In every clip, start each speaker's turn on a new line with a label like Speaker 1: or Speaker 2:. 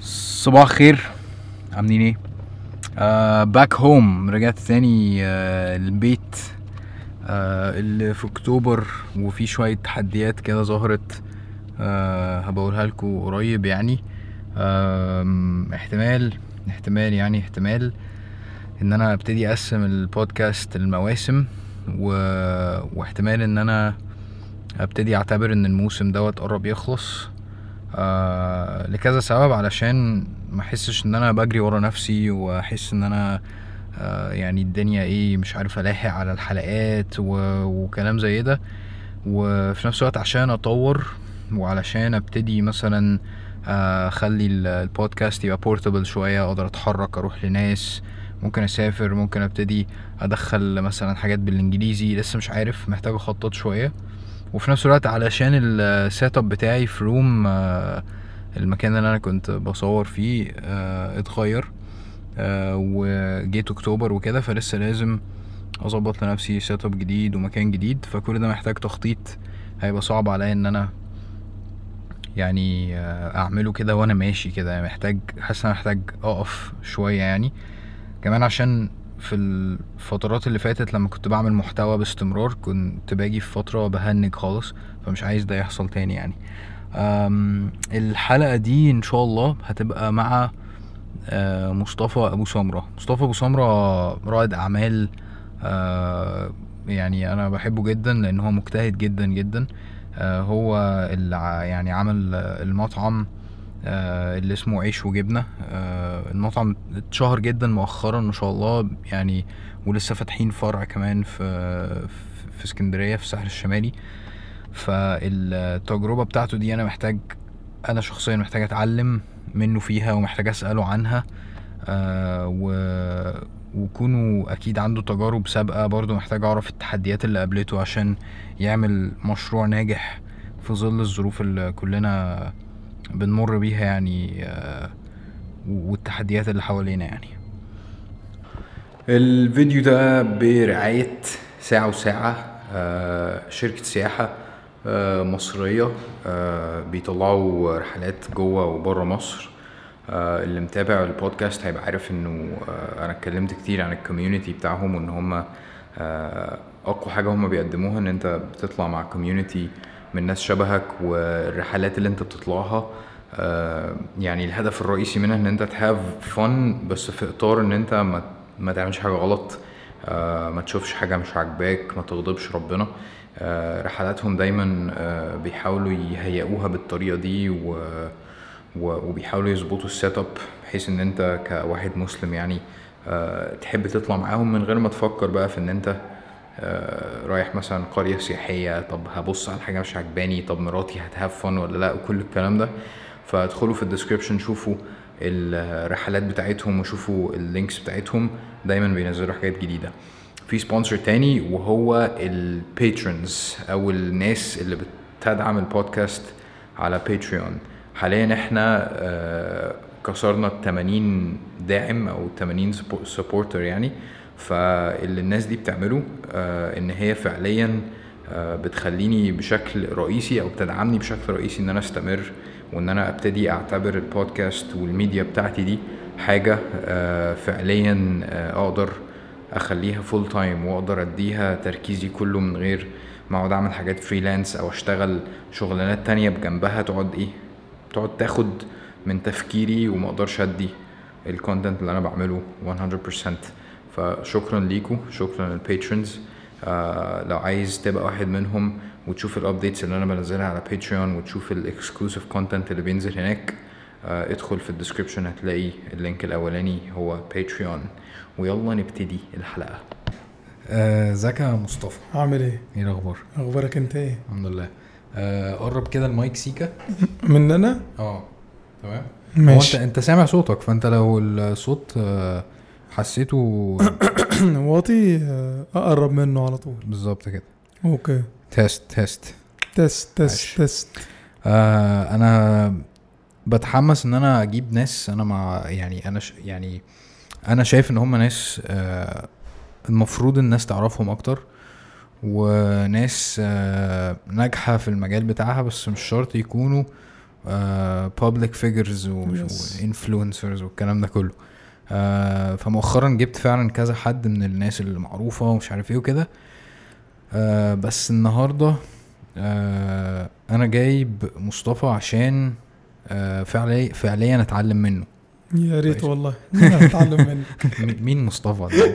Speaker 1: صباح الخير عاملين ايه باك هوم رجعت تاني آه البيت آه اللي في اكتوبر وفي شويه تحديات كده ظهرت آه هبقولها لكم قريب يعني آم، احتمال احتمال يعني احتمال ان انا ابتدي اقسم البودكاست المواسم و... واحتمال ان انا ابتدي اعتبر ان الموسم دوت قرب يخلص آه لكذا سبب علشان ما احسش ان انا بجري ورا نفسي واحس ان انا آه يعني الدنيا ايه مش عارف الاحق على الحلقات و... وكلام زي ده وفي نفس الوقت عشان اطور وعلشان ابتدي مثلا آه، اخلي ال- البودكاست يبقى بورتبل شويه اقدر اتحرك اروح لناس ممكن اسافر ممكن ابتدي ادخل مثلا حاجات بالانجليزي لسه مش عارف محتاج اخطط شويه وفي نفس الوقت علشان السيت اب بتاعي في روم آه، المكان اللي انا كنت بصور فيه آه، اتغير آه، وجيت اكتوبر وكده فلسه لازم اظبط لنفسي سيت اب جديد ومكان جديد فكل ده محتاج تخطيط هيبقى صعب عليا ان انا يعني آه، اعمله كده وانا ماشي كده يعني محتاج حاسس إن انا محتاج اقف شويه يعني كمان عشان في الفترات اللي فاتت لما كنت بعمل محتوى باستمرار كنت باجي في فتره بهنج خالص فمش عايز ده يحصل تاني يعني أم، الحلقه دي ان شاء الله هتبقى مع آه، مصطفى ابو سمره مصطفى ابو سمره رائد اعمال آه، يعني انا بحبه جدا لان هو مجتهد جدا جدا آه، هو اللي ع- يعني عمل آه، المطعم آه، اللي اسمه عيش وجبنه آه، المطعم اتشهر جدا مؤخرا ما شاء الله يعني ولسه فاتحين فرع كمان في في- في اسكندريه في الساحل الشمالي فالتجربه بتاعته دي انا محتاج انا شخصيا محتاج اتعلم منه فيها ومحتاج اساله عنها آه، و وكونه اكيد عنده تجارب سابقه برضه محتاج اعرف التحديات اللي قابلته عشان يعمل مشروع ناجح في ظل الظروف اللي كلنا بنمر بيها يعني آه، والتحديات اللي حوالينا يعني الفيديو ده برعاية ساعة وساعة آه، شركة سياحة آه، مصرية آه، بيطلعوا رحلات جوه وبره مصر آه، اللي متابع البودكاست هيبقى عارف انه آه، انا اتكلمت كتير عن الكوميونتي بتاعهم وان هم آه، اقوى حاجة هم بيقدموها ان انت بتطلع مع كوميونتي من ناس شبهك والرحلات اللي انت بتطلعها آه، يعني الهدف الرئيسي منها ان انت تهاف فن بس في اطار ان انت ما ما تعملش حاجه غلط آه، ما تشوفش حاجه مش عاجباك ما تغضبش ربنا آه، رحلاتهم دايما آه، بيحاولوا يهيئوها بالطريقه دي و و- وبيحاولوا يظبطوا السيت اب بحيث ان انت كواحد مسلم يعني آه، تحب تطلع معاهم من غير ما تفكر بقى في ان انت آه، رايح مثلا قرية سياحية طب هبص على حاجة مش عجباني طب مراتي هتهفن ولا لا وكل الكلام ده فادخلوا في الديسكريبشن شوفوا الرحلات بتاعتهم وشوفوا اللينكس بتاعتهم دايما بينزلوا حاجات جديدة في سبونسر تاني وهو الباترونز او الناس اللي بتدعم البودكاست على باتريون حاليا احنا آه، كسرنا ال 80 داعم او 80 سبورتر يعني فاللي الناس دي بتعمله آه، ان هي فعليا آه، بتخليني بشكل رئيسي او بتدعمني بشكل رئيسي ان انا استمر وان انا ابتدي اعتبر البودكاست والميديا بتاعتي دي حاجه آه، فعليا آه، اقدر اخليها فول تايم واقدر اديها تركيزي كله من غير ما اقعد اعمل حاجات فريلانس او اشتغل شغلانات تانية بجنبها تقعد ايه تقعد تاخد من تفكيري وما اقدرش ادي الكونتنت اللي انا بعمله 100% فشكرا ليكم شكرا للباترونز آه لو عايز تبقى واحد منهم وتشوف الابديتس اللي انا بنزلها على باتريون وتشوف الاكسكلوسيف كونتنت اللي بينزل هناك آه ادخل في الديسكربشن هتلاقي اللينك الاولاني هو باتريون ويلا نبتدي الحلقه آه، ازيك يا مصطفى
Speaker 2: عامل ايه؟
Speaker 1: ايه الاخبار
Speaker 2: اخبارك انت ايه؟
Speaker 1: الحمد لله آه، قرب كده المايك سيكا
Speaker 2: مننا؟
Speaker 1: اه تمام هو انت
Speaker 2: ماشي
Speaker 1: انت سامع صوتك فانت لو الصوت آه، حسيته
Speaker 2: واطي آه، اقرب منه على طول
Speaker 1: بالظبط كده
Speaker 2: اوكي
Speaker 1: تيست تيست
Speaker 2: تست
Speaker 1: ماشي.
Speaker 2: تست تست
Speaker 1: آه انا بتحمس ان انا اجيب ناس انا مع يعني انا ش يعني انا شايف ان هم ناس آه المفروض الناس تعرفهم اكتر وناس آه ناجحة في المجال بتاعها بس مش شرط يكونوا بابليك فيجرز
Speaker 2: Yes.
Speaker 1: وانفلونسرز والكلام ده كله آه، فمؤخرا جبت فعلا كذا حد من الناس اللي معروفه ومش عارف ايه وكده آه، بس النهارده آه، انا جايب مصطفى عشان آه، فعلي فعليا اتعلم منه
Speaker 2: يا ريت
Speaker 1: كويس.
Speaker 2: والله مين هتتعلم مني
Speaker 1: مين مين مصطفى ده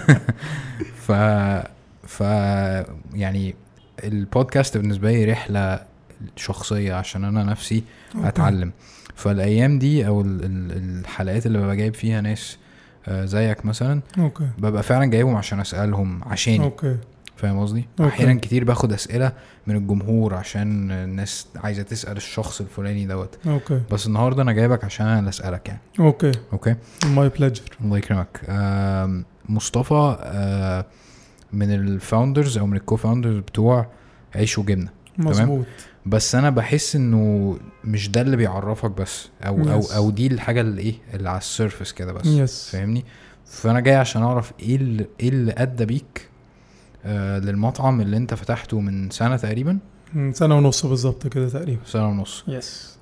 Speaker 1: ف ف يعني البودكاست بالنسبه لي رحله شخصيه عشان انا نفسي
Speaker 2: أوكي.
Speaker 1: اتعلم فالايام دي او ال- ال- الحلقات اللي ببقى جايب فيها ناس آه، زيك مثلا
Speaker 2: اوكي
Speaker 1: ببقى فعلا جايبهم عشان اسالهم عشاني
Speaker 2: اوكي
Speaker 1: فاهم قصدي
Speaker 2: أوكي.
Speaker 1: احيانا كتير باخد اسئله من الجمهور عشان الناس عايزه تسال الشخص الفلاني دوت
Speaker 2: اوكي
Speaker 1: بس النهارده انا جايبك عشان انا اللي اسالك يعني
Speaker 2: اوكي
Speaker 1: اوكي
Speaker 2: ماي بليجر
Speaker 1: الله يكرمك آم، مصطفى آه، من الفاوندرز او من الكو فاوندرز بتوع عيش وجبنه
Speaker 2: مظبوط
Speaker 1: بس انا بحس انه مش ده اللي بيعرفك بس او او
Speaker 2: Yes.
Speaker 1: او دي الحاجه اللي ايه اللي على السيرفس كده بس
Speaker 2: يس
Speaker 1: فاهمني فانا جاي عشان اعرف ايه اللي ايه اللي ادى بيك آه للمطعم اللي انت فتحته من سنه تقريبا
Speaker 2: من سنه ونص بالظبط كده تقريبا
Speaker 1: سنه ونص
Speaker 2: يس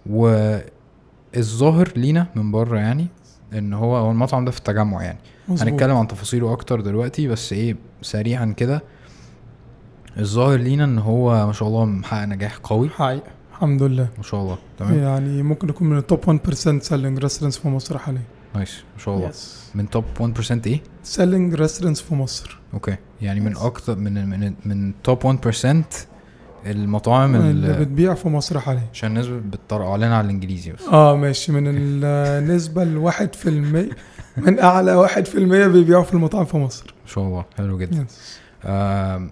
Speaker 1: والظاهر لينا من بره يعني ان هو هو المطعم ده في التجمع يعني هنتكلم عن تفاصيله اكتر دلوقتي بس ايه سريعا كده الظاهر لينا ان هو ما شاء الله محقق نجاح قوي
Speaker 2: حقيقة الحمد لله
Speaker 1: ما شاء الله تمام
Speaker 2: يعني ممكن نكون من التوب 1% سيلينج ريستورنتس في مصر حاليا
Speaker 1: نايس ما شاء الله من توب 1% ايه
Speaker 2: سيلينج ريستورنتس في مصر
Speaker 1: اوكي يعني من
Speaker 2: Yes.
Speaker 1: اكتر من من من توب 1% المطاعم
Speaker 2: اللي
Speaker 1: اللي
Speaker 2: بتبيع في مصر حاليا
Speaker 1: عشان الناس بتطرقوا علينا على الانجليزي بس
Speaker 2: اه ماشي من النسبة الواحد في المية من أعلى واحد في المية بيبيعوا في المطاعم في مصر
Speaker 1: ما شاء الله حلو جدا
Speaker 2: يس.
Speaker 1: آم،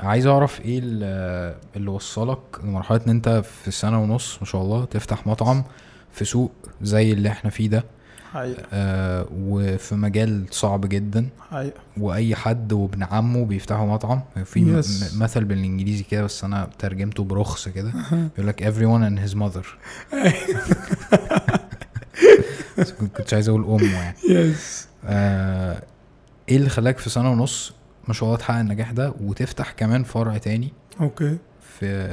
Speaker 1: عايز اعرف ايه ال- اللي وصلك لمرحله ان انت في سنه ونص ما شاء الله تفتح مطعم في سوق زي اللي احنا فيه ده
Speaker 2: حقيقة
Speaker 1: آه، وفي مجال صعب جدا
Speaker 2: حقيقة
Speaker 1: واي حد وابن عمه بيفتحوا مطعم في م-
Speaker 2: Yes.
Speaker 1: م- مثل بالانجليزي كده بس انا ترجمته برخص كده بيقول لك everyone and his mother بس كنت- كنتش عايز اقول امه يعني
Speaker 2: يس
Speaker 1: آه، ايه اللي خلاك في سنه ونص ما شاء الله تحقق النجاح ده وتفتح كمان فرع تاني
Speaker 2: اوكي
Speaker 1: في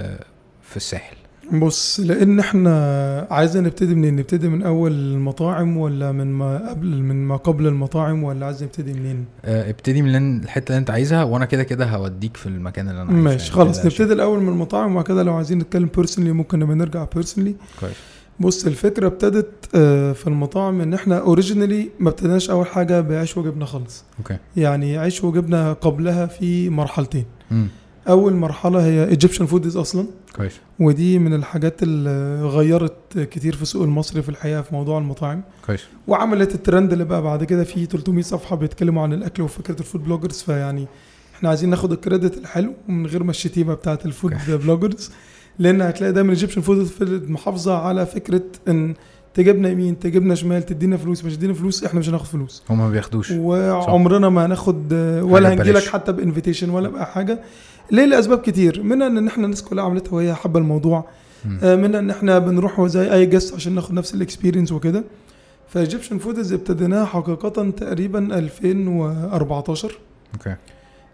Speaker 1: في الساحل
Speaker 2: بص لان احنا عايزين نبتدي منين نبتدي من اول المطاعم ولا من ما قبل من ما قبل المطاعم ولا عايز نبتدي منين
Speaker 1: آه، ابتدي من الحته اللي انت عايزها وانا كده كده هوديك في المكان اللي انا عايزه
Speaker 2: ماشي
Speaker 1: يعني،
Speaker 2: خلاص
Speaker 1: كده عشان-
Speaker 2: نبتدي الاول من المطاعم وبعد كده لو عايزين نتكلم بيرسونلي ممكن نبقى نرجع بيرسونلي
Speaker 1: كويس
Speaker 2: بص الفكره ابتدت آه، في المطاعم ان احنا اوريجينالي ما ابتديناش اول حاجه بعيش وجبنه خالص
Speaker 1: اوكي
Speaker 2: يعني عيش وجبنه قبلها في مرحلتين
Speaker 1: امم
Speaker 2: اول مرحله هي ايجيبشن فودز اصلا
Speaker 1: كويس
Speaker 2: ودي من الحاجات اللي غيرت كتير في السوق المصري في الحقيقه في موضوع المطاعم
Speaker 1: كويس
Speaker 2: وعملت الترند اللي بقى بعد كده في 300 صفحه بيتكلموا عن الاكل وفكره الفود بلوجرز فيعني احنا عايزين ناخد الكريدت الحلو من غير ما الشتيمه بتاعه الفود بلوجرز لان هتلاقي دايما ايجيبشن فود محافظه على فكره ان تجيبنا يمين تجيبنا شمال تدينا فلوس مش تدينا فلوس احنا مش هناخد فلوس
Speaker 1: هما ما بياخدوش
Speaker 2: وعمرنا ما هناخد ولا
Speaker 1: حاجة
Speaker 2: هنجي لك
Speaker 1: ببلاش.
Speaker 2: حتى بانفيتيشن ولا باي حاجه ليه لاسباب كتير منها ان احنا الناس كلها عملتها وهي حابه الموضوع
Speaker 1: مم.
Speaker 2: آه، منها ان احنا بنروح زي اي جست عشان ناخد نفس الاكسبيرينس وكده فايجيبشن فودز ابتديناها حقيقه تقريبا 2014
Speaker 1: اوكي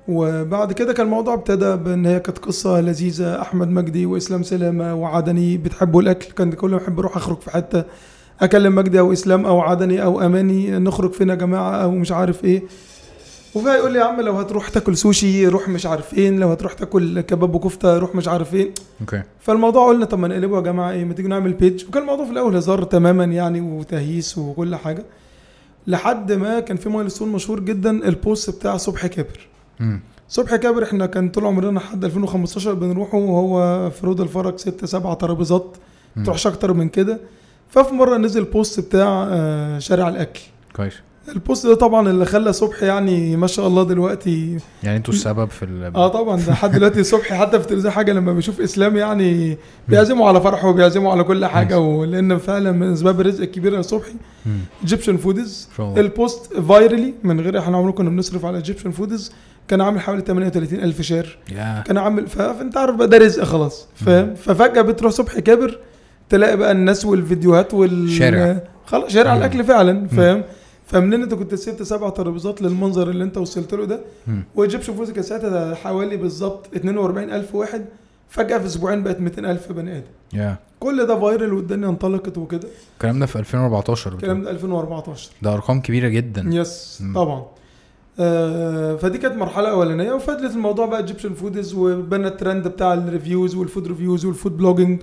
Speaker 2: وبعد كده كان الموضوع ابتدى بان هي كانت قصه لذيذه احمد مجدي واسلام سلامه وعدني بتحبوا الاكل كان كل ما احب اروح اخرج في حته اكلم مجدي او اسلام او عدني او اماني نخرج فين يا جماعه او مش عارف ايه وفا يقول لي يا عم لو هتروح تاكل سوشي روح مش عارف فين لو هتروح تاكل كباب وكفته روح مش عارف فين
Speaker 1: اوكي
Speaker 2: فالموضوع قلنا طب ما نقلبه يا جماعه ايه ما تيجي نعمل بيج وكان الموضوع في الاول هزار تماما يعني وتهييس وكل حاجه لحد ما كان في مايلستون مشهور جدا البوست بتاع صبحي كابر
Speaker 1: امم
Speaker 2: صبحي كابر احنا كان طول عمرنا لحد 2015 بنروحه وهو في رود الفرج ست سبع ترابيزات
Speaker 1: مم.
Speaker 2: تروحش اكتر من كده ففي مره نزل بوست بتاع آه، شارع الاكل
Speaker 1: كويس
Speaker 2: البوست ده طبعا اللي خلى صبحي يعني ما شاء الله دلوقتي
Speaker 1: يعني انتوا السبب في ال
Speaker 2: اه طبعا ده لحد دلوقتي صبحي حتى في التلفزيون حاجه لما بيشوف اسلام يعني بيعزمه على فرحه وبيعزمه على كل حاجه ولان فعلا من اسباب الرزق الكبيره يا صبحي
Speaker 1: مم.
Speaker 2: ايجيبشن فودز
Speaker 1: ما شاء الله
Speaker 2: البوست فايرلي من غير احنا عمرنا كنا بنصرف على ايجيبشن فودز كان عامل حوالي 38 الف شير
Speaker 1: يا
Speaker 2: كان عامل ف- فانت عارف بقى ده رزق خلاص فاهم ففجاه بتروح صبحي كابر تلاقي بقى الناس والفيديوهات وال
Speaker 1: شارع.
Speaker 2: خلاص شارع
Speaker 1: مم.
Speaker 2: الاكل فعلا فاهم فمنين انت كنت ست سبع ترابيزات للمنظر اللي انت وصلت له ده
Speaker 1: مم.
Speaker 2: وايجيبشن فوز كان ساعتها حوالي بالظبط 42000 واحد فجاه في اسبوعين بقت 200000 بني ادم
Speaker 3: يا
Speaker 2: كل ده فايرل والدنيا انطلقت وكده
Speaker 3: الكلام ده في 2014
Speaker 2: الكلام ده 2014
Speaker 3: ده ارقام كبيره جدا
Speaker 2: يس
Speaker 3: يعني. مم.
Speaker 2: طبعا آه فدي كانت مرحله اولانيه وفضلت الموضوع بقى ايجيبشن فودز وبنى الترند بتاع الريفيوز والفود ريفيوز والفود بلوجينج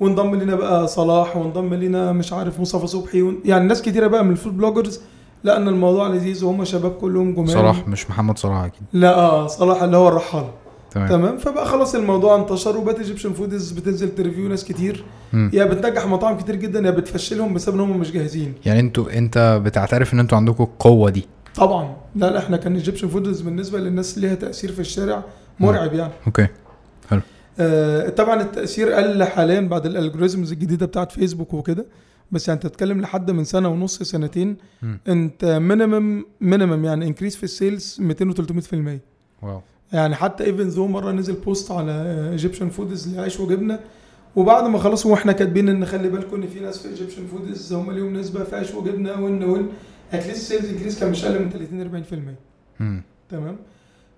Speaker 2: وانضم لنا بقى صلاح وانضم لنا مش عارف مصطفى صبحي ون... يعني ناس كتيره بقى من الفود بلوجرز لا ان الموضوع لذيذ وهم شباب كلهم جمال
Speaker 3: صلاح مش محمد صلاح اكيد
Speaker 2: لا اه صلاح اللي هو الرحاله
Speaker 3: تمام
Speaker 2: تمام فبقى خلاص الموضوع انتشر وبقت ايجيبشن فودز بتنزل تريفيو ناس كتير
Speaker 3: مم.
Speaker 2: يا بتنجح مطاعم كتير جدا يا بتفشلهم بسبب ان هم مش جاهزين
Speaker 3: يعني انتوا انت بتعترف ان انتوا عندكم القوه دي
Speaker 2: طبعا لا لا احنا كان ايجيبشن فودز بالنسبه للناس ليها تاثير في الشارع مرعب يعني
Speaker 3: اوكي
Speaker 2: آه طبعا التاثير قل حاليا بعد الالجوريزمز الجديده بتاعت فيسبوك وكده بس يعني تتكلم لحد من سنه ونص سنتين
Speaker 3: مم.
Speaker 2: انت مينيمم مينيمم يعني انكريس في السيلز 200 و300%
Speaker 3: واو
Speaker 2: يعني حتى ايفن زو مره نزل بوست على ايجيبشن فودز لعيش وجبنه وبعد ما خلاص واحنا كاتبين ان خلي بالكم ان في ناس في ايجيبشن فودز هم ليهم نسبه في عيش وجبنه وان وان اتليست سيلز انكريس كان مش اقل من 30 40%
Speaker 1: Hmm.
Speaker 3: مم.
Speaker 2: تمام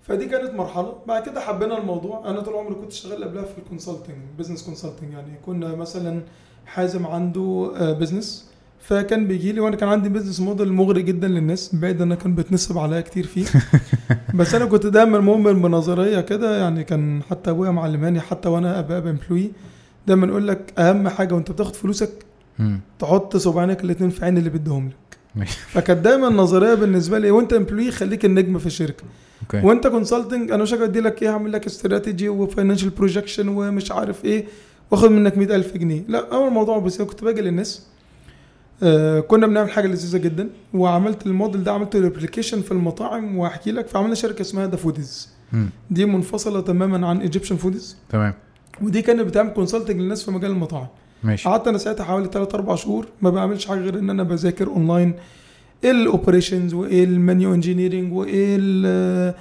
Speaker 2: فدي كانت مرحله بعد كده حبينا الموضوع انا طول عمري كنت شغال قبلها في الكونسلتنج بزنس كونسلتنج يعني كنا مثلا حازم عنده بزنس فكان بيجي لي وانا كان عندي بزنس موديل مغري جدا للناس بعيد انا كان بيتنصب عليا كتير فيه بس انا كنت دايما مؤمن بنظريه كده يعني كان حتى ابويا معلماني حتى وانا ابقى امبلوي دايما يقول لك اهم حاجه وانت بتاخد فلوسك
Speaker 1: Hmm.
Speaker 3: مم.
Speaker 2: تحط صباعينك الاتنين في عين اللي بيديهم لك
Speaker 3: ماشي.
Speaker 2: فكانت دايما النظريه بالنسبه لي وانت امبلوي خليك النجم في الشركه
Speaker 1: إيه.
Speaker 3: اوكي
Speaker 2: وانت كونسلتنج انا مش هدي لك ايه هعمل لك استراتيجي وفاينانشال بروجكشن ومش عارف ايه واخد منك 100000 جنيه لا اول موضوع بس أنا كنت باجي للناس آه كنا بنعمل حاجه لذيذه جدا وعملت الموديل ده عملت ريبليكيشن في المطاعم وهحكي لك فعملنا شركه اسمها ذا فودز
Speaker 1: Hmm.
Speaker 3: مم.
Speaker 2: دي منفصله تماما عن ايجيبشن فودز
Speaker 3: تمام
Speaker 2: ودي كانت بتعمل كونسلتنج للناس في مجال المطاعم
Speaker 3: ماشي
Speaker 2: قعدت انا ساعتها حوالي 3 4 شهور ما بعملش حاجه غير ان انا بذاكر اونلاين ايه الاوبريشنز وايه المنيو انجينيرنج وايه ال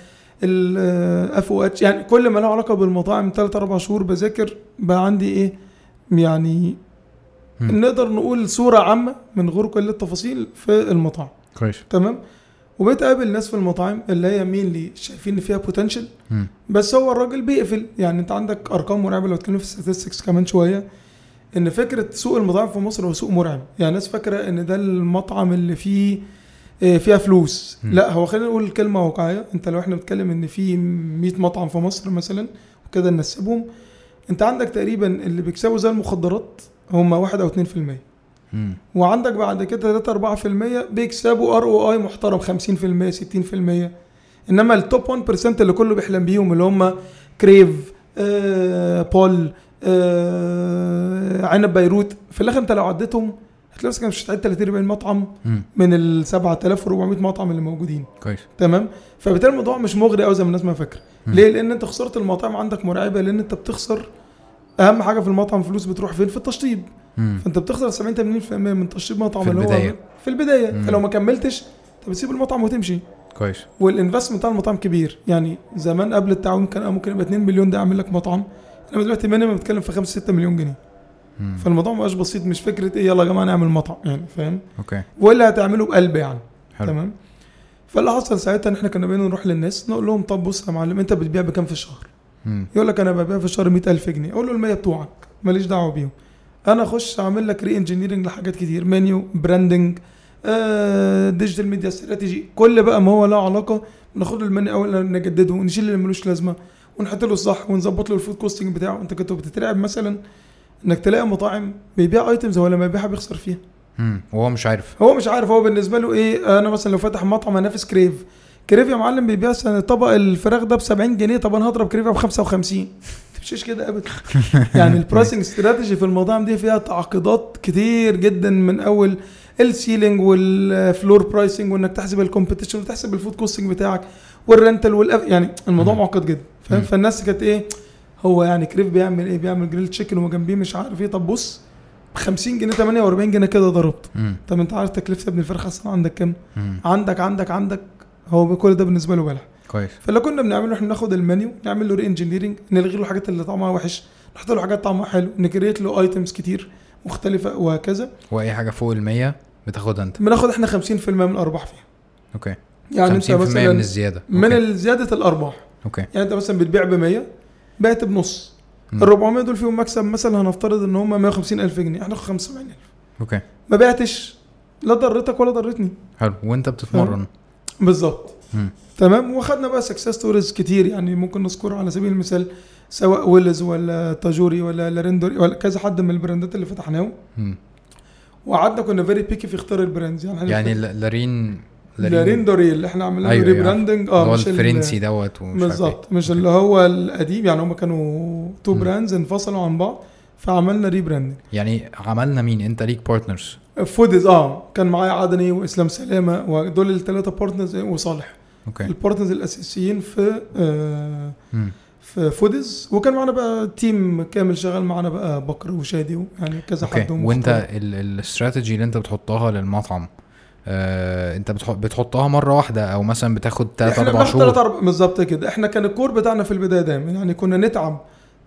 Speaker 2: الاف او اتش يعني كل ما له علاقه بالمطاعم 3 4 شهور بذاكر بقى عندي ايه يعني
Speaker 3: مم.
Speaker 2: نقدر نقول صوره عامه من غير كل التفاصيل في المطاعم
Speaker 3: كويس
Speaker 2: تمام وبقيت اقابل ناس في المطاعم اللي هي مين اللي شايفين ان فيها بوتنشال
Speaker 1: Hmm.
Speaker 3: مم.
Speaker 2: بس هو الراجل بيقفل يعني انت عندك ارقام مرعبه لو اتكلمنا في الستاتستكس كمان شويه ان فكره سوق المطاعم في مصر هو سوق مرعب يعني الناس فاكره ان ده المطعم اللي فيه آه، فيها فلوس
Speaker 3: مم.
Speaker 2: لا هو خلينا نقول الكلمه واقعيه انت لو احنا بنتكلم ان في 100 مطعم في مصر مثلا وكده نسبهم انت عندك تقريبا اللي بيكسبوا زي المخدرات هم 1 او 2%
Speaker 1: Hmm.
Speaker 3: مم.
Speaker 2: وعندك بعد كده 3 4% بيكسبوا ار او اي محترم 50% 60% انما التوب 1% اللي كله بيحلم بيهم اللي هم كريف آه بول آه عنب بيروت في الاخر انت لو عديتهم هتلاقي نفسك مش هتعد 30 40 مطعم
Speaker 1: Hmm.
Speaker 3: مم.
Speaker 2: من ال 7400 مطعم اللي موجودين
Speaker 3: كويس
Speaker 2: تمام فبالتالي الموضوع مش مغري قوي زي ما الناس ما فاكره
Speaker 3: مم.
Speaker 2: ليه لان انت خساره المطاعم عندك مرعبه لان انت بتخسر اهم حاجه في المطعم فلوس بتروح فين في التشطيب
Speaker 1: Hmm.
Speaker 3: مم.
Speaker 2: فانت بتخسر 70 80% من تشطيب مطعم
Speaker 3: في
Speaker 2: اللي هو
Speaker 3: البداية.
Speaker 2: في البدايه
Speaker 3: مم.
Speaker 2: فلو ما كملتش انت بتسيب المطعم وتمشي
Speaker 3: كويس
Speaker 2: والانفستمنت بتاع المطعم كبير يعني زمان قبل التعاون كان ممكن يبقى 2 مليون ده يعمل لك مطعم انما دلوقتي مينيمم بتتكلم في 5 6 مليون جنيه
Speaker 3: مم.
Speaker 2: فالموضوع مبقاش بسيط مش فكره ايه يلا يا جماعه نعمل مطعم يعني فاهم
Speaker 3: اوكي
Speaker 2: ولا هتعمله بقلب يعني
Speaker 3: حلو
Speaker 2: تمام فاللي حصل ساعتها ان احنا كنا بقينا نروح للناس نقول لهم طب بص يا معلم انت بتبيع بكام في الشهر
Speaker 1: Hmm.
Speaker 3: مم.
Speaker 2: يقول لك انا ببيع في الشهر 100000 جنيه اقول له ال 100 بتوعك ماليش دعوه بيهم انا اخش اعمل لك ري انجينيرنج لحاجات كتير منيو براندنج آه، ديجيتال ميديا استراتيجي كل بقى ما هو له علاقه ناخد له المنيو اول نجدده ونشيل اللي ملوش لازمه ونحط له الصح ونظبط له الفود كوستنج بتاعه انت كنت بتترعب مثلا انك تلاقي مطاعم بيبيع ايتمز هو لما يبيعها بيخسر فيها
Speaker 1: Hmm.
Speaker 3: مم. وهو مش عارف
Speaker 2: هو مش عارف هو بالنسبه له ايه انا مثلا لو فاتح مطعم هنافس كريف كريف يا معلم بيبيع س- طبق الفراخ ده ب 70 جنيه طب انا هضرب كريف ب 55 ما تمشيش كده ابدا يعني البرايسنج استراتيجي في المطاعم دي فيها تعقيدات كتير جدا من اول السيلينج والفلور برايسنج وانك تحسب الكومبيتيشن وتحسب الفود كوستنج بتاعك والرنتل والأف... يعني الموضوع
Speaker 3: مم.
Speaker 2: معقد جدا فاهم
Speaker 3: مم.
Speaker 2: فالناس كانت ايه هو يعني كريف بيعمل ايه بيعمل جريل تشيكن وجنبيه مش عارف ايه طب بص ب 50 جنيه 48 جنيه كده ضربت
Speaker 1: Hmm.
Speaker 3: مم.
Speaker 2: طب انت عارف تكلفه ابن الفرخه اصلا عندك كام؟
Speaker 3: مم.
Speaker 2: عندك عندك عندك هو كل ده بالنسبه له بلح
Speaker 3: كويس
Speaker 2: فاللي كنا بنعمله احنا ناخد المنيو نعمل له ري انجينيرنج نلغي له الحاجات اللي طعمها وحش نحط له حاجات طعمها حلو نكريت له ايتمز كتير مختلفه وهكذا
Speaker 3: واي حاجه فوق ال 100 بتاخدها انت
Speaker 2: بناخد احنا 50% من الارباح فيها
Speaker 3: اوكي
Speaker 2: يعني
Speaker 3: 50%
Speaker 2: انت مثلا
Speaker 3: من
Speaker 2: من,
Speaker 3: الزياده
Speaker 2: من
Speaker 3: اوكي,
Speaker 2: ال- زياده الارباح
Speaker 3: أوكي.
Speaker 2: يعني انت مثلا بتبيع ب 100 بعت بنص ال 400 دول فيهم مكسب مثلا هنفترض ان هم 150 الف جنيه احنا هناخد 75000
Speaker 1: اوكي
Speaker 2: ما بعتش لا ضرتك ولا ضرتني
Speaker 1: حلو وانت بتتمرن
Speaker 2: بالظبط
Speaker 1: مم.
Speaker 2: تمام واخدنا بقى سكسس ستوريز كتير يعني ممكن نذكر على سبيل المثال سواء ويلز ولا تاجوري ولا لارندوري ولا كذا حد من البراندات اللي فتحناهم
Speaker 1: مم.
Speaker 2: وقعدنا كنا فيري بيكي في اختيار البراندز يعني
Speaker 1: يعني ل- لارين
Speaker 2: لاريندوري اللي احنا عملنا
Speaker 1: أيوة،
Speaker 2: أيوة
Speaker 1: أيوة.
Speaker 2: ريبراندنج
Speaker 1: اللي هو
Speaker 2: مش ال-
Speaker 1: الفرنسي دوت ومش عارف إيه.
Speaker 2: بالظبط مش اللي هو القديم يعني هما كانوا تو
Speaker 1: مم.
Speaker 2: براندز انفصلوا عن بعض فعملنا ريبراندنج
Speaker 1: إيه. يعني عملنا مين انت ليك بارتنرز
Speaker 2: فودز اه كان معايا عدني واسلام سلامه ودول الثلاثه بارتنرز وصالح
Speaker 1: اوكي
Speaker 2: البارتنرز الاساسيين في آه
Speaker 1: مم.
Speaker 2: في فودز وكان معانا بقى تيم كامل شغال معانا بقى بكر وشادي ويعني كذا
Speaker 1: اوكي
Speaker 2: حد
Speaker 1: وانت
Speaker 2: ومختلف.
Speaker 1: ال- ال- الاستراتيجي اللي انت بتحطها للمطعم آه، انت بتحط بتحطها مره واحده او مثلا بتاخد 3
Speaker 2: احنا
Speaker 1: 4
Speaker 2: بناخد يعني تلات
Speaker 1: شهور
Speaker 2: أربع- بالظبط كده احنا كان الكور بتاعنا في البدايه دايما يعني كنا نتعب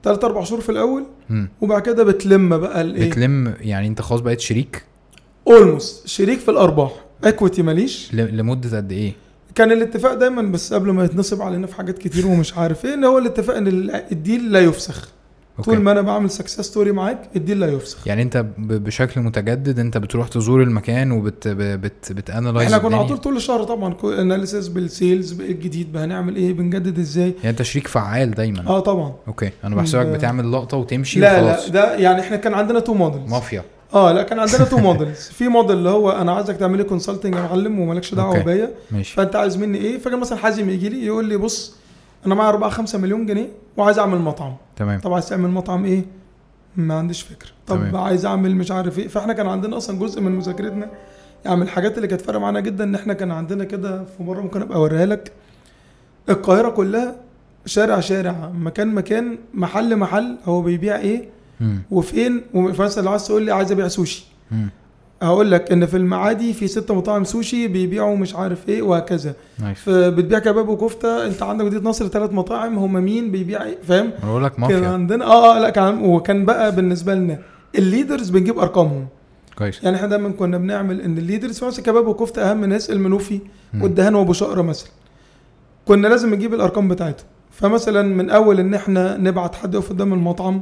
Speaker 2: ثلاث اربع شهور في الاول
Speaker 1: مم.
Speaker 2: وبعد كده بتلم بقى إيه؟ الايه
Speaker 1: بتلم يعني انت خلاص بقيت شريك
Speaker 2: اولموست شريك في الارباح اكويتي ماليش
Speaker 1: ل- لمده قد ايه
Speaker 2: كان الاتفاق دايما بس قبل ما يتنصب علينا في حاجات كتير ومش عارف ايه ان هو الاتفاق ان ال- الديل لا يفسخ
Speaker 1: أوكي.
Speaker 2: طول ما انا بعمل سكسس ستوري معاك الديل لا يفسخ
Speaker 1: يعني انت ب- بشكل متجدد انت بتروح تزور المكان وبت ب- بت بتانلايز
Speaker 2: احنا كنا على
Speaker 1: الدنيا.
Speaker 2: طول طول الشهر طبعا اناليسيس بالسيلز بايه الجديد بقى هنعمل ايه بنجدد ازاي
Speaker 1: يعني انت شريك فعال دايما
Speaker 2: اه طبعا
Speaker 1: اوكي انا بحسبك
Speaker 2: ب-
Speaker 1: بتعمل لقطه وتمشي
Speaker 2: لا
Speaker 1: وخلاص
Speaker 2: لا ده يعني احنا كان عندنا تو مودلز
Speaker 1: مافيا
Speaker 2: اه لا كان عندنا تو مودلز في موديل اللي هو انا عايزك تعمل لي كونسلتنج يا معلم ومالكش دعوه
Speaker 1: أوكي.
Speaker 2: بيا
Speaker 1: ماشي
Speaker 2: فانت عايز مني ايه فكان مثلا حازم يجي لي يقول لي بص انا معايا 4 5 مليون جنيه وعايز اعمل مطعم
Speaker 1: تمام
Speaker 2: طب عايز تعمل مطعم ايه ما عنديش فكره طب
Speaker 1: تمام.
Speaker 2: تمام. عايز اعمل مش عارف ايه فاحنا كان عندنا اصلا جزء من مذاكرتنا يعني من الحاجات اللي كانت فارقه معانا جدا ان احنا كان عندنا كده في مره ممكن ابقى اوريها لك القاهره كلها شارع شارع مكان مكان محل محل هو بيبيع ايه
Speaker 1: مم.
Speaker 2: وفين ومثلا لو عايز تقول لي عايز ابيع سوشي
Speaker 1: مم.
Speaker 2: هقول لك ان في المعادي في ست مطاعم سوشي بيبيعوا مش عارف ايه وهكذا
Speaker 1: نايس
Speaker 2: فبتبيع كباب وكفته انت عندك مدينه نصر ثلاث مطاعم هما مين بيبيع ايه فاهم
Speaker 1: انا بقول لك
Speaker 2: كان
Speaker 1: مافيا
Speaker 2: عندنا اه اه لا كان عن- وكان بقى بالنسبه لنا الليدرز بنجيب ارقامهم
Speaker 1: كويس
Speaker 2: يعني احنا دايما كنا بنعمل ان الليدرز مثلا كباب وكفته اهم ناس المنوفي
Speaker 1: مم.
Speaker 2: والدهان وابو شقره مثلا كنا لازم نجيب الارقام بتاعته فمثلا من اول ان احنا نبعت حد يقف قدام المطعم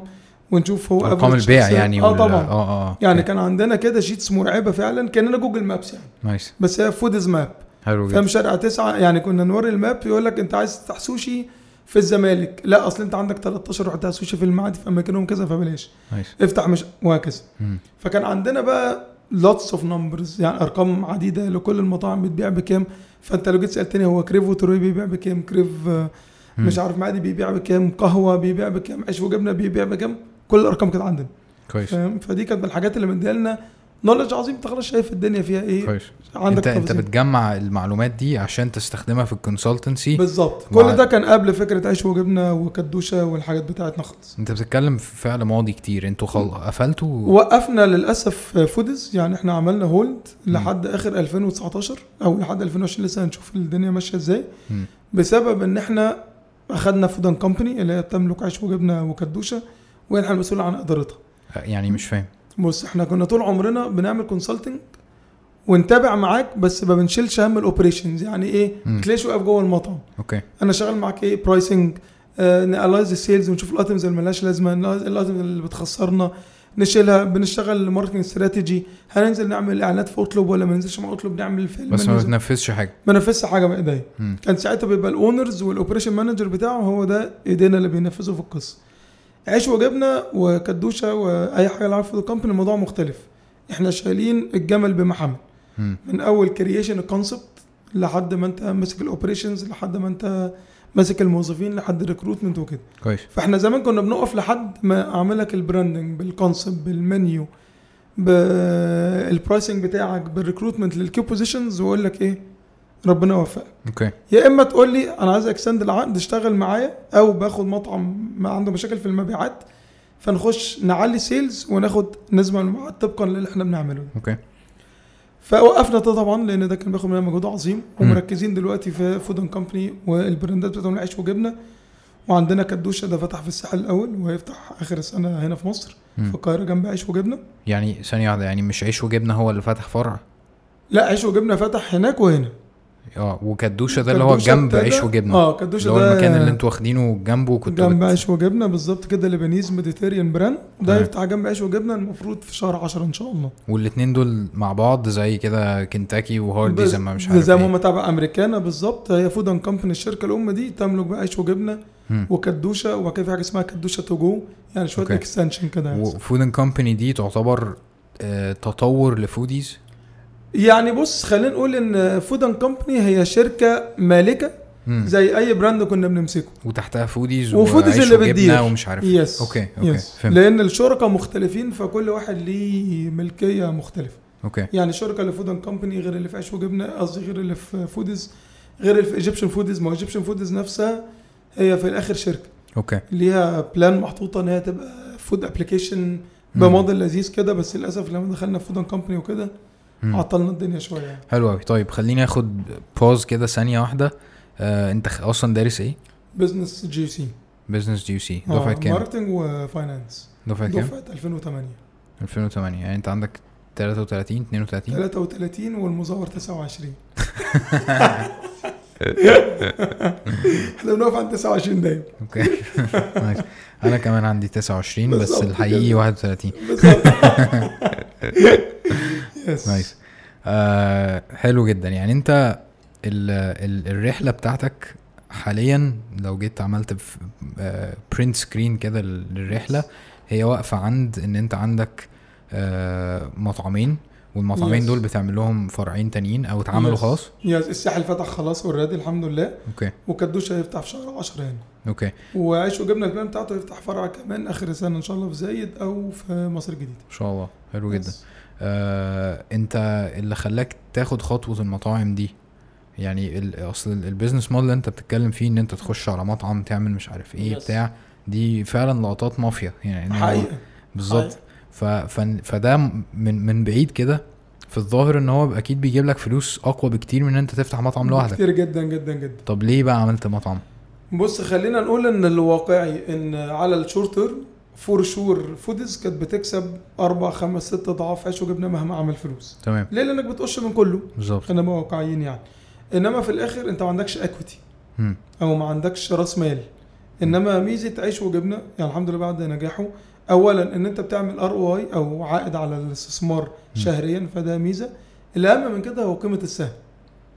Speaker 2: ونشوف هو
Speaker 1: ارقام
Speaker 2: average
Speaker 1: البيع
Speaker 2: sale.
Speaker 1: يعني
Speaker 2: اه
Speaker 1: وال-
Speaker 2: طبعا
Speaker 1: اه اه
Speaker 2: يعني
Speaker 1: اوكي.
Speaker 2: كان عندنا كده شيتس مرعبه فعلا كاننا جوجل مابس يعني
Speaker 1: نايس
Speaker 2: بس هي فودز ماب
Speaker 1: حلو
Speaker 2: فاهم
Speaker 1: جدا
Speaker 2: شارع تسعة يعني كنا نوري الماب يقول لك انت عايز تفتح سوشي في الزمالك لا اصل انت عندك 13 رحتها سوشي في المعادي في اماكنهم كذا فبلاش
Speaker 1: نايس
Speaker 2: افتح مش وهكذا
Speaker 1: مم.
Speaker 2: فكان عندنا بقى لوتس اوف نمبرز يعني ارقام عديده لكل المطاعم بتبيع بكام فانت لو جيت سالتني هو كريف وتروي بيبيع بكام كريف آه، مش عارف معادي بيبيع بكام قهوه بيبيع بكام عيش وجبنه بيبيع بكام كل الارقام كانت عندنا
Speaker 1: كويس
Speaker 2: فاهم فدي كانت من الحاجات اللي مديها لنا نولج عظيم انت خلاص شايف الدنيا فيها ايه
Speaker 1: كويس
Speaker 2: عندك
Speaker 1: انت انت
Speaker 2: تفاصيل.
Speaker 1: بتجمع المعلومات دي عشان تستخدمها في الكونسلتنسي
Speaker 2: بالظبط
Speaker 1: مع-
Speaker 2: كل ده كان قبل فكره عيش وجبنه وكدوشه والحاجات بتاعتنا خالص
Speaker 1: انت بتتكلم في فعل ماضي كتير انتوا خل... قفلتوا
Speaker 2: وقفنا للاسف فودز يعني احنا عملنا هولد لحد اخر 2019 او لحد 2020 لسه هنشوف الدنيا ماشيه ازاي
Speaker 1: مم.
Speaker 2: بسبب ان احنا اخذنا فود اند كومباني اللي هي بتملك عيش وجبنه وكدوشه واحنا المسؤول عن ادارتها
Speaker 1: يعني مش فاهم
Speaker 2: بص احنا كنا طول عمرنا بنعمل كونسلتنج ونتابع معاك بس ما بنشيلش هم الاوبريشنز يعني ايه
Speaker 1: مم.
Speaker 2: ما تلاقيش واقف جوه المطعم
Speaker 1: اوكي
Speaker 2: انا شغال معاك ايه برايسنج آه نالايز السيلز ونشوف الايتمز اللي ملهاش لازمه نلاحظ الايتمز اللي بتخسرنا نشيلها بنشتغل ماركتنج استراتيجي هننزل نعمل اعلانات في اطلب ولا ما ننزلش مع اطلب نعمل في
Speaker 1: بس ما
Speaker 2: المنيوز؟
Speaker 1: بتنفذش حاجه
Speaker 2: ما نفذش حاجه بايديا
Speaker 1: مم.
Speaker 2: كان ساعتها بيبقى الاونرز والاوبريشن مانجر بتاعه هو ده ايدينا اللي بينفذوا في القصه عيش وجبنه وكدوشه واي حاجه لها علاقه بالكومباني الموضوع مختلف احنا شايلين الجمل بمحمل
Speaker 1: مم.
Speaker 2: من اول كرييشن الكونسبت لحد ما انت ماسك الاوبريشنز لحد ما انت ماسك الموظفين لحد الريكروتمنت وكده
Speaker 1: كويس
Speaker 2: فاحنا زمان كنا بنقف لحد ما اعملك البراندنج بالكونسبت بالمنيو بالبرايسنج بتاعك بالريكروتمنت للكي بوزيشنز واقول لك ايه ربنا يوفقك
Speaker 1: اوكي
Speaker 2: يا اما تقول لي انا عايز اكسند العقد اشتغل معايا او باخد مطعم ما عنده مشاكل في المبيعات فنخش نعلي سيلز وناخد نسبه من المبيعات طبقا للي احنا بنعمله ده.
Speaker 1: اوكي
Speaker 2: فوقفنا ده طبعا لان ده كان بياخد مننا مجهود عظيم ومركزين دلوقتي في فود اند كومباني والبراندات بتاعتهم العيش وجبنه وعندنا كدوشه ده فتح في الساحل الاول وهيفتح اخر السنه هنا في مصر
Speaker 1: مم.
Speaker 2: في القاهره جنب عيش وجبنه
Speaker 1: يعني ثانيه واحده يعني مش عيش وجبنه هو اللي فتح فرع
Speaker 2: لا عيش وجبنه فتح هناك وهنا
Speaker 1: اه وكدوشه ده اللي هو
Speaker 2: كدوشة
Speaker 1: جنب
Speaker 2: ابتدى-
Speaker 1: عيش وجبنه
Speaker 2: اه كدوشه
Speaker 1: اللي هو
Speaker 2: ده
Speaker 1: المكان اللي انتوا واخدينه جنبه كنتوا
Speaker 2: جنب
Speaker 1: بت-
Speaker 2: عيش وجبنه بالظبط كده لبنيز ميديتيريان براند ده
Speaker 1: تمام.
Speaker 2: يفتح جنب عيش وجبنه المفروض في شهر 10 ان شاء الله
Speaker 1: والاتنين دول مع بعض زي كده كنتاكي وهاردي زي ما مش عارف
Speaker 2: زي
Speaker 1: ايه.
Speaker 2: ما هم تابع امريكانا بالظبط هي فود اند كومباني الشركه الام دي تملك بقى عيش وجبنه
Speaker 1: مم.
Speaker 2: وكدوشه وبعد كده في حاجه اسمها كدوشه تو جو يعني شويه
Speaker 1: أوكي.
Speaker 2: اكستنشن كده يعني.
Speaker 1: وفود اند كومباني دي تعتبر آه، تطور لفوديز
Speaker 2: يعني بص خلينا نقول ان فود اند كومباني هي شركه مالكه
Speaker 1: مم.
Speaker 2: زي اي براند كنا بنمسكه
Speaker 1: وتحتها فوديز
Speaker 2: وفوديز
Speaker 1: وعيش
Speaker 2: اللي
Speaker 1: وجبنة
Speaker 2: بتدير.
Speaker 1: ومش عارف ايه.
Speaker 2: يس
Speaker 1: اوكي اوكي
Speaker 2: يس.
Speaker 1: فهمت
Speaker 2: لان الشركاء مختلفين فكل واحد ليه ملكيه مختلفه
Speaker 1: اوكي
Speaker 2: يعني الشركه اللي في فود اند كومباني غير اللي في عيش وجبنه قصدي غير اللي في فودز غير اللي في ايجيبشن فودز ما هو ايجيبشن فودز نفسها هي في الاخر شركه
Speaker 1: اوكي
Speaker 2: ليها بلان محطوطه ان هي تبقى فود ابلكيشن
Speaker 1: مم.
Speaker 2: بموديل لذيذ كده بس للاسف لما دخلنا في فود اند كومباني وكده
Speaker 1: مم.
Speaker 2: عطلنا الدنيا شويه يعني.
Speaker 1: حلو قوي طيب خليني اخد باوز كده ثانيه واحده آه، انت خ- اصلا دارس ايه
Speaker 2: بزنس جي سي
Speaker 1: بزنس جي سي
Speaker 2: اه،
Speaker 1: دفعه كام
Speaker 2: ماركتنج وفاينانس
Speaker 1: دفعه كام
Speaker 2: دفعه 2008
Speaker 1: 2008 يعني انت عندك 33 32
Speaker 2: 33 والمزور 29 احنا بنقف عند 29 دايما
Speaker 1: اوكي نايس. انا كمان عندي 29 بس
Speaker 2: بالظبط
Speaker 1: الحقيقي
Speaker 2: كده.
Speaker 1: 31
Speaker 2: بالظبط يس
Speaker 1: نايس آه حلو جدا يعني انت ال ال الرحله بتاعتك حاليا لو جيت عملت برنت سكرين كده لل- للرحله هي واقفه عند ان انت عندك آه مطعمين والمطعمين
Speaker 2: Yes.
Speaker 1: دول بتعمل لهم فرعين تانيين او اتعملوا
Speaker 2: Yes.
Speaker 1: خلاص
Speaker 2: يس الساحل فتح خلاص اوريدي الحمد لله
Speaker 1: اوكي
Speaker 2: وكدوش هيفتح في شهر يعني. 10 هنا
Speaker 1: اوكي
Speaker 2: وعيش وجبنه البلان بتاعته يفتح فرع كمان اخر سنه ان شاء الله في زايد او في مصر الجديده
Speaker 1: ما شاء الله حلو جدا
Speaker 2: يس.
Speaker 1: آه انت اللي خلاك تاخد خطوه المطاعم دي يعني ال- اصل ال- البيزنس موديل اللي انت بتتكلم فيه ان انت تخش على مطعم تعمل مش عارف ايه
Speaker 2: Yes.
Speaker 1: بتاع دي فعلا لقطات مافيا يعني إن هو-
Speaker 2: حقيقه
Speaker 1: بالظبط ف- ف- فده من من بعيد كده في الظاهر ان هو اكيد بيجيب لك فلوس اقوى بكتير من ان انت تفتح مطعم لوحدك
Speaker 2: كتير جدا جدا جدا
Speaker 1: طب ليه بقى عملت مطعم
Speaker 2: بص خلينا نقول ان الواقعي ان على الشورت تيرم فور شور فودز كانت بتكسب اربع خمس ست اضعاف عيش وجبنه مهما عمل فلوس
Speaker 1: تمام
Speaker 2: ليه لانك بتقش من كله
Speaker 1: بالظبط
Speaker 2: خلينا بقى واقعيين يعني انما في الاخر انت ما عندكش اكويتي
Speaker 1: مم.
Speaker 2: او ما عندكش راس مال انما ميزه عيش وجبنه يعني الحمد لله بعد نجاحه اولا ان انت بتعمل ار او اي او عائد على الاستثمار شهريا فده ميزه الاهم من كده هو قيمه السهم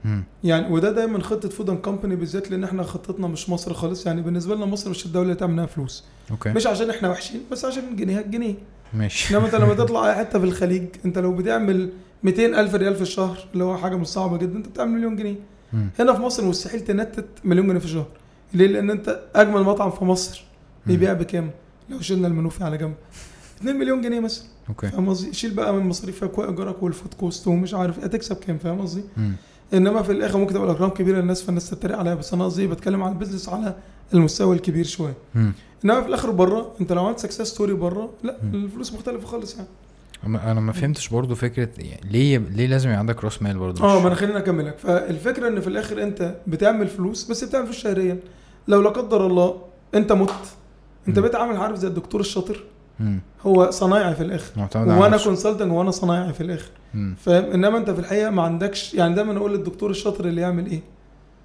Speaker 1: مم.
Speaker 2: يعني وده دايما خطه فود اند كومباني بالذات لان احنا خطتنا مش مصر خالص يعني بالنسبه لنا مصر مش الدوله اللي تعمل لها فلوس
Speaker 1: اوكي
Speaker 2: مش عشان احنا وحشين بس عشان جنيهات جنيه
Speaker 1: ماشي
Speaker 2: انما انت لما تطلع اي حته في الخليج انت لو بتعمل 200 الف ريال في الشهر اللي هو حاجه مش صعبه جدا انت بتعمل مليون جنيه
Speaker 1: مم.
Speaker 2: هنا في مصر مستحيل تنتت مليون جنيه في الشهر ليه لان انت اجمل مطعم في مصر بيبيع بكام لو شلنا المنوفي على جنب 2 مليون جنيه مثلا
Speaker 1: اوكي
Speaker 2: فاهم قصدي شيل بقى من مصاريفك وايجارك والفود كوست ومش عارف إيه، هتكسب كام فاهم قصدي
Speaker 1: مم.
Speaker 2: انما في الاخر ممكن تبقى الارقام كبيره للناس فالناس تتريق عليها بس انا قصدي بتكلم على البيزنس على المستوى الكبير شويه
Speaker 1: مم.
Speaker 2: انما في الاخر بره انت لو عملت سكسس ستوري بره لا الفلوس مختلفه خالص يعني
Speaker 1: انا أنا ما فهمتش برضو فكره يعني ليه ليه لازم يبقى عندك راس مال برضو
Speaker 2: اه
Speaker 1: مش-
Speaker 2: ما انا خليني اكملك فالفكره ان في الاخر انت بتعمل فلوس بس بتعمل فلوس شهريا لو لا قدر الله انت مت انت بقيت عامل عارف زي الدكتور الشاطر
Speaker 1: مم.
Speaker 2: هو صنايعي في الاخر
Speaker 1: معتمد على
Speaker 2: وانا
Speaker 1: نفسه.
Speaker 2: كونسلتنج وانا صنايعي في الاخر
Speaker 1: مم.
Speaker 2: فاهم انما انت في الحقيقه ما عندكش يعني دايما اقول للدكتور الشاطر اللي يعمل ايه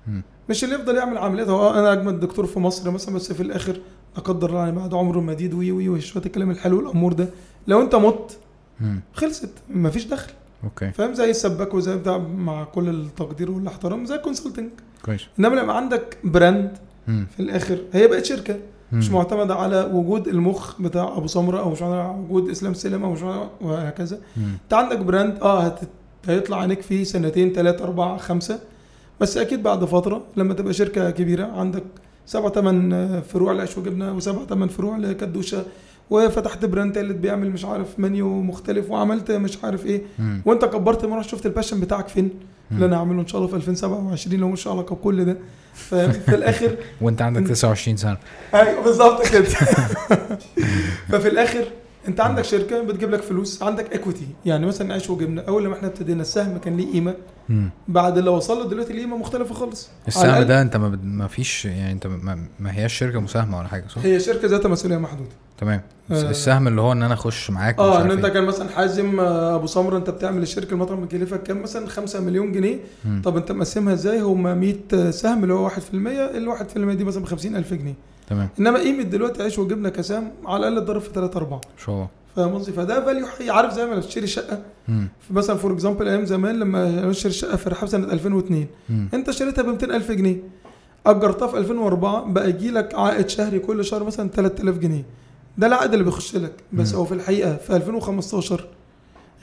Speaker 1: مم.
Speaker 2: مش اللي يفضل يعمل عمليات هو آه، انا اجمد دكتور في مصر مثلا بس في الاخر لا قدر الله يعني بعد عمره مديد وي وي وشويه الكلام الحلو الامور ده لو انت مت
Speaker 1: مم.
Speaker 2: خلصت مفيش دخل
Speaker 1: اوكي
Speaker 2: فاهم زي السباك وزي بتاع مع كل التقدير والاحترام زي الكونسلتنج
Speaker 1: كويس
Speaker 2: انما لما عندك براند
Speaker 1: مم.
Speaker 2: في الاخر هي بقت شركه مش
Speaker 1: مم.
Speaker 2: معتمده على وجود المخ بتاع ابو سمره او مش معتمدة على وجود اسلام سلم او مش معتمدة- وهكذا
Speaker 1: مم.
Speaker 2: انت عندك براند اه هت... هيطلع عينيك فيه سنتين ثلاثة أربعة خمسة بس أكيد بعد فترة لما تبقى شركة كبيرة عندك سبع تمن آه، فروع لعيش وجبنة وسبع تمن فروع لكدوشة وفتحت براند تالت بيعمل مش عارف منيو مختلف وعملت مش عارف ايه
Speaker 1: مم.
Speaker 2: وانت كبرت مرة شفت الباشن بتاعك فين اللي انا هعمله ان شاء الله في 2027 لو مش علاقه بكل ده ففي الاخر
Speaker 1: وانت عندك
Speaker 2: مم.
Speaker 1: 29 سنه
Speaker 2: ايوه بالظبط كده ففي الاخر انت عندك شركه بتجيب لك فلوس عندك اكويتي يعني مثلا عيش وجبنه اول لما احنا ابتدينا السهم كان ليه قيمه
Speaker 1: مم.
Speaker 2: بعد اللي وصل له دلوقتي القيمه مختلفه خالص على
Speaker 1: السهم
Speaker 2: الأقل
Speaker 1: ده انت ما, بد- ما فيش يعني انت ما, ما هياش شركه مساهمه ولا حاجه صح؟
Speaker 2: هي شركه ذات مسؤوليه محدوده
Speaker 1: تمام
Speaker 2: إيه. آه.
Speaker 1: السهم اللي هو ان انا اخش معاك ومش
Speaker 2: اه ان
Speaker 1: عارف
Speaker 2: انت
Speaker 1: إيه.
Speaker 2: كان مثلا حازم آه، ابو سمره انت بتعمل الشركه المطعم مكلفك كام مثلا 5 مليون جنيه
Speaker 1: مم.
Speaker 2: طب انت مقسمها ازاي هم 100 سهم اللي هو 1% ال 1% دي مثلا ب 50000 جنيه
Speaker 1: تمام
Speaker 2: انما قيمه دلوقتي عيش وجبنه كسهم على الاقل اتضرب في 3 4
Speaker 1: ان شاء الله
Speaker 2: فاهم قصدي فده فاليو حقيقي عارف زي ما لما بتشتري شقه
Speaker 1: مم.
Speaker 2: مثلا فور اكزامبل ايام زمان لما اشتري شقه في رحاب سنه 2002
Speaker 1: مم.
Speaker 2: انت اشتريتها ب 200000 جنيه اجرتها في 2004 بقى يجي لك عائد شهري كل شهر مثلا 3000 جنيه ده العائد اللي بيخش لك بس
Speaker 1: مم.
Speaker 2: هو في الحقيقه في 2015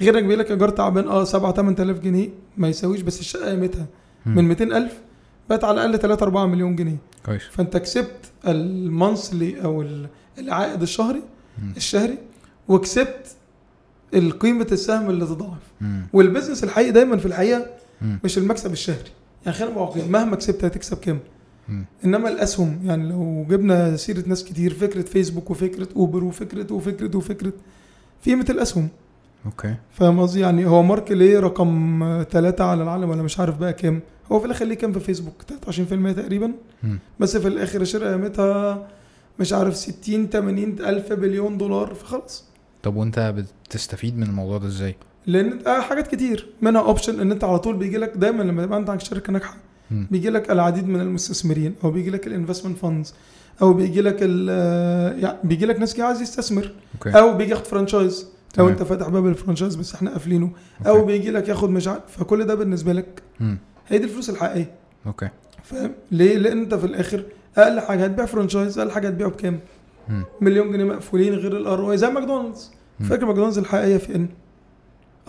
Speaker 2: غيرك بيقول لك ايجار تعبان اه 7 8000 جنيه ما يساويش بس الشقه قيمتها
Speaker 1: مم.
Speaker 2: من 200000 بقت على الاقل 3 4 مليون جنيه
Speaker 1: كويس
Speaker 2: فانت كسبت المنصلي او ال- العائد الشهري
Speaker 1: مم.
Speaker 2: الشهري وكسبت قيمه السهم اللي تضاعف
Speaker 1: مم.
Speaker 2: والبزنس الحقيقي دايما في الحقيقه
Speaker 1: مم.
Speaker 2: مش المكسب الشهري يعني خلينا واقعيين مهما كسبت هتكسب كام
Speaker 1: مم.
Speaker 2: انما الاسهم يعني لو جبنا سيره ناس كتير فكره فيسبوك وفكره اوبر وفكره وفكره وفكره في قيمه الاسهم
Speaker 1: اوكي
Speaker 2: فاهم قصدي يعني هو مارك ليه رقم ثلاثة على العالم ولا مش عارف بقى كام هو في الاخر ليه كام في فيسبوك 23% تقريبا
Speaker 1: مم.
Speaker 2: بس في الاخر الشركه قيمتها مش عارف 60 80 الف بليون دولار فخلاص
Speaker 1: طب وانت بتستفيد من الموضوع ده ازاي؟
Speaker 2: لان آه حاجات كتير منها اوبشن ان انت على طول بيجي لك دايما لما يبقى انت عندك شركه ناجحه
Speaker 1: مم.
Speaker 2: بيجي لك العديد من المستثمرين او بيجي لك الانفستمنت فاندز او بيجي لك ال- آه، يعني بيجي لك ناس كتير عايز يستثمر
Speaker 1: اوكي
Speaker 2: او بيجي ياخد فرانشايز لو
Speaker 1: تمام.
Speaker 2: انت فاتح باب الفرانشايز بس احنا قافلينه او
Speaker 1: أوكي.
Speaker 2: بيجي لك ياخد مش عارف فكل ده بالنسبه لك
Speaker 1: مم.
Speaker 2: هي دي الفلوس الحقيقيه
Speaker 1: اوكي
Speaker 2: فاهم ليه لان انت في الاخر اقل حاجه هتبيع فرانشايز اقل حاجه هتبيعه بكام
Speaker 1: مم.
Speaker 2: مليون جنيه مقفولين غير الار او اي زي ماكدونالدز
Speaker 1: مم.
Speaker 2: فاكر ماكدونالدز الحقيقيه في ان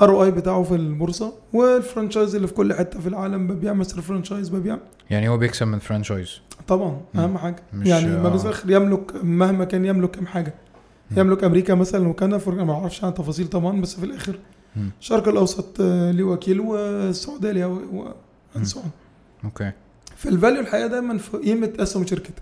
Speaker 2: ار او اي بتاعه في البورصه والفرانشايز اللي في كل حته في العالم ببيع مستر فرانشايز ببيع
Speaker 1: يعني هو بيكسب من فرانشايز
Speaker 2: طبعا
Speaker 1: مم.
Speaker 2: اهم حاجه
Speaker 1: مش-
Speaker 2: يعني
Speaker 1: آه.
Speaker 2: ماكدونالدز في الاخر يملك مهما كان يملك كام حاجه
Speaker 1: مم.
Speaker 2: يملك امريكا مثلا وكندا فور- ما اعرفش عن تفاصيل طبعا بس في الاخر
Speaker 1: مم.
Speaker 2: الشرق الاوسط آه، ليه وكيل والسعوديه ليها
Speaker 1: مم.
Speaker 2: وانسون
Speaker 1: اوكي
Speaker 2: فالفاليو الحقيقه دايما في قيمه اسهم شركتك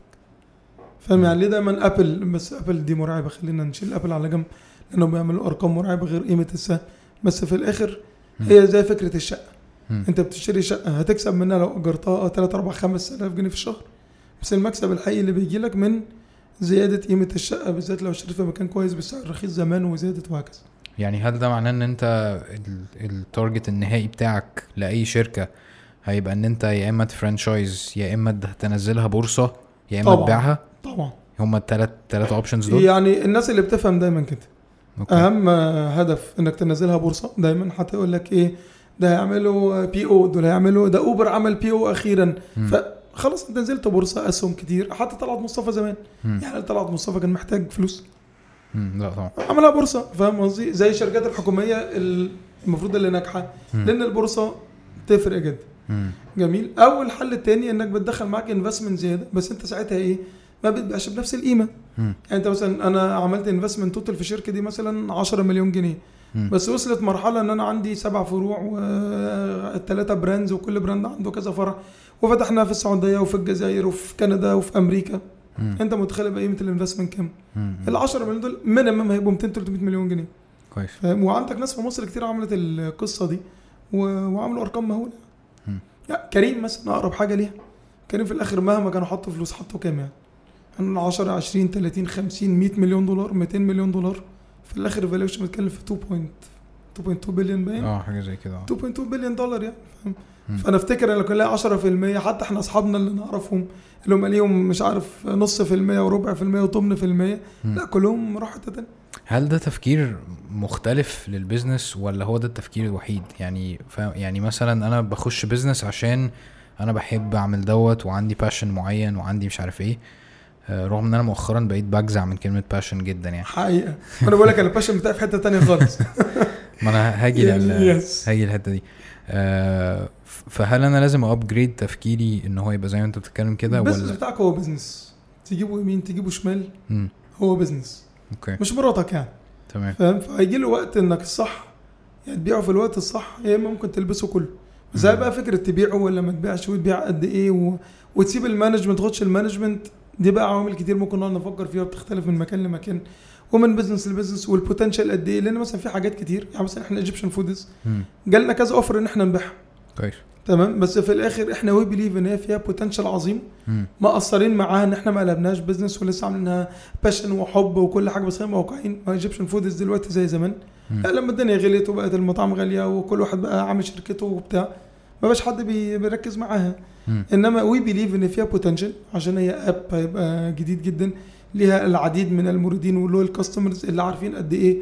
Speaker 2: فاهم يعني ليه دايما ابل بس ابل دي مرعبه خلينا نشيل ابل على جنب لانهم بيعملوا ارقام مرعبه غير قيمه السهم بس في الاخر
Speaker 1: مم.
Speaker 2: هي زي فكره الشقه
Speaker 1: مم.
Speaker 2: انت بتشتري شقه هتكسب منها لو اجرتها 3 4 5000 جنيه في الشهر بس المكسب الحقيقي اللي بيجي لك من زياده قيمه الشقه بالذات لو اشتريت في مكان كويس بسعر رخيص زمان وزياده وهكذا
Speaker 1: يعني هل ده معناه ان انت ال- التارجت النهائي بتاعك لاي شركه هيبقى ان انت يا اما تفرانشايز يا اما تنزلها بورصه يا اما
Speaker 2: طبعاً.
Speaker 1: تبيعها
Speaker 2: طبعا
Speaker 1: هما التلات تلات اوبشنز دول
Speaker 2: يعني الناس اللي بتفهم دايما كده
Speaker 1: اوكي
Speaker 2: اهم هدف انك تنزلها بورصه دايما حتى يقول لك ايه ده هيعملوا بي او دول هيعملوا ده اوبر عمل بي او اخيرا
Speaker 1: مم.
Speaker 2: فخلاص انت نزلت بورصه اسهم كتير حتى طلعت مصطفى زمان
Speaker 1: مم.
Speaker 2: يعني طلعت مصطفى كان محتاج فلوس
Speaker 1: مم. لا طبعا
Speaker 2: عملها بورصه فاهم قصدي زي الشركات الحكوميه ال- المفروض اللي ناجحه
Speaker 1: مم.
Speaker 2: لان البورصه تفرق جدا
Speaker 1: مم.
Speaker 2: جميل او الحل التاني انك بتدخل معاك انفستمنت زياده بس انت ساعتها ايه ما بتبقاش بنفس القيمه
Speaker 1: مم.
Speaker 2: يعني انت مثلا انا عملت انفستمنت توتال في الشركه دي مثلا 10 مليون جنيه
Speaker 1: مم.
Speaker 2: بس وصلت مرحله ان انا عندي سبع فروع وثلاثه براندز وكل براند عنده كذا فرع وفتحنا في السعوديه وفي الجزائر وفي كندا وفي امريكا
Speaker 1: مم.
Speaker 2: انت متخيل بقى قيمه الانفستمنت كام
Speaker 1: مم. مم.
Speaker 2: ال 10 مليون دول مينيمم هيبقوا 200 300 مليون جنيه
Speaker 1: كويس
Speaker 2: فاهم وعندك ناس في مصر كتير عملت القصه دي و... وعملوا ارقام مهوله
Speaker 1: مم.
Speaker 2: لا كريم مثلا اقرب حاجه ليها كريم في الاخر مهما كانوا حطوا فلوس حطوا كام يعني يعني 10 20 30 50 100 مليون دولار 200 مليون دولار في الاخر الفالويشن بيتكلم في 2 بوينت 2.2 بليون باين
Speaker 1: اه حاجه زي كده آه.
Speaker 2: 2.2 بليون دولار يعني فاهم
Speaker 1: مم.
Speaker 2: فانا افتكر لو كان لها 10% حتى احنا اصحابنا اللي نعرفهم اللي هم ليهم مش عارف نص في المية وربع في المية وثمن في المية
Speaker 1: مم.
Speaker 2: لا كلهم راحوا حتة تانية
Speaker 1: هل ده تفكير مختلف للبيزنس ولا هو ده التفكير الوحيد يعني فا- يعني مثلا انا بخش بيزنس عشان انا بحب اعمل دوت وعندي باشن معين وعندي مش عارف ايه آه، رغم ان انا مؤخرا بقيت بجزع من كلمه باشن جدا يعني
Speaker 2: حقيقة انا بقول لك انا الباشن بتاعي في حتة تانية خالص
Speaker 1: ما انا هاجي لل...
Speaker 2: Yes.
Speaker 1: هاجي الحته دي آه، ف- فهل انا لازم ابجريد تفكيري ان هو يبقى زي ما انت بتتكلم كده
Speaker 2: البيزنس
Speaker 1: ولا
Speaker 2: بتاعك هو بيزنس تجيبه يمين تجيبه شمال
Speaker 1: مم.
Speaker 2: هو بيزنس
Speaker 1: اوكي
Speaker 2: مش مراتك يعني
Speaker 1: تمام
Speaker 2: فاهم فهيجي له وقت انك الصح يعني تبيعه في الوقت الصح يا اما ممكن تلبسه كله بس
Speaker 1: مم.
Speaker 2: هي بقى فكره تبيعه ولا ما تبيعش وتبيع قد ايه و... وتسيب المانجمنت تاخدش المانجمنت دي بقى عوامل كتير ممكن نقعد نفكر فيها بتختلف من مكان لمكان ومن بزنس لبزنس والبوتنشال قد ايه لان مثلا في حاجات كتير يعني مثلا احنا ايجيبشن فودز
Speaker 3: مم.
Speaker 2: جالنا كذا اوفر ان احنا نبيعها
Speaker 3: كويس
Speaker 2: تمام بس في الاخر احنا وي بليف ان هي فيها بوتنشال عظيم
Speaker 3: مم.
Speaker 2: مقصرين معاها ان احنا ما قلبناش بزنس ولسه عاملينها باشن وحب وكل حاجه بس خلينا واقعيين ما ايجيبشن فودز دلوقتي زي زمان
Speaker 3: مم.
Speaker 2: لا لما الدنيا غليت وبقت المطاعم غاليه وكل واحد بقى عامل شركته وبتاع ما بقاش حد بي- بيركز معاها
Speaker 3: مم.
Speaker 2: انما وي بليف ان فيها بوتنشال عشان هي اب هيبقى جديد جدا ليها العديد من الموردين واللويال كاستمرز اللي عارفين قد ايه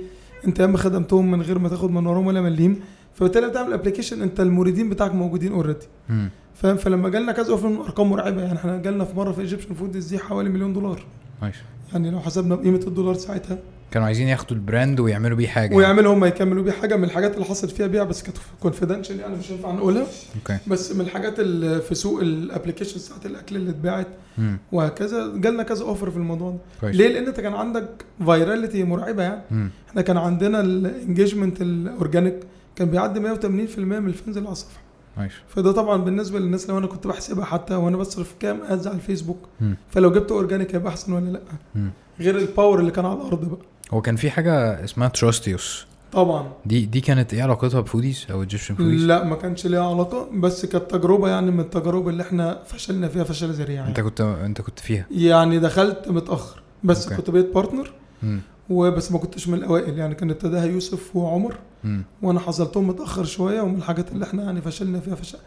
Speaker 2: انت يا اما خدمتهم من غير ما تاخد من وراهم ولا مليم فبالتالي بتعمل ابلكيشن انت الموردين بتاعك موجودين اوريدي
Speaker 3: مم.
Speaker 2: فاهم فلما جالنا كذا اوفر من ارقام مرعبه يعني احنا جالنا في مره في ايجيبشن فودز دي حوالي مليون دولار
Speaker 3: كويس
Speaker 2: يعني لو حسبنا بقيمه الدولار ساعتها
Speaker 3: كانوا عايزين ياخدوا البراند ويعملوا بيه حاجه
Speaker 2: ويعملوا هم يكملوا بيه حاجه من الحاجات اللي حصل فيها بيع بس كانت كونفيدنشال يعني مش هينفع نقولها
Speaker 3: اوكي
Speaker 2: بس من الحاجات اللي في سوق الابلكيشن بتاعت الاكل اللي اتباعت
Speaker 3: مم.
Speaker 2: وهكذا جالنا كذا اوفر في الموضوع ده
Speaker 3: كويس
Speaker 2: ليه لان انت كان عندك فايراليتي مرعبه يعني
Speaker 3: مم.
Speaker 2: احنا كان عندنا الانجيجمنت الاورجانيك كان بيعدي 180% من الفنز اللي على الصفحه
Speaker 3: كويس
Speaker 2: فده طبعا بالنسبه للناس لو انا كنت بحسبها حتى وانا بصرف كام ادز على الفيسبوك
Speaker 3: مم.
Speaker 2: فلو جبت اورجانيك هيبقى احسن ولا لا
Speaker 3: مم.
Speaker 2: غير الباور اللي كان على الارض بقى
Speaker 3: هو كان في حاجه اسمها تراستيوس
Speaker 2: طبعا
Speaker 3: دي دي كانت ايه علاقتها بفوديز او ايجيبشن فوديز
Speaker 2: لا ما كانش ليها علاقه بس كانت تجربه يعني من التجارب اللي احنا فشلنا فيها فشل ذريع
Speaker 3: انت
Speaker 2: يعني,
Speaker 3: كنت انت كنت فيها
Speaker 2: يعني دخلت متاخر بس
Speaker 3: أوكي.
Speaker 2: أوكي. كنت بقيت بارتنر
Speaker 3: مم.
Speaker 2: وبس ما كنتش من الاوائل يعني كان ابتداها يوسف وعمر
Speaker 3: مم.
Speaker 2: وانا حصلتهم متاخر شويه ومن الحاجات اللي احنا يعني فشلنا فيها فشل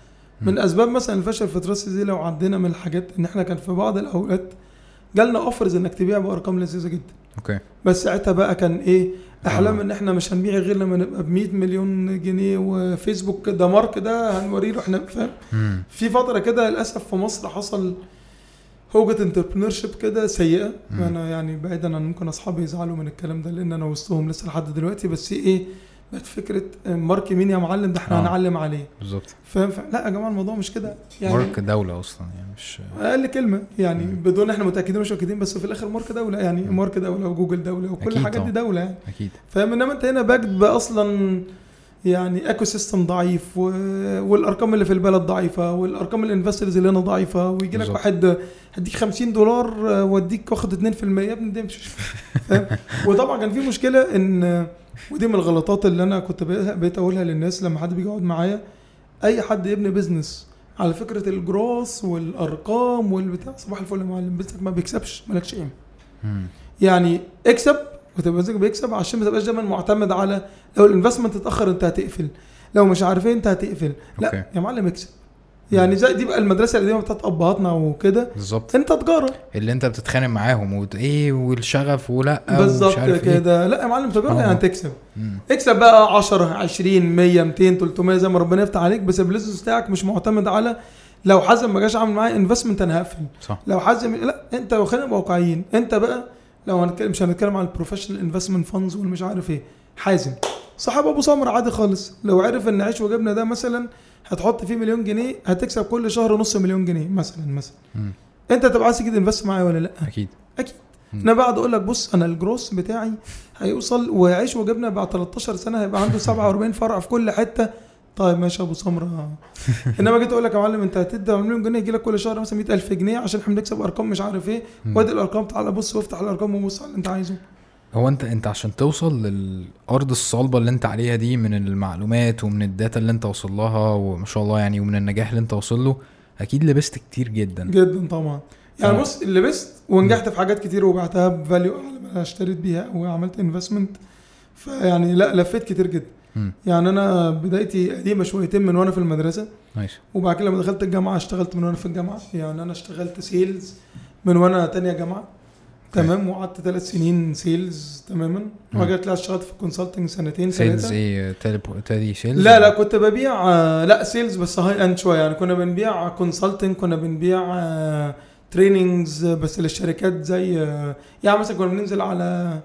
Speaker 3: مم.
Speaker 2: من اسباب مثلا الفشل في دراسه دي لو عدينا من الحاجات ان احنا كان في بعض الاوقات جالنا اوفرز انك تبيع بارقام لذيذه جدا
Speaker 3: اوكي
Speaker 2: بس ساعتها بقى كان ايه احلام
Speaker 3: آه.
Speaker 2: ان احنا مش هنبيع غير لما نبقى ب 100 مليون جنيه وفيسبوك ده مارك ده هنوريه له احنا فاهم
Speaker 3: مم.
Speaker 2: في فتره كده للاسف في مصر حصل هوجة انتربرنور شيب كده سيئه
Speaker 3: مم.
Speaker 2: انا يعني بعيدا عن ممكن اصحابي يزعلوا من الكلام ده لان انا وسطهم لسه لحد دلوقتي بس ايه بقت فكره مارك مين يا معلم ده احنا
Speaker 3: آه.
Speaker 2: هنعلم عليه
Speaker 3: بالظبط
Speaker 2: فاهم ف- لا يا جماعه الموضوع مش كده يعني
Speaker 3: مارك دوله اصلا يعني مش
Speaker 2: اقل كلمه يعني
Speaker 3: مم.
Speaker 2: بدون احنا متاكدين مش متاكدين بس في الاخر مارك دوله يعني
Speaker 3: مم.
Speaker 2: مارك دوله وجوجل دوله وكل
Speaker 3: أكيد
Speaker 2: الحاجات
Speaker 3: طبعا.
Speaker 2: دي دوله يعني
Speaker 3: اكيد
Speaker 2: فاهم انما انت هنا باكد اصلا يعني ايكو سيستم ضعيف و... والارقام اللي في البلد ضعيفه والارقام الانفسترز اللي هنا ضعيفه ويجي لك
Speaker 3: بالظبط.
Speaker 2: واحد هديك 50 دولار آه، واديك واخد 2% يا ابني ده مش فاهم؟ وطبعا كان في مشكله ان ودي من الغلطات اللي انا كنت بقى- بقيت اقولها للناس لما حد بيجي يقعد معايا اي حد يبني بيزنس على فكره الجروس والارقام والبتاع صباح الفل يا معلم بيزنسك ما بيكسبش مالكش قيمه
Speaker 3: مم.
Speaker 2: يعني اكسب وتبقى مزاجك بيكسب عشان ما تبقاش دايما معتمد على لو الانفستمنت اتاخر انت هتقفل لو مش عارف ايه انت هتقفل لا
Speaker 3: أوكي.
Speaker 2: يا معلم اكسب يعني زي دي بقى المدرسه القديمه بتاعت ابهاتنا وكده
Speaker 3: بالظبط
Speaker 2: انت تجاره
Speaker 3: اللي انت بتتخانق معاهم وت... ايه والشغف ولا ومش
Speaker 2: بالظبط
Speaker 3: عارف ايه.
Speaker 2: كده لا يا معلم تجاره
Speaker 3: آه.
Speaker 2: يعني تكسب
Speaker 3: ايه مم.
Speaker 2: اكسب بقى 10 20 100 200 300 زي ما ربنا يفتح عليك بس البيزنس بتاعك مش معتمد على لو حازم ما جاش عامل معايا انفستمنت انا هقفل
Speaker 3: صح
Speaker 2: لو حازم لا انت خلينا نبقى واقعيين انت بقى لو هنتكلم مش هنتكلم عن البروفيشنال انفستمنت فاندز والمش عارف ايه حازم صاحب ابو سمر عادي خالص لو عرف ان عيش وجبنه ده مثلا هتحط فيه مليون جنيه هتكسب كل شهر نص مليون جنيه مثلا مثلا
Speaker 3: مم.
Speaker 2: انت تبقى عايز تيجي تنفست معايا ولا لا
Speaker 3: اكيد
Speaker 2: اكيد
Speaker 3: مم.
Speaker 2: انا بقعد اقول لك بص انا الجروس بتاعي هيوصل وعيش وجبنه بعد 13 سنه هيبقى عنده 47 فرع في كل حته طيب ماشي يا ابو سمره انما جيت اقول لك يا معلم انت هتدي مليون جنيه يجي لك كل شهر مثلا 100000 جنيه عشان احنا بنكسب ارقام مش عارف ايه
Speaker 3: مم.
Speaker 2: وادي الارقام تعالى بص وافتح الارقام وبص على اللي انت عايزه
Speaker 3: هو انت انت عشان توصل للارض الصلبه اللي انت عليها دي من المعلومات ومن الداتا اللي انت واصل لها وما شاء الله يعني ومن النجاح اللي انت واصل له اكيد لبست كتير جدا
Speaker 2: جدا طبعا يعني
Speaker 3: آه.
Speaker 2: بص لبست ونجحت في حاجات كتير وبعتها بفاليو اعلى من اللي اشتريت بيها وعملت انفستمنت فيعني لا لفيت كتير جدا
Speaker 3: مم.
Speaker 2: يعني انا بدايتي قديمه شويتين من وانا في المدرسه
Speaker 3: ماشي
Speaker 2: وبعد كده لما دخلت الجامعه اشتغلت من وانا في الجامعه يعني انا اشتغلت سيلز من وانا تانية جامعه تمام وقعدت ثلاث سنين سيلز تماما
Speaker 3: مم.
Speaker 2: وجات لا اشتغلت في الكونسلتنج سنتين
Speaker 3: سيلز
Speaker 2: ثلاثه
Speaker 3: ايه تالي تالي سيلز
Speaker 2: لا لا كنت ببيع آه، لا سيلز بس هاي اند شويه يعني كنا بنبيع كونسلتنج كنا بنبيع آه، تريننجز آه، بس للشركات زي آه، يعني مثلا كنا بننزل على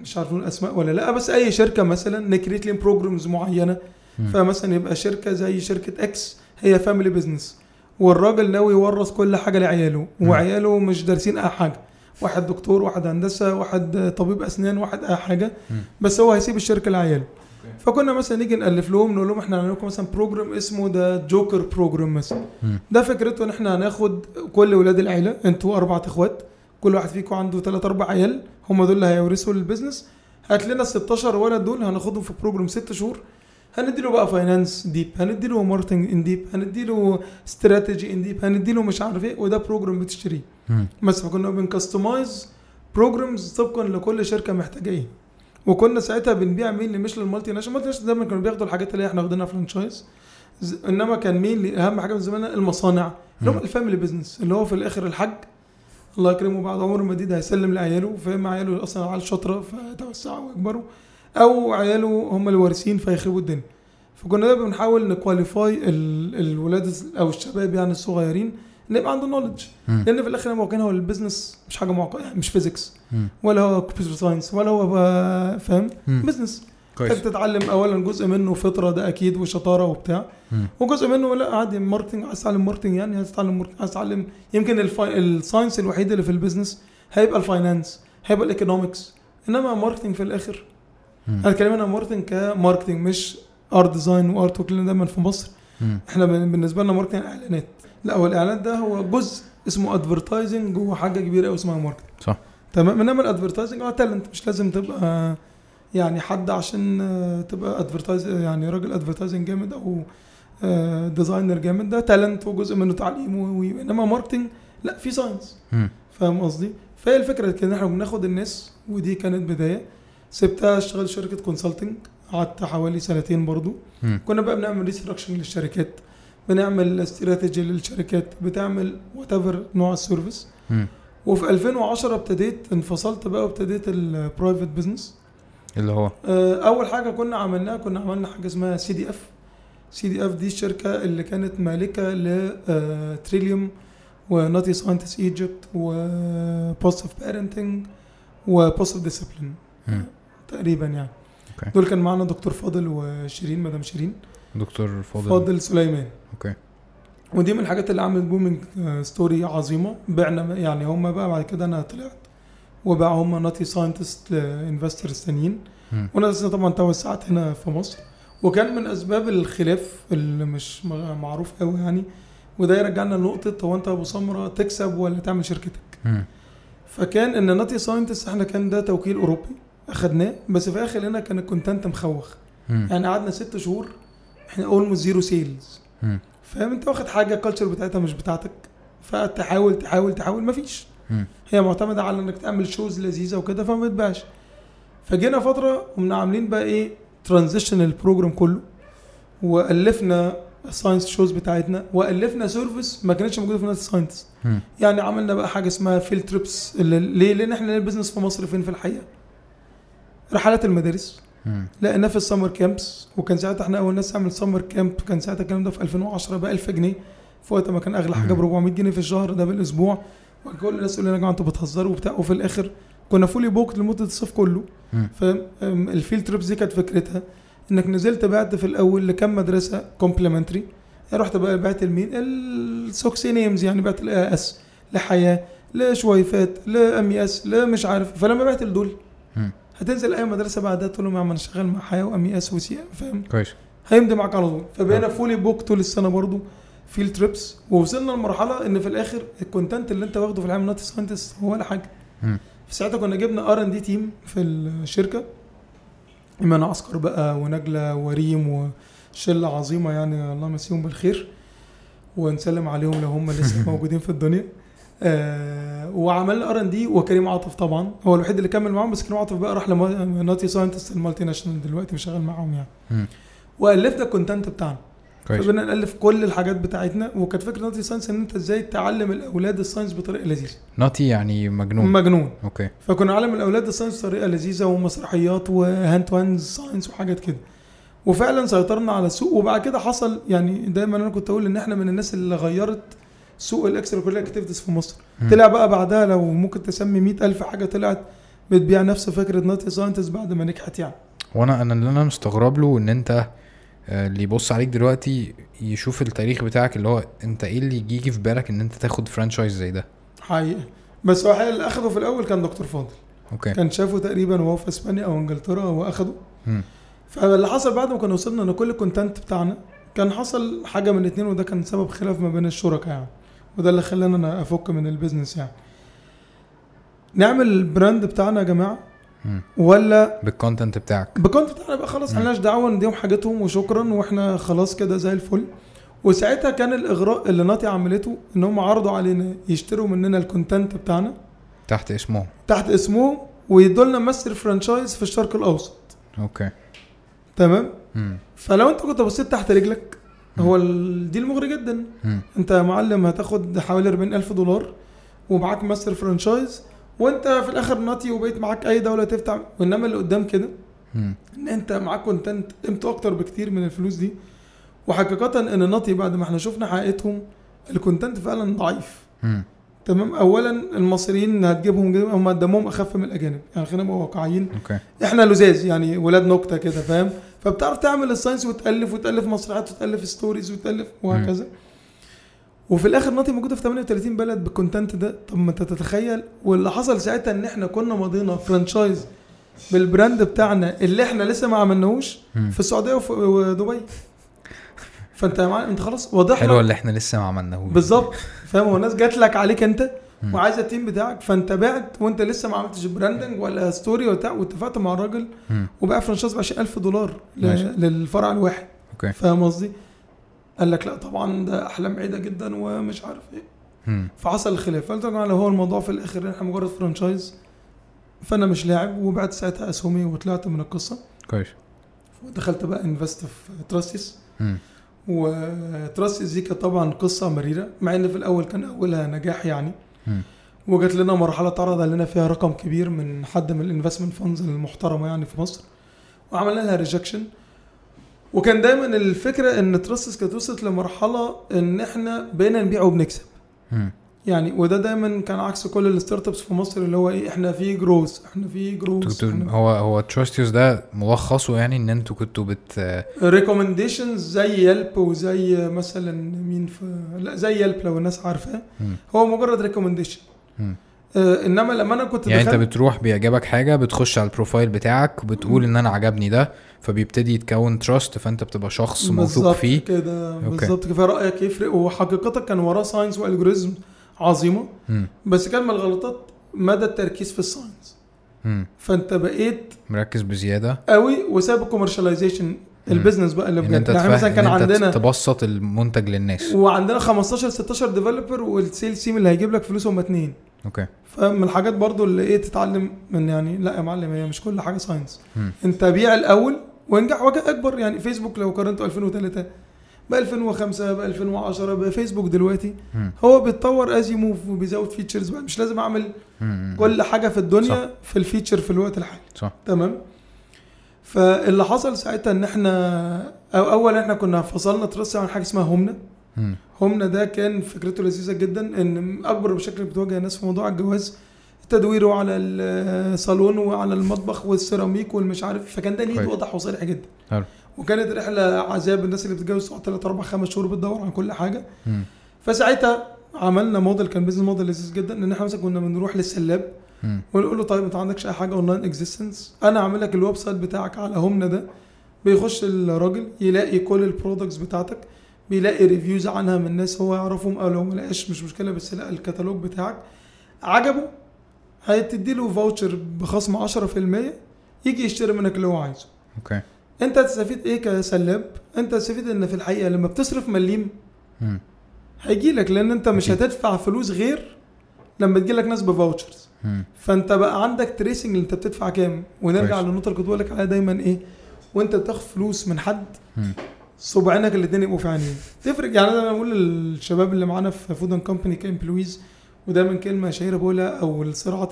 Speaker 2: مش عارف نقول اسماء ولا لا بس اي شركه مثلا نكريت لهم بروجرامز معينه
Speaker 3: مم.
Speaker 2: فمثلا يبقى شركه زي شركه اكس هي فاميلي بزنس والراجل ناوي يورث كل حاجه لعياله
Speaker 3: مم.
Speaker 2: وعياله مش دارسين اي حاجه واحد دكتور واحد هندسه واحد طبيب اسنان واحد اي حاجه
Speaker 3: مم.
Speaker 2: بس هو هيسيب الشركه لعياله فكنا مثلا نيجي نالف لهم نقول لهم احنا هنعمل لكم مثلا بروجرام اسمه ده جوكر بروجرام مثلا
Speaker 3: مم.
Speaker 2: ده فكرته ان احنا هناخد كل ولاد العيله انتوا اربع اخوات كل واحد فيكم عنده ثلاث اربع عيال هم دول اللي هيورثوا البيزنس هات لنا ال 16 ولد دول هناخدهم في بروجرام ست شهور هندي له بقى فاينانس ديب هندي له ماركتنج ان ديب هندي له استراتيجي ان ديب هندي له مش عارف ايه وده بروجرام بتشتريه بس فكنا بنكستمايز بروجرامز طبقا لكل شركه محتاجه ايه وكنا ساعتها بنبيع مين اللي مش للمالتي ناشونال المالتي ناشونال دايما كانوا بياخدوا الحاجات اللي احنا واخدينها فرانشايز ز- انما كان مين اللي- اهم حاجه من زمان المصانع اللي هو
Speaker 1: مم.
Speaker 2: الفاميلي بزنس اللي هو في الاخر الحاج الله يكرمه بعد عمر مديد هيسلم لعياله فاهم عياله اصلا عيال شاطره فيتوسعوا ويكبروا او عياله هم اللي وارثين فيخربوا الدنيا فكنا دايما بنحاول نكواليفاي الولاد او الشباب يعني الصغيرين ان يبقى عنده نولج
Speaker 1: مم.
Speaker 2: لان في الاخر الموقعين هو البيزنس مش حاجه معقده يعني مش فيزيكس
Speaker 1: مم.
Speaker 2: ولا هو كمبيوتر ساينس ولا هو بقى- فاهم
Speaker 1: مم.
Speaker 2: بزنس
Speaker 3: كويس
Speaker 2: انت تتعلم اولا جزء منه فطره ده اكيد وشطاره وبتاع
Speaker 1: مم.
Speaker 2: وجزء منه لا عادي ماركتنج عايز تتعلم ماركتنج يعني عايز تتعلم ماركتنج عايز تتعلم يمكن الفاي... الساينس الوحيد اللي في البيزنس هيبقى الفاينانس هيبقى الايكونومكس انما ماركتنج في الاخر
Speaker 1: مم.
Speaker 2: انا اتكلم انا ماركتنج كماركتنج مش ارت ديزاين وارت وكلنا دايما في مصر
Speaker 1: مم.
Speaker 2: احنا بن- بالنسبه لنا ماركتنج اعلانات لا هو الاعلانات ده هو جزء اسمه ادفرتايزنج جوه حاجه كبيره قوي اسمها ماركتنج
Speaker 3: صح
Speaker 2: تمام انما الادفرتايزنج اه تالنت مش لازم تبقى يعني حد عشان آه، تبقى ادفرتايز يعني راجل ادفرتايزنج جامد او آه، ديزاينر جامد ده تالنت وجزء منه تعليم و- و- انما ماركتنج لا في ساينس
Speaker 1: مم.
Speaker 2: فاهم قصدي؟ فهي الفكره كده إن احنا بناخد الناس ودي كانت بدايه سبتها اشتغلت في شركه كونسلتنج قعدت حوالي سنتين برضو
Speaker 1: مم.
Speaker 2: كنا بقى بنعمل ريستراكشن للشركات بنعمل استراتيجي للشركات بتعمل وات نوع السيرفيس
Speaker 1: مم.
Speaker 2: وفي 2010 ابتديت انفصلت بقى وابتديت البرايفت بزنس
Speaker 3: اللي هو
Speaker 2: اول حاجه آه، كنا عملناها كنا عملنا حاجه اسمها سي دي اف سي دي اف دي الشركه اللي كانت آه، مالكه لتريليوم وناتي ساينتس ايجيبت وبوستيف بارنتنج وبوستيف ديسيبلين
Speaker 1: مم.
Speaker 2: تقريبا يعني
Speaker 3: أوكي.
Speaker 2: دول كان معانا دكتور فاضل وشيرين مدام شيرين
Speaker 3: دكتور فاضل,
Speaker 2: فاضل سليمان
Speaker 3: اوكي
Speaker 2: ودي من الحاجات اللي عملت بومينج آه، ستوري عظيمه بعنا يعني هم بقى بعد كده انا طلعت وبقى هم ناتي ساينتست انفسترز تانيين
Speaker 1: مم.
Speaker 2: وانا لسه طبعا توسعت هنا في مصر وكان من اسباب الخلاف اللي مش مع- معروف قوي يعني وده يرجعنا لنقطه هو انت يا ابو سمره تكسب ولا تعمل شركتك
Speaker 1: مم.
Speaker 2: فكان ان ناتي ساينتست احنا كان ده توكيل اوروبي اخدناه بس في الاخر هنا كان الكونتنت مخوخ
Speaker 1: مم.
Speaker 2: يعني قعدنا ست شهور احنا اولموست زيرو سيلز
Speaker 1: مم.
Speaker 2: فاهم انت واخد حاجه الكالتشر بتاعتها مش بتاعتك فتحاول تحاول تحاول مفيش
Speaker 1: مم.
Speaker 2: هي معتمده على انك تعمل شوز لذيذه وكده فما بتبقاش فجينا فتره قمنا عاملين بقى ايه ترانزيشن البروجرام كله والفنا الساينس شوز بتاعتنا والفنا سيرفيس ما كانتش موجوده في نادي الساينس
Speaker 1: مم.
Speaker 2: يعني عملنا بقى حاجه اسمها فيل تريبس ليه لان احنا البيزنس في مصر فين في الحقيقه رحلات المدارس
Speaker 1: مم.
Speaker 2: لقيناه في السمر كامبس وكان ساعتها احنا اول ناس تعمل سمر كامب كان ساعتها الكلام ده في 2010 ب 1000 جنيه في وقت ما كان اغلى حاجه ب 400 جنيه في الشهر ده بالاسبوع وكل الناس تقول لنا يا جماعه انتوا بتهزروا وبتاع وفي الاخر كنا فولي بوكت لمده الصيف كله
Speaker 1: مم.
Speaker 2: فاهم أم، الفيلد تريبس دي كانت فكرتها انك نزلت بعت في الاول لكم مدرسه كومبلمنتري رحت بقى بعت لمين السوكسي نيمز يعني بعت الاي اس لحياه لشويفات لام اس لمش عارف فلما بعت لدول
Speaker 1: مم.
Speaker 2: هتنزل اي مدرسه بعدها تقول لهم يا عم انا شغال مع حياه وام اس وسي فاهم
Speaker 3: كويس
Speaker 2: هيمضي معاك على طول فبقينا فولي بوك طول السنه برضو فيل تريبس ووصلنا لمرحله ان في الاخر الكونتنت اللي انت واخده في العالم نوت ساينتست هو ولا حاجه
Speaker 1: مم.
Speaker 2: في ساعتها كنا جبنا ار ان دي تيم في الشركه ايمان عسكر بقى ونجله وريم وشله عظيمه يعني الله يمسيهم بالخير ونسلم عليهم لو هم لسه موجودين في الدنيا آه وعملنا ار ان دي وكريم عاطف طبعا هو الوحيد اللي كمل معاهم بس كريم عاطف بقى راح لناتي ساينتست المالتي ناشونال دلوقتي وشغال معاهم يعني
Speaker 1: مم.
Speaker 2: والفنا الكونتنت بتاعنا
Speaker 1: كويس.
Speaker 2: فبدنا نالف كل الحاجات بتاعتنا وكانت فكره ناتي ساينس ان انت ازاي تعلم الاولاد الساينس بطريقه لذيذه
Speaker 1: ناتي يعني مجنون
Speaker 2: مجنون
Speaker 1: اوكي
Speaker 2: فكنا علم الاولاد الساينس بطريقه لذيذه ومسرحيات وهاند تو هاند ساينس وحاجات كده وفعلا سيطرنا على السوق وبعد كده حصل يعني دايما انا كنت اقول ان احنا من الناس اللي غيرت سوق الاكسترا كوريكولار اكتيفيتيز في مصر
Speaker 1: مم.
Speaker 2: طلع بقى بعدها لو ممكن تسمي 100000 حاجه طلعت بتبيع نفس فكره ناتي ساينتس بعد ما نجحت يعني
Speaker 3: وانا انا اللي انا مستغرب له ان انت آه، اللي يبص عليك دلوقتي يشوف التاريخ بتاعك اللي هو انت ايه اللي يجي يجي في بالك ان انت تاخد فرانشايز زي ده
Speaker 2: حقيقه بس هو الحقيقة اللي اخده في الاول كان دكتور فاضل
Speaker 1: نعم.
Speaker 3: اوكي
Speaker 2: كان شافه تقريبا وهو في اسبانيا او انجلترا واخده
Speaker 3: مم.
Speaker 2: فاللي حصل بعد ما كنا وصلنا ان كل الكونتنت بتاعنا كان حصل حاجه من الاثنين وده كان سبب خلاف ما بين الشركاء يعني وده اللي خلاني انا افك من البيزنس يعني نعمل البراند بتاعنا يا جماعه
Speaker 1: مم.
Speaker 2: ولا
Speaker 1: بالكونتنت بتاعك
Speaker 2: بالكونت بتاعنا بقى خلاص
Speaker 1: مم.
Speaker 2: مالناش دعوه نديهم حاجتهم وشكرا واحنا خلاص كده زي الفل وساعتها كان الاغراء اللي ناتي عملته ان هم عرضوا علينا يشتروا مننا الكونتنت بتاعنا
Speaker 1: تحت اسمهم
Speaker 2: تحت اسمهم ويدوا لنا ماستر فرانشايز في الشرق الاوسط
Speaker 1: اوكي
Speaker 2: تمام
Speaker 1: مم.
Speaker 2: فلو انت كنت بصيت تحت رجلك هو ال- دي المغري جدا
Speaker 1: مم.
Speaker 2: انت يا معلم هتاخد حوالي 40000 دولار ومعاك ماستر فرانشايز وانت في الاخر ناطي وبقيت معاك اي دوله تفتح وانما اللي قدام كده
Speaker 1: مم.
Speaker 2: ان انت معاك كونتنت قيمته اكتر بكتير من الفلوس دي وحقيقه ان ناطي بعد ما احنا شفنا حقيقتهم الكونتنت فعلا ضعيف
Speaker 1: مم.
Speaker 2: تمام اولا المصريين هتجيبهم جيب- هم دمهم اخف من الاجانب يعني خلينا نبقى واقعيين
Speaker 1: اوكي
Speaker 2: احنا لزاز يعني ولاد نكته كده فاهم فبتعرف تعمل الساينس وتالف وتالف مسرحيات وتالف ستوريز وتالف وهكذا وفي الاخر ناطي موجوده في 38 بلد بالكونتنت ده طب ما انت تتخيل واللي حصل ساعتها ان احنا كنا ماضينا فرانشايز بالبراند بتاعنا اللي احنا لسه ما عملناهوش
Speaker 1: مم.
Speaker 2: في السعوديه وفي- ودبي فانت يا معلم انت خلاص واضح لك
Speaker 1: حلو اللي احنا لسه ما عملناهوش
Speaker 2: بالظبط فاهم هو الناس جات لك عليك انت
Speaker 1: مم.
Speaker 2: وعايزه التيم بتاعك فانت بعت وانت لسه ما عملتش براندنج ولا ستوري وبتاع واتفقت مع الراجل
Speaker 1: مم.
Speaker 2: وبقى فرانشايز ب 20000 دولار ل-
Speaker 1: ماشي.
Speaker 2: للفرع الواحد
Speaker 1: اوكي
Speaker 2: فاهم قصدي؟ قال لك لا طبعا ده احلام بعيده جدا ومش عارف ايه
Speaker 1: مم.
Speaker 2: فحصل الخلاف قلت له هو الموضوع في الاخر إن احنا مجرد فرانشايز فانا مش لاعب وبعت ساعتها اسهمي وطلعت من القصه
Speaker 1: كويس
Speaker 2: ودخلت بقى انفست في تراسيس
Speaker 1: مم.
Speaker 2: وتراس ازيكا طبعا قصه مريره مع ان في الاول كان اولها نجاح يعني
Speaker 1: مم.
Speaker 2: وجات لنا مرحله اتعرض علينا فيها رقم كبير من حد من الانفستمنت فاندز المحترمه يعني في مصر وعملنا لها ريجكشن وكان دايما الفكره ان تراسس كانت وصلت لمرحله ان احنا بقينا نبيع وبنكسب
Speaker 1: مم.
Speaker 2: يعني وده دايما كان عكس كل الستارت ابس في مصر اللي هو ايه احنا في جروث احنا في
Speaker 1: كنت-
Speaker 2: جروث
Speaker 1: هو هو تراستيوس ده ملخصه يعني ان انتوا كنتوا بت
Speaker 2: ريكومنديشنز زي يلب وزي مثلا مين في لا زي يلب لو الناس عارفاه
Speaker 1: مم.
Speaker 2: هو مجرد ريكومنديشن
Speaker 1: مم.
Speaker 2: آه انما لما انا كنت
Speaker 1: يعني انت
Speaker 2: دخلت
Speaker 1: بتروح بيعجبك حاجه بتخش على البروفايل بتاعك بتقول ان انا عجبني ده فبيبتدي يتكون تراست فانت بتبقى شخص موثوق
Speaker 2: بالظبط
Speaker 1: فيه
Speaker 2: كده
Speaker 1: أوكي.
Speaker 2: بالظبط كده رايك يفرق وحقيقه كان وراه ساينس والجوريزم عظيمه
Speaker 1: مم.
Speaker 2: بس كان من الغلطات مدى التركيز في الساينس
Speaker 1: مم.
Speaker 2: فانت بقيت
Speaker 1: مركز بزياده
Speaker 2: قوي وساب الكوميرشاليزيشن البيزنس بقى اللي
Speaker 1: ان
Speaker 2: بجد
Speaker 1: انت
Speaker 2: يعني مثلا
Speaker 1: تفهم
Speaker 2: كان
Speaker 1: ان انت
Speaker 2: عندنا
Speaker 1: تبسط المنتج للناس
Speaker 2: وعندنا 15 16 ديفلوبر والسيلز تيم اللي هيجيب لك فلوس هم اتنين
Speaker 1: اوكي
Speaker 2: فمن الحاجات برضو اللي ايه تتعلم من يعني لا يا معلم هي مش كل حاجه ساينس
Speaker 1: مم.
Speaker 2: انت بيع الاول وانجح وجه اكبر يعني فيسبوك لو قارنته 2003 ب 2005 ب 2010 بفيسبوك دلوقتي
Speaker 1: مم.
Speaker 2: هو بيتطور از موف وبيزود فيتشرز بقى مش لازم اعمل
Speaker 1: مم.
Speaker 2: كل حاجه في الدنيا صح. في الفيتشر في الوقت الحالي
Speaker 1: صح
Speaker 2: تمام فاللي حصل ساعتها ان احنا او اول احنا كنا فصلنا ترس عن حاجه اسمها همنه
Speaker 1: مم.
Speaker 2: همنة ده كان فكرته لذيذة جدا ان اكبر مشاكل بتواجه الناس في موضوع الجواز تدويره على الصالون وعلى المطبخ والسيراميك والمش عارف فكان ده ليد
Speaker 1: كويس.
Speaker 2: واضح وصريح جدا
Speaker 1: حلو
Speaker 2: وكانت رحلة عذاب الناس اللي بتتجوز تقعد 3 4 5 شهور بتدور عن كل حاجة
Speaker 1: مم.
Speaker 2: فساعتها عملنا موديل كان بيزنس موديل لذيذ جدا ان احنا مثلا كنا بنروح للسلاب
Speaker 1: مم.
Speaker 2: ونقول له طيب انت عندكش اي حاجه اونلاين اكزيستنس انا هعمل لك الويب سايت بتاعك على همنه ده بيخش الراجل يلاقي كل البرودكتس بتاعتك بيلاقي ريفيوز عنها من ناس هو يعرفهم او لو ما لقاش مش مشكله بس لقى الكتالوج بتاعك عجبه هتدي له فاوتشر بخصم 10% يجي يشتري منك اللي هو عايزه
Speaker 1: اوكي
Speaker 2: انت هتستفيد ايه كسلاب انت هتستفيد ان في الحقيقه لما بتصرف مليم
Speaker 1: مم.
Speaker 2: هيجي لك لان انت مش
Speaker 1: أكيد.
Speaker 2: هتدفع فلوس غير لما تجي لك ناس بفاوتشرز
Speaker 1: مم.
Speaker 2: فانت بقى عندك تريسنج انت بتدفع كام ونرجع
Speaker 1: كويس.
Speaker 2: للنقطه اللي كنت بقول لك عليها دايما ايه وانت بتاخد فلوس من حد
Speaker 1: مم.
Speaker 2: صباعينك الاثنين يبقوا في عينيه تفرق يعني انا بقول للشباب اللي معانا في فود اند كومباني كامبلويز ودايما كلمه شهيره بقولها او الصراعات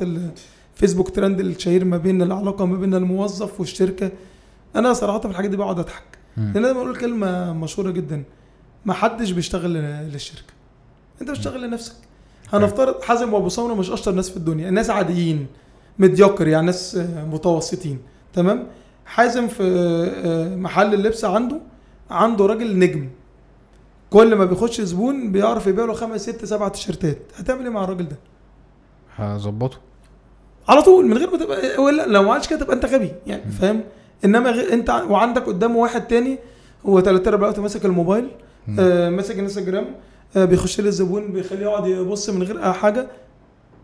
Speaker 2: الفيسبوك ترند الشهير ما بين العلاقه ما بين الموظف والشركه انا صراحه في الحاجات دي بقعد اضحك
Speaker 1: مم.
Speaker 2: لان انا بقول كلمه مشهوره جدا ما حدش بيشتغل ل- للشركه انت بتشتغل لنفسك هنفترض حازم وابو سمره مش اشطر ناس في الدنيا ناس عاديين مديوكر يعني ناس آه، متوسطين تمام حازم في آه، محل اللبس عنده عنده راجل نجم كل ما بيخش زبون بيعرف يبيع له خمس ست سبع تيشيرتات هتعمل ايه مع الراجل ده
Speaker 1: هظبطه
Speaker 2: على طول من غير ما تبقى ولا لو ما عملتش كده تبقى انت غبي يعني فاهم انما غير انت ع- وعندك قدامه واحد تاني هو تلات ارباع الوقت ماسك الموبايل
Speaker 1: مم.
Speaker 2: آه ماسك الانستجرام آه بيخش للزبون بيخليه يقعد يبص من غير اي حاجه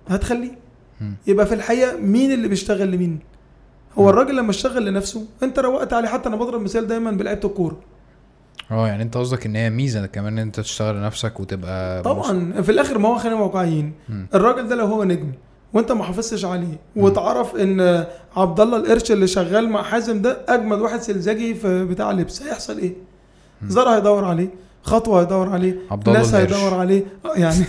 Speaker 2: هتخليه
Speaker 1: مم.
Speaker 2: يبقى في الحقيقه مين اللي بيشتغل لمين هو الراجل لما اشتغل لنفسه انت روقت عليه حتى انا بضرب مثال دايما بلعيبه الكوره
Speaker 1: اه يعني انت قصدك ان هي ميزه كمان ان انت تشتغل لنفسك وتبقى مبسوط.
Speaker 2: طبعا في الاخر ما هو خلينا واقعيين
Speaker 1: آه، مم.
Speaker 2: الراجل ده لو هو نجم وانت ما حافظتش عليه وتعرف ان عبد الله القرش اللي شغال مع حازم ده اجمد واحد سلزجي في بتاع لبس هيحصل ايه؟
Speaker 1: مم.
Speaker 2: زرع هيدور عليه خطوه هيدور عليه
Speaker 1: عبد الله
Speaker 2: ناس
Speaker 1: القرش.
Speaker 2: هيدور عليه آه، يعني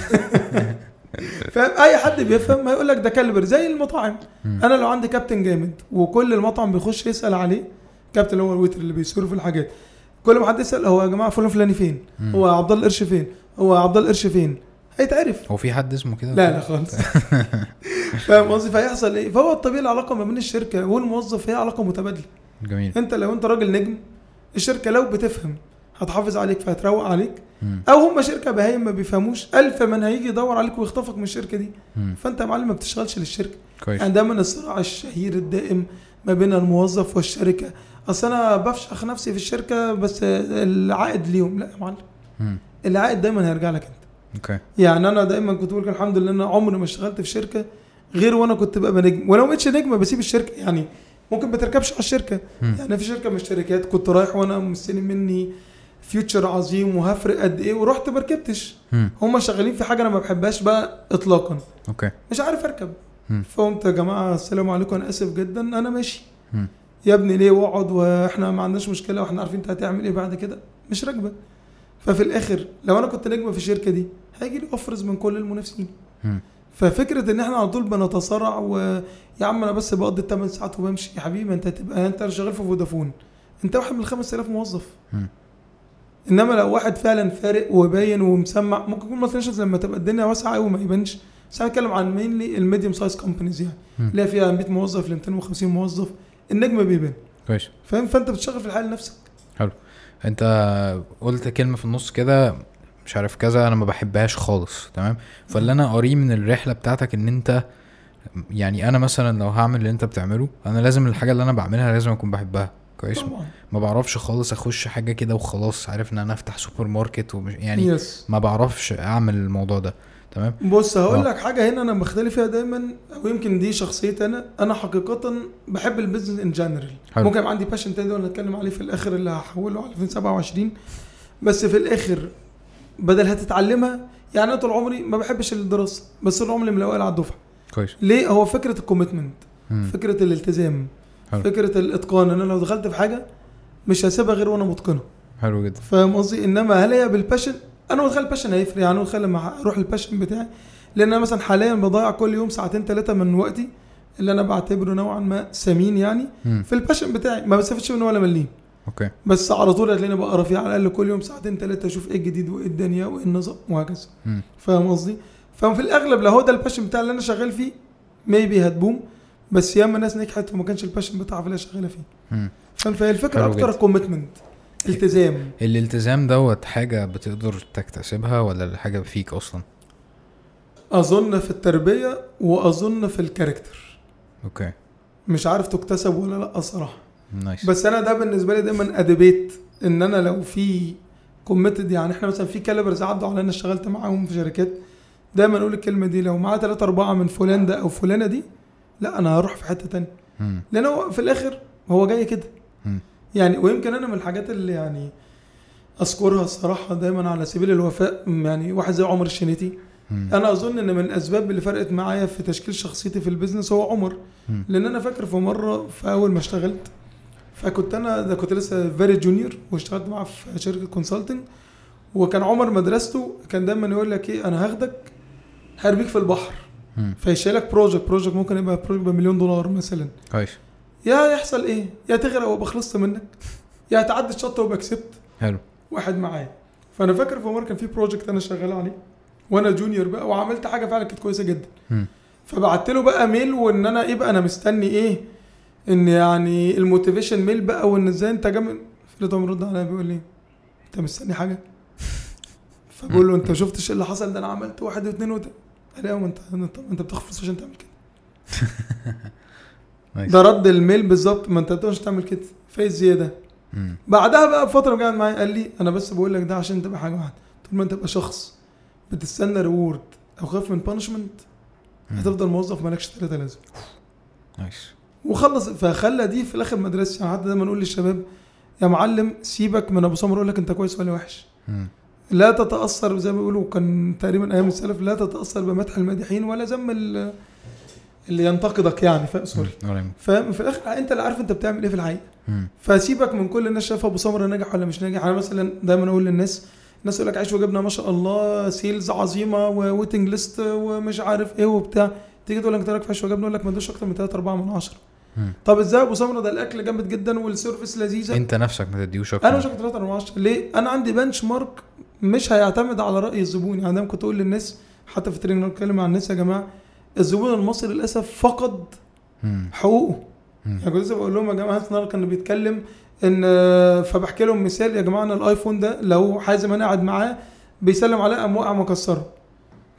Speaker 2: فاي حد بيفهم هيقول لك ده كالبر زي المطاعم
Speaker 1: مم.
Speaker 2: انا لو عندي كابتن جامد وكل المطعم بيخش يسال عليه كابتن اللي هو الويتر اللي بيسيرف الحاجات كل ما حد يسال هو يا جماعه فلان فلاني فين
Speaker 1: مم.
Speaker 2: هو عبد الله القرش فين هو عبد الله القرش فين هيتعرف
Speaker 1: هو في حد اسمه كده
Speaker 2: لا لا خالص فاهم قصدي فيحصل ايه فهو الطبيعي العلاقه ما بين الشركه والموظف هي علاقه متبادله
Speaker 1: جميل
Speaker 2: انت لو انت راجل نجم الشركه لو بتفهم هتحافظ عليك فهتروق عليك
Speaker 1: مم.
Speaker 2: او هم شركه بهايم ما بيفهموش الف من هيجي يدور عليك ويخطفك من الشركه دي
Speaker 1: مم.
Speaker 2: فانت يا معلم ما بتشتغلش للشركه
Speaker 1: كويس
Speaker 2: يعني ده من الصراع الشهير الدائم ما بين الموظف والشركه اصل انا بفشخ نفسي في الشركه بس العائد ليهم لا يا معلم
Speaker 1: مم.
Speaker 2: العائد دايما هيرجع لك انت
Speaker 1: اوكي
Speaker 2: يعني انا دايما كنت بقول الحمد لله ان انا عمري ما اشتغلت في شركه غير وانا كنت ببقى نجم ولو ما بقتش نجم بسيب الشركه يعني ممكن ما تركبش على الشركه
Speaker 1: مم.
Speaker 2: يعني في شركه من الشركات كنت رايح وانا مستني مني فيوتشر عظيم وهفرق قد ايه ورحت ما ركبتش
Speaker 1: مم.
Speaker 2: هم شغالين في حاجه انا ما بحبهاش بقى اطلاقا
Speaker 1: اوكي
Speaker 2: مش عارف اركب
Speaker 1: مم.
Speaker 2: فقمت يا جماعه السلام عليكم انا اسف جدا انا ماشي
Speaker 1: مم.
Speaker 2: يا ابني ليه واقعد واحنا ما عندناش مشكله واحنا عارفين انت هتعمل ايه بعد كده مش راكبه ففي الاخر لو انا كنت نجم في الشركه دي هيجي لي اوفرز من كل المنافسين
Speaker 1: مم.
Speaker 2: ففكره ان احنا على طول بنتصارع ويا عم انا بس بقضي الثمان ساعات وبمشي يا حبيبي ما انت هتبقى انت شغال في فودافون انت واحد من ال 5000 موظف
Speaker 1: مم.
Speaker 2: انما لو واحد فعلا فارق وباين ومسمع ممكن يكون مالتي لما تبقى الدنيا واسعه قوي ما يبانش بس انا بتكلم عن مينلي الميديوم سايز كومبانيز يعني
Speaker 1: مم.
Speaker 2: اللي هي فيها 100 موظف ل 250 موظف النجم بيبان
Speaker 1: كويس
Speaker 2: فاهم فانت بتشتغل في الحال لنفسك
Speaker 1: انت قلت كلمه في النص كده مش عارف كذا انا ما بحبهاش خالص تمام فاللي انا قريه من الرحله بتاعتك ان انت يعني انا مثلا لو هعمل اللي انت بتعمله انا لازم الحاجه اللي انا بعملها لازم اكون بحبها كويس
Speaker 2: طبعا
Speaker 1: ما بعرفش خالص اخش حاجه كده وخلاص عارف ان انا افتح سوبر ماركت ومش يعني
Speaker 2: يس
Speaker 1: ما بعرفش اعمل الموضوع ده تمام
Speaker 2: بص هقول
Speaker 1: آه.
Speaker 2: لك حاجه هنا انا بختلف فيها دايما او يمكن دي شخصيتي انا انا حقيقه بحب البيزنس ان جنرال
Speaker 1: حلو.
Speaker 2: ممكن يبقى عندي باشن تاني ده ولا اتكلم عليه في الاخر اللي هحوله على 2027 بس في الاخر بدل هتتعلمها يعني انا طول عمري ما بحبش الدراسه بس طول عمري ملوقل على الدفعه
Speaker 1: كويس
Speaker 2: ليه هو فكره الكوميتمنت
Speaker 1: مم.
Speaker 2: فكره الالتزام
Speaker 1: حلو.
Speaker 2: فكره الاتقان ان انا لو دخلت في حاجه مش هسيبها غير وانا متقنها
Speaker 1: حلو جدا
Speaker 2: فاهم قصدي انما هل هي بالباشن انا متخيل الباشن هيفرق يعني انا متخيل لما اروح الباشن بتاعي لان انا مثلا حاليا بضيع كل يوم ساعتين ثلاثه من وقتي اللي انا بعتبره نوعا ما ثمين يعني
Speaker 1: مم.
Speaker 2: في الباشن بتاعي ما بستفدش منه ولا مليم
Speaker 1: اوكي
Speaker 2: بس على طول هتلاقيني بقرا فيه على الاقل كل يوم ساعتين ثلاثه اشوف ايه الجديد وايه الدنيا وايه النظام وهكذا
Speaker 1: مم.
Speaker 2: فاهم قصدي ففي الاغلب لو هو ده الباشن بتاع اللي انا شغال فيه ميبي هتبوم بس ياما ناس نجحت وما كانش الباشن بتاعها في اللي هي شغاله فيه
Speaker 1: مم.
Speaker 2: فاهم فهي الفكره
Speaker 1: حلو
Speaker 2: اكتر
Speaker 1: جدا.
Speaker 2: كوميتمنت التزام
Speaker 1: الالتزام دوت حاجه بتقدر تكتسبها ولا الحاجه فيك اصلا
Speaker 2: اظن في التربيه واظن في الكاركتر
Speaker 1: اوكي
Speaker 2: مش عارف تكتسب ولا لا صراحه
Speaker 1: نايس
Speaker 2: بس انا ده بالنسبه لي دايما اديبيت ان انا لو في كوميتد يعني احنا مثلا في كالبرز عدوا علينا اشتغلت معاهم في شركات دايما اقول الكلمه دي لو معاه ثلاثة أربعة من فلان ده أو فلانة دي لا أنا هروح في حتة تانية
Speaker 1: مم.
Speaker 2: لأن هو في الآخر هو جاي كده
Speaker 1: مم.
Speaker 2: يعني ويمكن أنا من الحاجات اللي يعني أذكرها الصراحة دايما على سبيل الوفاء يعني واحد زي عمر الشنيتي
Speaker 1: مم.
Speaker 2: انا اظن ان من الاسباب اللي فرقت معايا في تشكيل شخصيتي في البيزنس هو عمر
Speaker 1: مم.
Speaker 2: لان انا فاكر في مره في اول ما اشتغلت فكنت انا ده كنت لسه فيري جونيور واشتغلت معاه في شركه كونسلتنج وكان عمر مدرسته كان دايما يقول لك ايه انا هاخدك هرميك في البحر
Speaker 1: مم.
Speaker 2: فيشيلك بروجكت بروجكت ممكن يبقى بروجكت بمليون دولار مثلا
Speaker 1: كويس
Speaker 2: يا يحصل ايه يا تغرق وابقى خلصت منك يا تعدي الشط وابقى كسبت
Speaker 1: حلو
Speaker 2: واحد معايا فانا فاكر في مره كان في بروجكت انا شغال عليه وانا جونيور بقى وعملت حاجه فعلا كانت كويسه جدا
Speaker 1: مم.
Speaker 2: فبعت له بقى ميل وان انا ايه بقى انا مستني ايه ان يعني الموتيفيشن ميل بقى وان ازاي انت جامد فلقيته مرد عليا بيقول لي انت مستني حاجه فبقول له انت ما شفتش ايه اللي حصل ده انا عملت واحد واثنين وتلاته قال لي "أيوة، ما انت ما انت بتاخد فلوس عشان تعمل كده
Speaker 1: نايس
Speaker 2: ده رد الميل بالظبط ما انت مش تعمل كده فايز زياده
Speaker 1: مم.
Speaker 2: بعدها بقى بفتره قعد معايا قال لي انا بس بقول لك ده عشان تبقى حاجه واحده طول ما انت تبقى شخص بتستنى ريورد او خايف من بانشمنت هتفضل موظف مالكش ثلاثه لازم
Speaker 1: نايس
Speaker 2: وخلص فخلى دي في الاخر مدرسه يعني حتى دايما نقول للشباب يا معلم سيبك من ابو سمر يقول لك انت كويس ولا وحش
Speaker 1: مم.
Speaker 2: لا تتاثر زي ما بيقولوا كان تقريبا ايام السلف لا تتاثر بمدح المادحين ولا ذم ال- اللي ينتقدك يعني فاهم سوري
Speaker 1: مم. ولا يهمك.
Speaker 2: فاهم في الاخر انت اللي عارف انت بتعمل ايه في الحقيقه
Speaker 1: مم.
Speaker 2: فسيبك من كل الناس شايفه ابو سمره ناجح ولا مش ناجح انا مثلا دايما اقول للناس الناس يقول لك عيش وجبنه ما شاء الله سيلز عظيمه وويتنج ليست ومش عارف ايه وبتاع تيجي تقول لك انت رايك في عيش وجبنه يقول لك ما ادوش اكتر من 3 4 من 10
Speaker 1: مم.
Speaker 2: طب ازاي ابو سمره ده الاكل جامد جدا والسيرفيس لذيذه
Speaker 1: انت نفسك ما تديهوش
Speaker 2: انا مش
Speaker 1: اكتر
Speaker 2: هاخد 3 من 10 ليه انا عندي بنش مارك مش هيعتمد على راي الزبون يعني دايما كنت اقول للناس حتى في التريننج بتكلم مع الناس يا جماعه الزبون المصري للاسف فقد
Speaker 1: مم.
Speaker 2: حقوقه
Speaker 1: مم.
Speaker 2: يعني كنت لسه بقول لهم يا جماعه هانس نار كان بيتكلم ان آه، فبحكي لهم مثال يا جماعه انا الايفون ده لو حازم انا قاعد معاه بيسلم عليا قام واقع مكسره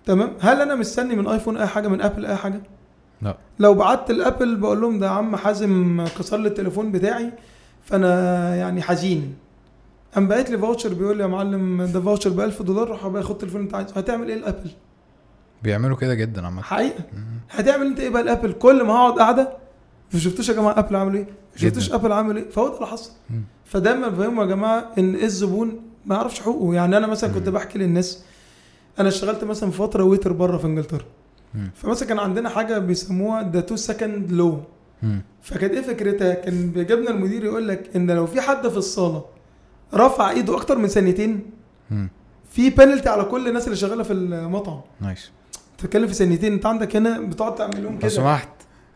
Speaker 2: تمام هل انا مستني من ايفون اي حاجه من ابل اي حاجه
Speaker 1: لا
Speaker 2: لو بعت الابل بقول لهم ده يا عم حازم كسر لي التليفون بتاعي فانا يعني حزين قام بعت لي فاوتشر بيقول لي يا معلم ده فاوتشر ب 1000 دولار روح بقى خد التليفون اللي انت عايزه هتعمل ايه الابل
Speaker 1: بيعملوا كده جدا عامه
Speaker 2: حقيقه هتعمل انت ايه بقى الابل كل ما هقعد قاعده ما شفتوش يا جماعه ابل عامل ايه ما شفتوش
Speaker 1: جدا.
Speaker 2: ابل عامل ايه فهو ده اللي حصل
Speaker 1: مم.
Speaker 2: فدايما بفهمهم يا جماعه ان الزبون ما يعرفش حقوقه يعني انا مثلا كنت بحكي للناس انا اشتغلت مثلا في فتره ويتر بره في انجلترا
Speaker 1: مم.
Speaker 2: فمثلا كان عندنا حاجه بيسموها ذا تو سكند لو
Speaker 1: مم.
Speaker 2: فكانت ايه فكرتها كان بيجيبنا المدير يقول لك ان لو في حد في الصاله رفع ايده اكتر من ثانيتين
Speaker 1: مم.
Speaker 2: في بنالتي على كل الناس اللي شغاله في المطعم
Speaker 1: نايس
Speaker 2: تتكلم في ثانيتين انت عندك هنا بتقعد تعمل لهم
Speaker 1: لو
Speaker 2: كده
Speaker 1: سمحت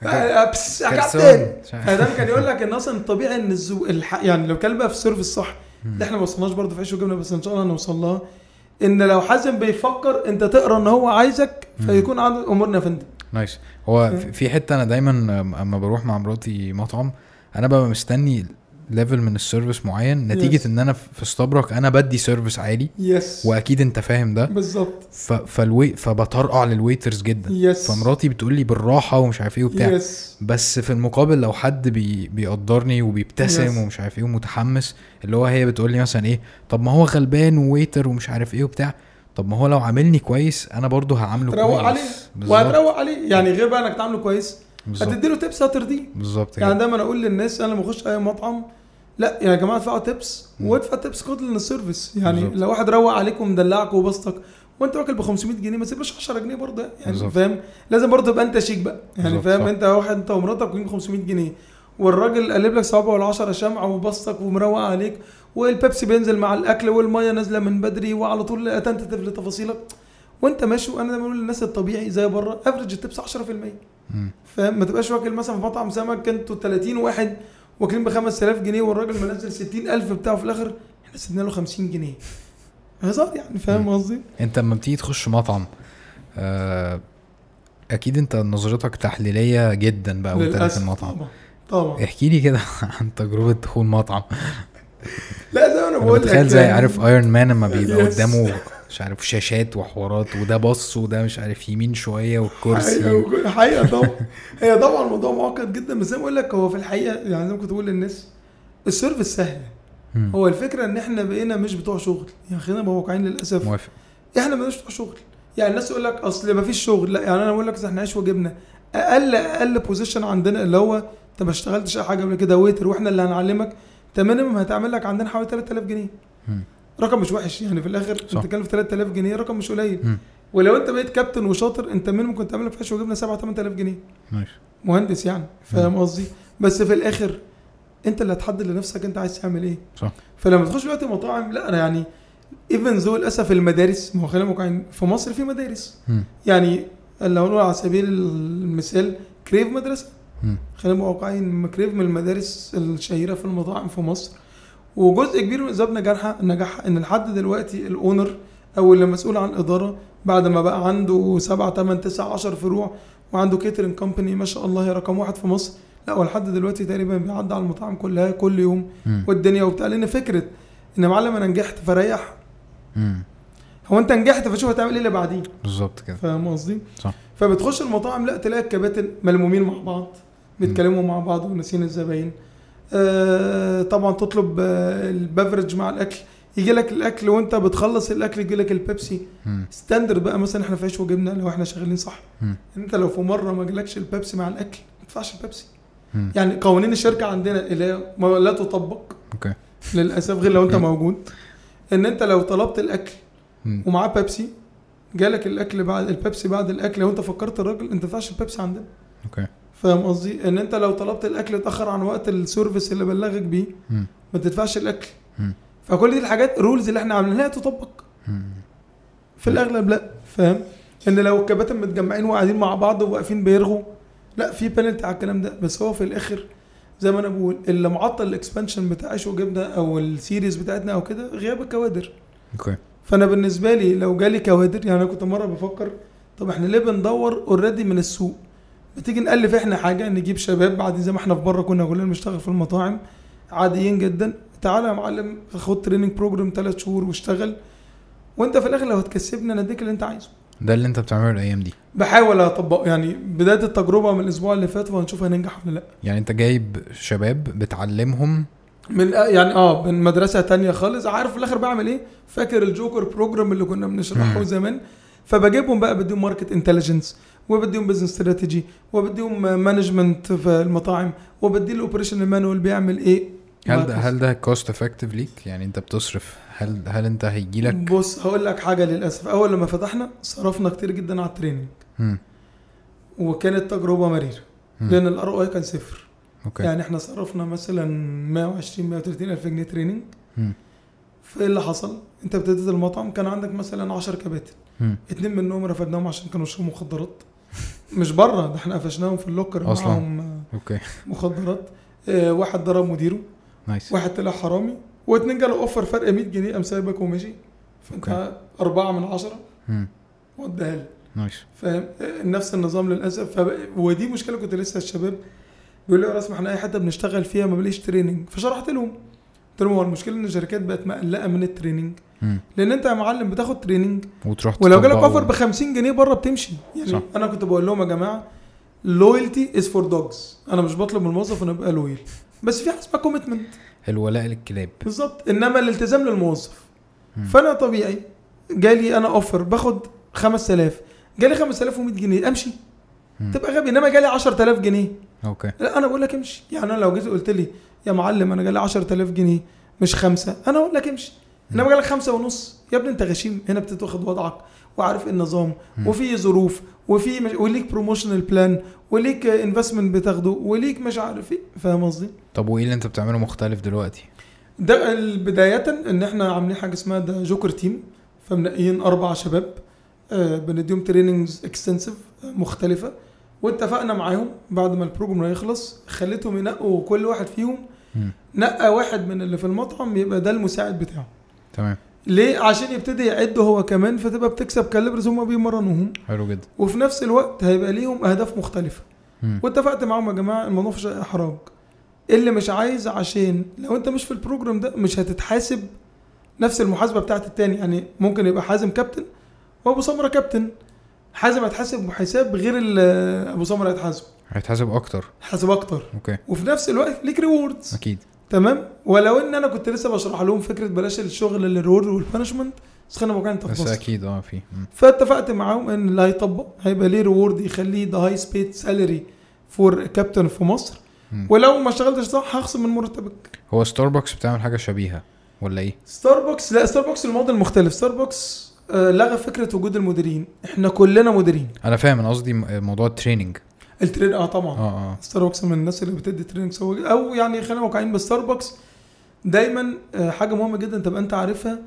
Speaker 2: ابس يا
Speaker 1: كرسون.
Speaker 2: كابتن آه،
Speaker 1: مش عارف.
Speaker 2: ادم كان يقول لك ان اصلا الطبيعي ان الزو... الح... يعني لو كان بقى في السيرفيس صح ده احنا ما وصلناش برضه في عيش وجبنه بس ان شاء الله هنوصل لها ان لو حازم بيفكر انت تقرا ان هو عايزك فيكون عنده امورنا يا فندم
Speaker 1: نايس هو في- في حته انا دايما اما بروح مع مراتي مطعم انا ببقى مستني ليفل من السيرفيس معين نتيجه
Speaker 2: Yes.
Speaker 1: ان انا في استبرك انا بدي سيرفيس عالي
Speaker 2: يس
Speaker 1: واكيد انت فاهم ده
Speaker 2: بالظبط
Speaker 1: ف... فالوي فبطرقع للويترز جدا
Speaker 2: يس
Speaker 1: فمراتي بتقول لي بالراحه ومش عارف ايه وبتاع
Speaker 2: يس
Speaker 1: بس في المقابل لو حد بي بيقدرني وبيبتسم
Speaker 2: Yes.
Speaker 1: ومش عارف ايه ومتحمس اللي هو هي بتقول لي مثلا ايه طب ما هو غلبان وويتر ومش عارف ايه وبتاع طب ما هو لو عاملني كويس انا برضه هعامله
Speaker 2: تروق عليه
Speaker 1: كويس بالظبط
Speaker 2: وهتروق عليه يعني غير بقى انك تعامله كويس
Speaker 1: بالظبط
Speaker 2: هتديله تبس هترضيه
Speaker 1: بالظبط
Speaker 2: يعني
Speaker 1: يعني
Speaker 2: دايما اقول للناس انا لما اخش اي مطعم لا يعني يا جماعه ادفعوا تيبس
Speaker 1: مم.
Speaker 2: وادفع تيبس كود للسيرفيس يعني
Speaker 1: بالظبط.
Speaker 2: لو واحد روق عليك ومدلعك وبسطك وانت واكل ب 500 جنيه ما تسيبش 10 جنيه برضه يعني
Speaker 1: بالظبط.
Speaker 2: فاهم لازم برضه تبقى انت شيك بقى يعني
Speaker 1: بالظبط،
Speaker 2: فاهم
Speaker 1: صح.
Speaker 2: انت واحد انت ومراتك ب 500 جنيه والراجل قلب لك صوابعه ولا 10 شمعه وبسطك ومروق عليك والبيبسي بينزل مع الاكل والميه نازله من بدري وعلى طول اتنتف لتفاصيلك وانت ماشي وانا دايما بقول للناس الطبيعي زي بره افرج التبس 10%
Speaker 1: مم.
Speaker 2: فاهم ما تبقاش واكل مثلا في مطعم سمك انتوا 30 واحد واكلين ب 5000 جنيه والراجل منزل 60000 بتاعه في الاخر احنا سيبنا له 50 جنيه هزار يعني فاهم قصدي؟
Speaker 1: انت لما بتيجي تخش مطعم آه اكيد انت نظرتك تحليليه جدا بقى وانت داخل المطعم إيه.
Speaker 2: طبعا طبعا
Speaker 1: احكي لي كده عن تجربه دخول مطعم
Speaker 2: لا زي ما انا
Speaker 1: انا
Speaker 2: بقول لك
Speaker 1: متخيل زي
Speaker 2: يعني
Speaker 1: عارف ايرون مان لما بيبقى
Speaker 2: Yes.
Speaker 1: قدامه مش عارف شاشات وحوارات وده بص وده مش عارف يمين شويه والكرسي و...
Speaker 2: حقيقة- حقيقة طبعا هي طبعا الموضوع معقد جدا بس زي ما بقول لك هو في الحقيقه يعني زي ما كنت بقول للناس السيرفيس سهله
Speaker 1: مم.
Speaker 2: هو الفكره ان احنا بقينا مش بتوع شغل يعني خلينا نبقى واقعيين للاسف
Speaker 1: موافق
Speaker 2: احنا مالناش بتوع شغل يعني الناس يقول لك اصل ما فيش شغل لا يعني انا بقول لك أصل احنا عيش وجبنه اقل اقل بوزيشن عندنا اللي هو انت ما اشتغلتش اي حاجه قبل كده ويتر واحنا اللي هنعلمك انت مينيمم هتعمل لك عندنا حوالي 3000 جنيه
Speaker 1: مم.
Speaker 2: رقم مش وحش يعني في الاخر انت
Speaker 1: صح.
Speaker 2: بتتكلم في 3000 جنيه رقم مش قليل
Speaker 1: مم.
Speaker 2: ولو انت بقيت كابتن وشاطر انت مينيمم كنت تعمل في عيش وجبنه 7 8000 جنيه
Speaker 1: ماشي
Speaker 2: مهندس يعني فاهم قصدي بس في الاخر انت اللي هتحدد لنفسك انت عايز تعمل ايه
Speaker 1: صح
Speaker 2: فلما تخش دلوقتي مطاعم لا انا يعني ايفن ذو للاسف المدارس ما هو خلينا واقعيين في مصر في مدارس
Speaker 1: مم.
Speaker 2: يعني لو نقول على سبيل المثال كريف مدرسه
Speaker 1: مم.
Speaker 2: خلينا نبقى واقعيين كريف من المدارس الشهيره في المطاعم في مصر وجزء كبير من اسباب نجاحها نجاحها ان لحد دلوقتي الاونر او اللي مسؤول عن الاداره بعد ما بقى عنده 7 8 9 10 فروع وعنده كيترن كومباني ما شاء الله هي رقم واحد في مصر لا ولحد دلوقتي تقريبا بيعدي على المطاعم كلها كل يوم
Speaker 1: مم.
Speaker 2: والدنيا وبتاع لان فكره ان يا معلم انا نجحت فريح
Speaker 1: مم.
Speaker 2: هو انت نجحت فشوف هتعمل ايه اللي بعديه
Speaker 1: بالظبط كده
Speaker 2: فاهم قصدي؟
Speaker 1: صح.
Speaker 2: فبتخش المطاعم لا تلاقي الكباتن ملمومين مع بعض بيتكلموا مع بعض وناسين الزباين آه طبعا تطلب آه البفرج مع الاكل يجي لك الاكل وانت بتخلص الاكل يجي لك البيبسي
Speaker 1: مم.
Speaker 2: ستاندرد بقى مثلا احنا في عيش وجبنه لو احنا شغالين صح
Speaker 1: مم.
Speaker 2: انت لو في مره ما جالكش البيبسي مع الاكل ما تدفعش البيبسي
Speaker 1: مم.
Speaker 2: يعني قوانين الشركه عندنا اللي هي ما لا تطبق
Speaker 1: اوكي
Speaker 2: للاسف غير لو انت
Speaker 1: مم.
Speaker 2: موجود ان انت لو طلبت الاكل
Speaker 1: مم.
Speaker 2: ومعاه بيبسي جالك الاكل بعد البيبسي بعد الاكل لو انت فكرت الراجل انت ما تدفعش البيبسي عندنا
Speaker 1: اوكي
Speaker 2: فاهم قصدي ان انت لو طلبت الاكل اتاخر عن وقت السيرفيس اللي بلغك بيه
Speaker 1: مم.
Speaker 2: ما تدفعش الاكل
Speaker 1: مم.
Speaker 2: فكل دي الحاجات رولز اللي احنا عاملينها تطبق
Speaker 1: مم.
Speaker 2: في الاغلب لا فاهم ان لو الكباتن متجمعين وقاعدين مع بعض وواقفين بيرغوا لا في بنالتي على الكلام ده بس هو في الاخر زي ما انا بقول اللي معطل الاكسبانشن بتاع عيش وجبنه او السيريز بتاعتنا او كده غياب الكوادر
Speaker 1: اوكي
Speaker 2: فانا بالنسبه لي لو جالي كوادر يعني انا كنت مره بفكر طب احنا ليه بندور اوريدي من السوق ما تيجي نالف احنا حاجه نجيب شباب بعد زي ما احنا في بره كنا كلنا بنشتغل في المطاعم عاديين جدا تعالى يا معلم خد تريننج بروجرام ثلاث شهور واشتغل وانت في الاخر لو هتكسبني انا اديك اللي انت عايزه
Speaker 1: ده اللي انت بتعمله الايام دي
Speaker 2: بحاول اطبقه يعني بدايه التجربه من الاسبوع اللي فات وهنشوف هننجح ولا لا
Speaker 1: يعني انت جايب شباب بتعلمهم
Speaker 2: من يعني اه من مدرسه تانية خالص عارف في الاخر بعمل ايه فاكر الجوكر بروجرام اللي كنا بنشرحه
Speaker 1: مم.
Speaker 2: زمان فبجيبهم بقى بديهم ماركت انتليجنس وبديهم بزنس استراتيجي وبديهم مانجمنت في المطاعم وبدي الاوبريشن مانوال بيعمل ايه
Speaker 1: هل ده هل ده كوست افكتيف ليك يعني انت بتصرف هل هل انت هيجي لك
Speaker 2: بص هقول لك حاجه للاسف اول لما فتحنا صرفنا كتير جدا على التريننج وكانت تجربه مريره لان الار او اي كان صفر
Speaker 1: اوكي
Speaker 2: يعني احنا صرفنا مثلا 120 130 الف جنيه تريننج
Speaker 1: مم.
Speaker 2: فايه اللي حصل؟ انت ابتديت المطعم كان عندك مثلا 10 كباتن
Speaker 1: مم.
Speaker 2: اتنين منهم رفدناهم عشان كانوا يشربوا مخدرات مش بره ده احنا قفشناهم في اللوكر
Speaker 1: أصلاً.
Speaker 2: معاهم آه،
Speaker 1: اوكي
Speaker 2: مخدرات آه، واحد ضرب مديره
Speaker 1: نايس
Speaker 2: واحد طلع حرامي واتنين جاله اوفر فرق 100 جنيه قام سايبك ومشي فانت أربعة من عشرة
Speaker 1: مم.
Speaker 2: وديها لي
Speaker 1: نايس
Speaker 2: فاهم آه، نفس النظام للاسف فب... ودي مشكله كنت لسه الشباب بيقول لي يا رسمي احنا اي حته بنشتغل فيها ما بليش تريننج فشرحت لهم قلت لهم هو المشكله ان الشركات بقت مقلقه من التريننج
Speaker 1: مم.
Speaker 2: لان انت يا معلم بتاخد تريننج
Speaker 1: وتروح
Speaker 2: ولو جالك
Speaker 1: تطبقه.
Speaker 2: اوفر ب 50 جنيه بره بتمشي يعني
Speaker 1: صح.
Speaker 2: صح. انا كنت بقول لهم يا جماعه لويالتي از فور دوجز انا مش بطلب من الموظف انه يبقى لويال بس في حاجه اسمها كوميتمنت
Speaker 1: الولاء للكلاب
Speaker 2: بالظبط انما الالتزام للموظف
Speaker 1: مم.
Speaker 2: فانا طبيعي جالي انا اوفر باخد 5000 جالي 5100 جنيه امشي
Speaker 1: مم.
Speaker 2: تبقى غبي انما جالي 10000 جنيه
Speaker 1: اوكي
Speaker 2: لا انا بقول لك امشي يعني انا لو جيت قلت لي يا معلم انا جالي 10000 جنيه مش خمسه انا اقول لك امشي انما جالك خمسه ونص يا ابني انت غشيم هنا بتتاخد وضعك وعارف إيه النظام وفي ظروف وفي مش... وليك بروموشنال بلان وليك انفستمنت بتاخده وليك مش عارف ايه فاهم قصدي؟
Speaker 1: طب وايه اللي انت بتعمله مختلف دلوقتي
Speaker 2: ده ال- بداية ان احنا عاملين حاجة اسمها ده جوكر تيم فمنقيين اربع شباب آه، بنديهم تريننجز اكستنسيف مختلفة واتفقنا معاهم بعد ما البروجرام يخلص خليتهم ينقوا كل واحد فيهم
Speaker 1: مم.
Speaker 2: نقى واحد من اللي في المطعم يبقى ده المساعد بتاعه
Speaker 1: تمام
Speaker 2: ليه عشان يبتدي يعد هو كمان فتبقى بتكسب كالبرز هم بيمرنوهم
Speaker 1: حلو جدا
Speaker 2: وفي نفس الوقت هيبقى ليهم اهداف مختلفه
Speaker 1: مم.
Speaker 2: واتفقت معاهم يا جماعه الموضوع مش احراج اللي مش عايز عشان لو انت مش في البروجرام ده مش هتتحاسب نفس المحاسبه بتاعت التاني يعني ممكن يبقى حازم كابتن وابو سمره كابتن حازم هيتحاسب بحساب غير ال- ابو سمره هيتحاسب
Speaker 1: هيتحاسب اكتر
Speaker 2: حاسب اكتر
Speaker 1: اوكي
Speaker 2: وفي نفس الوقت ليك ريوردز
Speaker 1: اكيد
Speaker 2: تمام ولو ان انا كنت لسه بشرح لهم فكره بلاش الشغل الريورد والبانشمنت بس خلينا بقى انت في
Speaker 1: بس
Speaker 2: مصر.
Speaker 1: اكيد اه في مم.
Speaker 2: فاتفقت معاهم ان اللي هيطبق هيبقى ليه ريورد يخليه ذا هاي سبيد سالري فور كابتن في مصر
Speaker 1: مم.
Speaker 2: ولو ما اشتغلتش صح هخصم من مرتبك
Speaker 1: هو ستاربكس بتعمل حاجه شبيهه ولا ايه
Speaker 2: ستاربكس لا ستاربكس الموديل مختلف ستاربكس آه، لغى فكره وجود المديرين احنا كلنا مديرين
Speaker 1: انا فاهم انا قصدي م- موضوع التريننج
Speaker 2: الترين اه طبعا
Speaker 1: اه اه
Speaker 2: ستاربكس من الناس اللي بتدي تريننج سواء- او يعني خلينا واقعيين بس ستاربكس دايما آه، حاجه مهمه جدا تبقى انت عارفها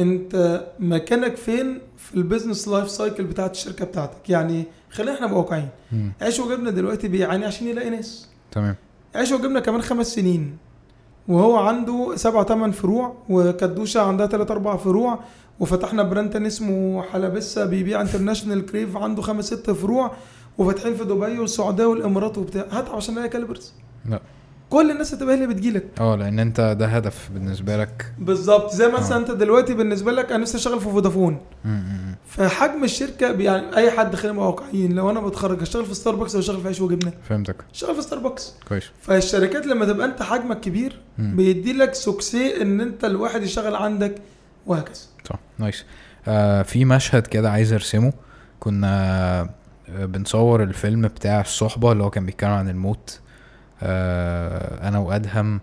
Speaker 2: انت مكانك فين في البيزنس لايف سايكل بتاعت الشركه بتاعتك يعني خلينا احنا نبقى واقعيين
Speaker 1: مم.
Speaker 2: عيش وجبنه دلوقتي بيعاني عشان يلاقي ناس
Speaker 1: تمام
Speaker 2: عيش وجبنه كمان خمس سنين وهو عنده سبع تمن فروع وكدوشه عندها تلات اربع فروع وفتحنا براند تاني اسمه حلبسه بيبيع انترناشونال كريف عنده خمس ست فروع وفاتحين في دبي والسعوديه والامارات وبتاع هتعب عشان الاقي كالبرز
Speaker 1: لا
Speaker 2: كل الناس هتبقى هي اللي بتجيلك
Speaker 1: اه لان انت ده هدف بالنسبه لك
Speaker 2: بالظبط زي
Speaker 1: آه.
Speaker 2: مثلا انت دلوقتي بالنسبه لك انا نفسي اشتغل في فودافون
Speaker 1: م- م-
Speaker 2: فحجم الشركه بي- يعني اي حد خلينا نبقى واقعيين لو انا بتخرج هشتغل في ستاربكس ولا اشتغل في عيش وجبنه
Speaker 1: م. فهمتك
Speaker 2: اشتغل في ستاربكس
Speaker 1: كويس
Speaker 2: فالشركات لما تبقى انت حجمك كبير
Speaker 1: م.
Speaker 2: بيدي لك سوكسي ان انت الواحد يشتغل عندك وهكذا
Speaker 1: صح نايس آه في مشهد كده عايز ارسمه كنا آه، بنصور الفيلم بتاع الصحبة اللي هو كان بيتكلم عن الموت آه انا وادهم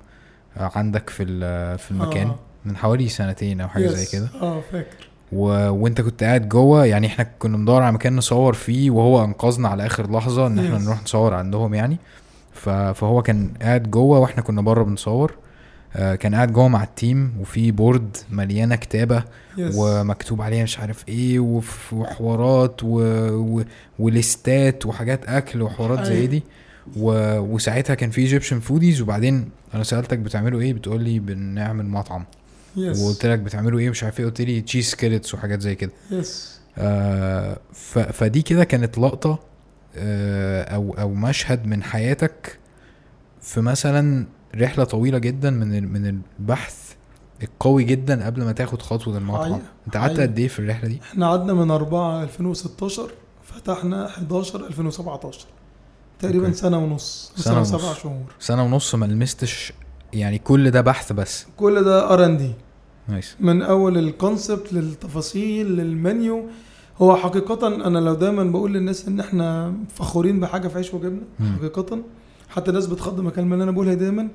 Speaker 1: آه، عندك في ال- في المكان
Speaker 2: آه.
Speaker 1: من حوالي سنتين او حاجه زي
Speaker 2: Yes.
Speaker 1: كده
Speaker 2: اه فاكر
Speaker 1: و... وانت كنت قاعد جوه يعني احنا كنا بندور على مكان نصور فيه وهو انقذنا على اخر لحظه ان احنا
Speaker 2: Yes.
Speaker 1: نروح نصور عندهم يعني ف... فهو كان قاعد جوه واحنا كنا بره بنصور آه كان قاعد جوه مع التيم وفي بورد مليانه كتابه
Speaker 2: يس
Speaker 1: ومكتوب عليها مش عارف ايه وف- وحوارات و... و... وليستات وحاجات اكل وحوارات زي
Speaker 2: أيوة.
Speaker 1: دي و... وساعتها كان في ايجيبشن فوديز وبعدين انا سالتك بتعملوا ايه بتقول لي بنعمل مطعم
Speaker 2: يس
Speaker 1: وقلت لك بتعملوا ايه مش عارف ايه قلت لي تشيز سكيلتس وحاجات زي كده
Speaker 2: يس
Speaker 1: آه ف... فدي كده كانت لقطه آه او او مشهد من حياتك في مثلا رحله طويله جدا من ال- من البحث القوي جدا قبل ما تاخد خطوه المطعم
Speaker 2: حقيقة.
Speaker 1: انت قعدت
Speaker 2: حقيقة.
Speaker 1: قد ايه في الرحله دي
Speaker 2: احنا قعدنا من 4 2016 فتحنا 11 2017 تقريبا
Speaker 1: أوكي.
Speaker 2: سنه ونص
Speaker 1: سنة
Speaker 2: سنه,
Speaker 1: ونص.
Speaker 2: وسبع شهور
Speaker 1: سنه ونص ما لمستش يعني كل ده بحث بس
Speaker 2: كل ده ار ان دي
Speaker 1: نايس
Speaker 2: من اول الكونسبت للتفاصيل للمنيو هو حقيقة أنا لو دايما بقول للناس إن إحنا فخورين بحاجة في عيش وجبنة
Speaker 1: مم.
Speaker 2: حقيقة حتى الناس بتخض مكالمة اللي أنا بقولها دايما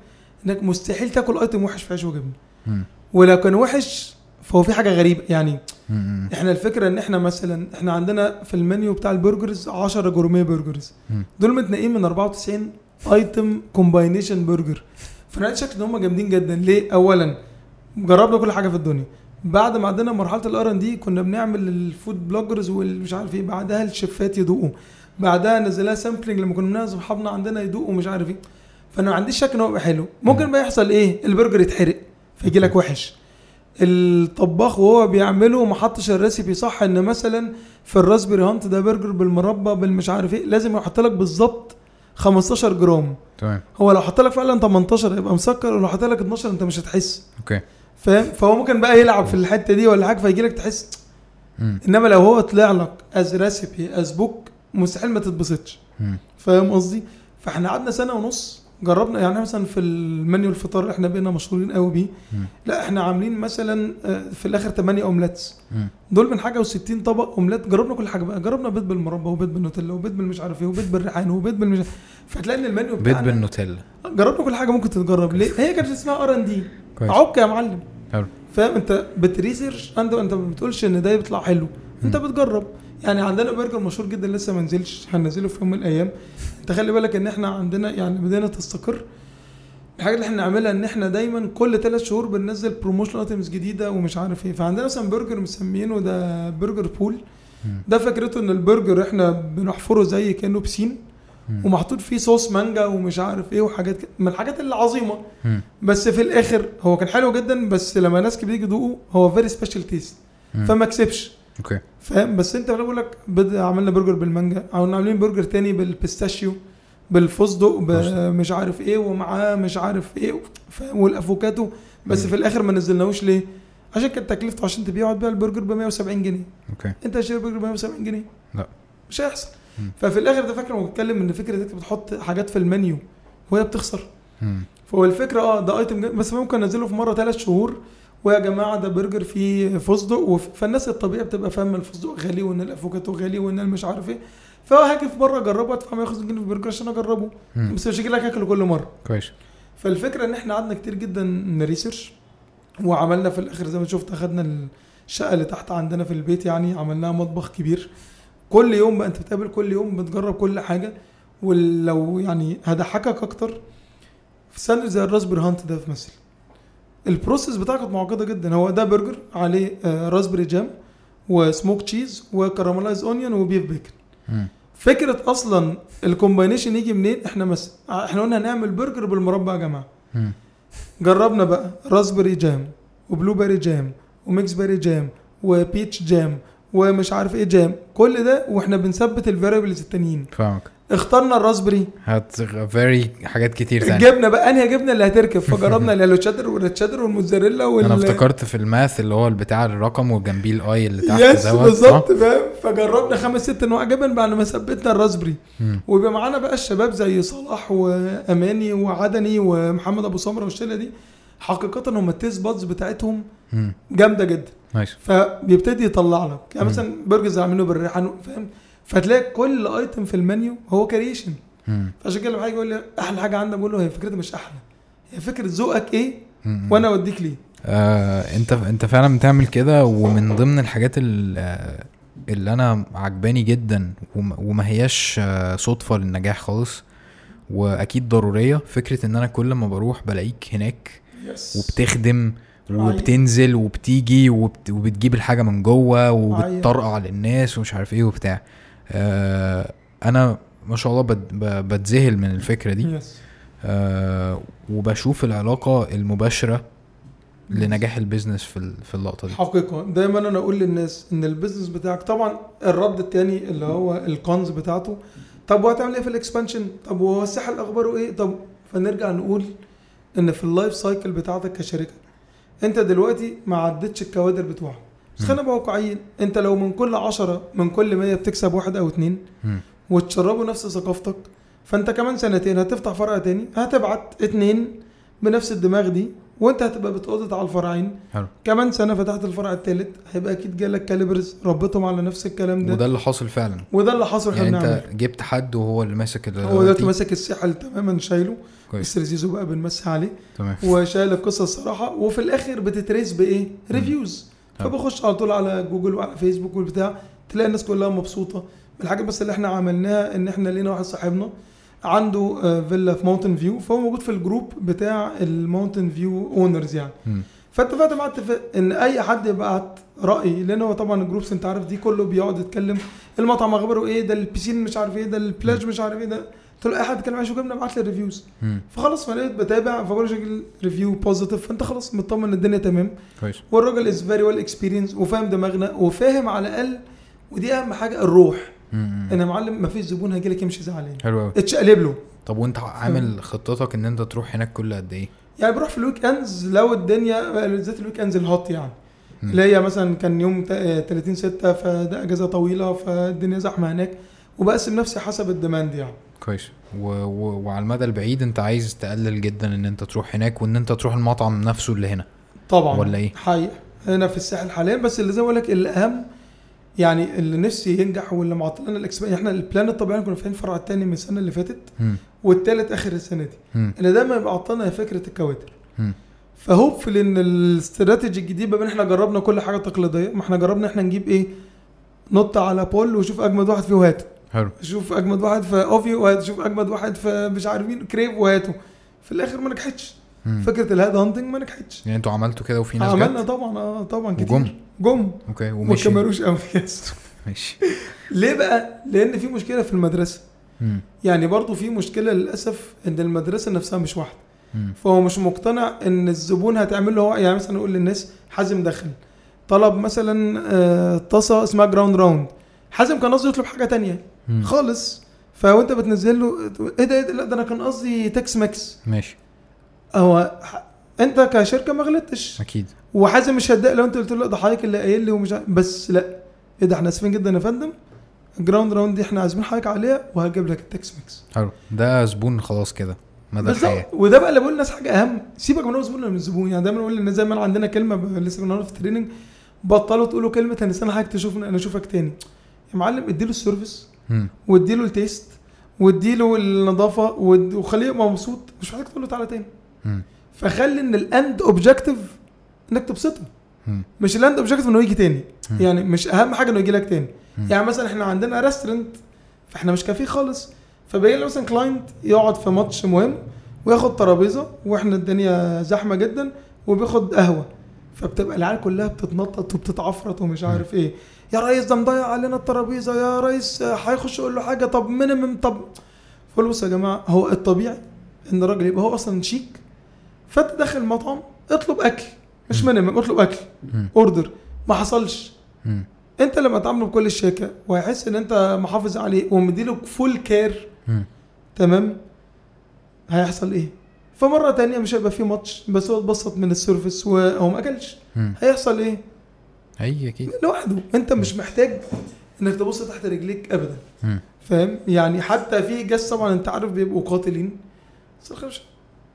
Speaker 2: إنك مستحيل تاكل أيتم وحش في عيش وجبنة
Speaker 1: مم.
Speaker 2: ولو كان وحش فهو في حاجة غريبة يعني
Speaker 1: مم.
Speaker 2: إحنا الفكرة إن إحنا مثلا إحنا عندنا في المنيو بتاع البرجرز 10 جورميه برجرز
Speaker 1: مم.
Speaker 2: دول متنقين من 94 ايتم كومباينيشن برجر فانا عندي شك ان هم جامدين جدا ليه اولا جربنا كل حاجه في الدنيا بعد ما عدينا مرحله الار ان دي كنا بنعمل الفود بلوجرز والمش عارف ايه بعدها الشيفات يدوقوا بعدها نزلها سامبلنج لما كنا بنعمل صحابنا عندنا يدوقوا مش عارف ايه فانا ما عنديش شك ان هو يبقى حلو ممكن بقى يحصل ايه البرجر يتحرق فيجي لك وحش الطباخ وهو بيعمله ما حطش الريسيبي صح ان مثلا في الراسبيري هانت ده برجر بالمربى بالمش عارف ايه لازم يحط لك بالظبط 15 جرام
Speaker 1: تمام
Speaker 2: هو لو حط لك فعلا 18 هيبقى مسكر ولو حط لك 12 انت مش هتحس
Speaker 1: اوكي
Speaker 2: فاهم فهو ممكن بقى يلعب في الحته دي ولا حاجه فيجي لك تحس
Speaker 1: مم.
Speaker 2: انما لو هو طلع لك از ريسيبي از بوك مستحيل ما تتبسطش
Speaker 1: مم.
Speaker 2: فاهم قصدي فاحنا قعدنا سنه ونص جربنا يعني مثلا في المنيو الفطار اللي احنا بقينا مشهورين قوي بيه
Speaker 1: مم.
Speaker 2: لا احنا عاملين مثلا آه، في الاخر 8 اومليتس
Speaker 1: مم.
Speaker 2: دول من حاجه و60 طبق اومليت جربنا كل حاجه بقى جربنا بيض بالمربى وبيض بالنوتيلا وبيض بالمش عارف ايه وبيض بالريحان وبيض بالمش إيه. فتلاقي ان المنيو
Speaker 1: بيض
Speaker 2: بتاعنا
Speaker 1: بالنوتيلا
Speaker 2: جربنا كل حاجه ممكن تتجرب ليه هي كانت اسمها ار ان دي
Speaker 1: كويس
Speaker 2: عك يا معلم
Speaker 1: حلو.
Speaker 2: فاهم انت بتريسيرش انت انت ما بتقولش ان ده بيطلع حلو انت بتجرب يعني عندنا برجر مشهور جدا لسه ما نزلش هننزله في يوم من الايام انت خلي بالك ان احنا عندنا يعني بدينا تستقر الحاجه اللي احنا بنعملها ان احنا دايما كل ثلاث شهور بننزل بروموشن ايتمز جديده ومش عارف ايه فعندنا مثلا برجر مسمينه ده برجر بول
Speaker 1: مم.
Speaker 2: ده فكرته ان البرجر احنا بنحفره زي كانه بسين
Speaker 1: مم.
Speaker 2: ومحطوط فيه صوص مانجا ومش عارف ايه وحاجات كده من الحاجات العظيمه
Speaker 1: مم.
Speaker 2: بس في الاخر هو كان حلو جدا بس لما ناس كتير يدوقوا هو فيري سبيشال تيست
Speaker 1: مم.
Speaker 2: فما كسبش
Speaker 1: اوكي
Speaker 2: فاهم بس انت انا بقول لك بد- عملنا برجر بالمانجا او عاملين برجر تاني بالبيستاشيو بالفستق ب- مش عارف ايه ومعاه مش عارف ايه فاهم والافوكاتو بس
Speaker 1: مم.
Speaker 2: في الاخر ما نزلناهوش ليه؟ عشان كانت تكلفته عشان تبيعه هتبيع البرجر ب 170 جنيه
Speaker 1: اوكي
Speaker 2: انت هتشتري برجر ب 170 جنيه
Speaker 1: لا.
Speaker 2: مش هيحصل
Speaker 1: مم.
Speaker 2: ففي الاخر ده فاكر لما بتكلم ان فكره انك بتحط حاجات في المنيو وهي بتخسر
Speaker 1: مم.
Speaker 2: فهو الفكره اه ده ايتم جامد، بس ممكن انزله في مره ثلاث شهور ويا جماعه ده برجر فيه فستق وف... فالناس الطبيعي بتبقى فاهمه الفستق غالي وان الافوكاتو غالي وان المش عارف ايه فهاجي في مره اجربه ادفع 150 جنيه في برجر عشان اجربه
Speaker 1: مم.
Speaker 2: بس مش هجي لك اكله كل مره
Speaker 1: Hmm. كويس
Speaker 2: فالفكره ان احنا قعدنا كتير جدا نريسيرش وعملنا في الاخر زي ما شفت اخدنا الشقه اللي تحت عندنا في البيت يعني عملناها مطبخ كبير كل يوم بقى انت بتقابل كل يوم بتجرب كل حاجه ولو يعني هضحكك اكتر في ساندوتش زي الراسبر هانت ده في مثل البروسيس بتاعه كانت معقده جدا هو ده برجر عليه آه، راسبري جام وسموك تشيز وكراملايز اونيون وبيف بيكن
Speaker 1: مم.
Speaker 2: فكره اصلا الكومباينيشن يجي منين احنا مس... احنا قلنا هنعمل برجر بالمربى يا جماعه
Speaker 1: مم.
Speaker 2: جربنا بقى راسبري جام وبلو بيري جام وميكس بيري جام إيه وبيتش جام ومش عارف ايه جام كل ده واحنا بنثبت الفاريبلز التانيين
Speaker 1: فاهمك
Speaker 2: اخترنا الراسبري
Speaker 1: هات فيري حاجات كتير تانية
Speaker 2: الجبنه بقى انهي جبنه اللي هتركب فجربنا الهالو تشيدر والريد تشيدر والموتزاريلا وال
Speaker 1: انا افتكرت في الماث اللي هو بتاع الرقم وجنبيه الاي اللي تحت
Speaker 2: يس
Speaker 1: دوت،
Speaker 2: بالظبط
Speaker 1: صح؟
Speaker 2: فاهم فجربنا خمس ست انواع جبن بعد ما ثبتنا الراسبري
Speaker 1: مم.
Speaker 2: ويبقى معانا بقى الشباب زي صلاح واماني وعدني ومحمد ابو سمره والشله دي حقيقه هم التيست بادز بتاعتهم
Speaker 1: مم.
Speaker 2: جامده جدا
Speaker 1: Hmm. نايس
Speaker 2: فبيبتدي يطلع لك يعني
Speaker 1: مم.
Speaker 2: مثلا برجرز عاملينه بالريحان فاهم فتلاقي كل ايتم في المنيو هو كريشن
Speaker 1: مم.
Speaker 2: فعشان كده لما حد يقول لي احلى حاجه عندك بقول له هي فكرتي مش احلى هي فكره ذوقك ايه
Speaker 1: مم.
Speaker 2: وانا اوديك ليه
Speaker 1: Hmm. آه، انت انت فعلا بتعمل كده ومن ضمن الحاجات ال- آه، اللي انا عجباني جدا وم- وما هياش آه، صدفه للنجاح خالص واكيد ضروريه فكره ان انا كل ما بروح بلاقيك هناك
Speaker 2: يس
Speaker 1: وبتخدم
Speaker 2: أيوة.
Speaker 1: وبتنزل وبتيجي وبت... وبتجيب الحاجه من جوه
Speaker 2: أيوه.
Speaker 1: وبتطرقع للناس ومش عارف ايه وبتاع آه انا ما شاء الله بت... ب- بتذهل من الفكره دي
Speaker 2: يس
Speaker 1: آه وبشوف العلاقه المباشره لنجاح البيزنس في ال- في اللقطه دي
Speaker 2: حقيقة دايما انا اقول للناس ان البيزنس بتاعك طبعا الرد التاني اللي هو الكونز بتاعته طب وهتعمل ايه في الاكسبانشن طب وهو الساحل اخباره ايه طب فنرجع نقول ان في اللايف سايكل بتاعتك كشركة انت دلوقتي ما عدتش الكوادر بتوعك بس خلينا نبقى واقعيين انت لو من كل عشرة من كل مية بتكسب واحد او اتنين
Speaker 1: مم.
Speaker 2: وتشربوا نفس ثقافتك فانت كمان سنتين هتفتح فرع تاني هتبعت اتنين بنفس الدماغ دي وانت هتبقى بتقضت على الفرعين
Speaker 1: حلو
Speaker 2: كمان سنه فتحت الفرع الثالث هيبقى اكيد جالك كاليبرز ربطهم على نفس الكلام ده
Speaker 1: وده اللي حاصل فعلا
Speaker 2: وده اللي حصل احنا
Speaker 1: يعني
Speaker 2: بنعمله
Speaker 1: انت جبت حد وهو اللي ماسك ال-
Speaker 2: هو دلوقتي ماسك الساحل تماما شايله
Speaker 1: كويس
Speaker 2: مستر زيزو بقى بنمسح عليه
Speaker 1: تمام
Speaker 2: وشايل القصه الصراحه وفي الاخر بتتريس بايه؟ ريفيوز
Speaker 1: حلو.
Speaker 2: فبخش على طول على جوجل وعلى فيسبوك والبتاع تلاقي الناس كلها مبسوطه الحاجه بس اللي احنا عملناها ان احنا لقينا واحد صاحبنا عنده آه، فيلا في ماونتن فيو فهو موجود في الجروب بتاع الماونتن فيو اونرز يعني
Speaker 1: مم.
Speaker 2: فاتفقت مع اتفاق ان اي حد يبعت راي لان هو طبعا الجروبس انت عارف دي كله بيقعد يتكلم المطعم اخباره ايه ده البيسين مش عارف ايه ده البلاج مش عارف ايه ده قلت له اي حد يتكلم عن جبنه ابعت لي الريفيوز
Speaker 1: مم.
Speaker 2: فخلاص فلقيت بتابع فبقول شكل ريفيو بوزيتيف فانت خلاص مطمن إن الدنيا تمام
Speaker 1: كويس
Speaker 2: والراجل از فيري ويل اكسبيرينس وفاهم دماغنا وفاهم على الاقل ودي اهم حاجه الروح
Speaker 1: مم.
Speaker 2: ان يا معلم مفيش زبون هيجي لك يمشي زعلان
Speaker 1: حلو قوي
Speaker 2: اتشقلب له
Speaker 1: طب وانت عامل خطتك ان انت تروح هناك كل قد ايه؟
Speaker 2: يعني بروح في الويك اندز لو الدنيا بالذات الويك اندز الهوت يعني
Speaker 1: مم.
Speaker 2: اللي هي مثلا كان يوم تا- 30 6 فده اجازه طويله فالدنيا زحمه هناك وبقسم نفسي حسب الديماند يعني
Speaker 1: كويس و... و... وعلى المدى البعيد انت عايز تقلل جدا ان انت تروح هناك وان انت تروح المطعم نفسه اللي هنا
Speaker 2: طبعا
Speaker 1: ولا ايه؟
Speaker 2: حقيقة هنا في الساحل حاليا بس اللي زي ما بقول لك الاهم يعني اللي نفسي ينجح واللي معطلنا الاكسبان احنا البلان الطبيعي كنا فاتحين الفرع الثاني من السنه اللي فاتت
Speaker 1: مم.
Speaker 2: والثالث اخر السنه دي
Speaker 1: مم.
Speaker 2: اللي دايما يبقى عطلنا هي فكره الكوادر
Speaker 1: مم.
Speaker 2: فهوبفلي ان الاستراتيجي الجديد بما ان احنا جربنا كل حاجه تقليديه ما احنا جربنا احنا نجيب ايه نط على بول وشوف اجمد واحد فيه وهاته
Speaker 1: حلو
Speaker 2: شوف اجمد واحد في اوفيو وهاته شوف اجمد واحد في مش عارف مين كريب وهاته في الاخر ما نجحتش
Speaker 1: مم.
Speaker 2: فكره الهيد هانتنج ما نجحتش
Speaker 1: يعني انتوا عملتوا كده وفي ناس
Speaker 2: عملنا
Speaker 1: جت
Speaker 2: طبعا اه طبعا كتير
Speaker 1: وجم.
Speaker 2: جم
Speaker 1: اوكي
Speaker 2: وما
Speaker 1: ومشي
Speaker 2: كملوش قوي يس
Speaker 1: ماشي
Speaker 2: ليه بقى؟ لان في مشكله في المدرسه
Speaker 1: مم.
Speaker 2: يعني برضو في مشكله للاسف ان المدرسه نفسها مش واحده
Speaker 1: مم.
Speaker 2: فهو مش مقتنع ان الزبون هتعمل له هو يعني مثلا نقول للناس حازم دخل طلب مثلا آه، طاسه اسمها جراوند راوند حازم كان قصده يطلب حاجه تانية
Speaker 1: مم.
Speaker 2: خالص فوانت بتنزل له تقول، ايه ده ايه ده لا ده انا كان قصدي تكس ماكس
Speaker 1: ماشي
Speaker 2: هو ح- انت كشركه ما غلطتش
Speaker 1: اكيد
Speaker 2: وحازم مش هتضايق لو انت قلت له لا ده حضرتك اللي قايل لي ومش عارف- بس لا ايه ده احنا اسفين جدا يا فندم الجراوند راوند دي احنا عازمين حضرتك عليها وهجيب لك التكس ميكس
Speaker 1: حلو ده زبون خلاص كده مدى الحياه
Speaker 2: بالظبط وده بقى اللي بقول للناس حاجه اهم سيبك من هو زبون ولا من زبون يعني دايما بقول للناس زي ما أنا عندنا كلمه ب- لسه كنا في التريننج بطلوا تقولوا كلمه هنستنى حضرتك تشوفنا انا اشوفك تاني يا معلم اديله السيرفيس
Speaker 1: مم.
Speaker 2: واديله التيست واديله النظافه واد- وخليه يبقى مبسوط مش محتاج تقول له تعالى تاني
Speaker 1: مم.
Speaker 2: فخلي ان الاند اوبجيكتيف انك تبسطه
Speaker 1: مم.
Speaker 2: مش الاند اوبجيكتيف انه يجي تاني
Speaker 1: مم.
Speaker 2: يعني مش اهم حاجه انه يجي لك تاني
Speaker 1: مم.
Speaker 2: يعني مثلا احنا عندنا ريستورنت فاحنا مش كافيه خالص فبيجي لنا مثلا كلاينت يقعد في ماتش مهم وياخد ترابيزه واحنا الدنيا زحمه جدا وبياخد قهوه فبتبقى العيال كلها بتتنطط وبتتعفرط ومش عارف ايه يا ريس ده مضيع علينا الترابيزه يا ريس آه، هيخش يقول له حاجه طب مينيمم طب فقول بصوا يا جماعه هو الطبيعي ان الراجل يبقى هو اصلا شيك فانت داخل المطعم اطلب اكل مش مينيمم اطلب اكل
Speaker 1: مم.
Speaker 2: اوردر ما حصلش
Speaker 1: مم.
Speaker 2: انت لما تعامله بكل الشياكه وهيحس ان انت محافظ عليه ومديله فول كير
Speaker 1: مم.
Speaker 2: تمام هيحصل ايه فمره تانية مش هيبقى فيه ماتش بس هو اتبسط من السيرفيس وهو ما اكلش
Speaker 1: مم.
Speaker 2: هيحصل ايه
Speaker 1: اي اكيد
Speaker 2: لوحده انت مش محتاج انك تبص تحت رجليك ابدا
Speaker 1: مم.
Speaker 2: فاهم يعني حتى في جاس طبعا انت عارف بيبقوا قاتلين بس الخير مش-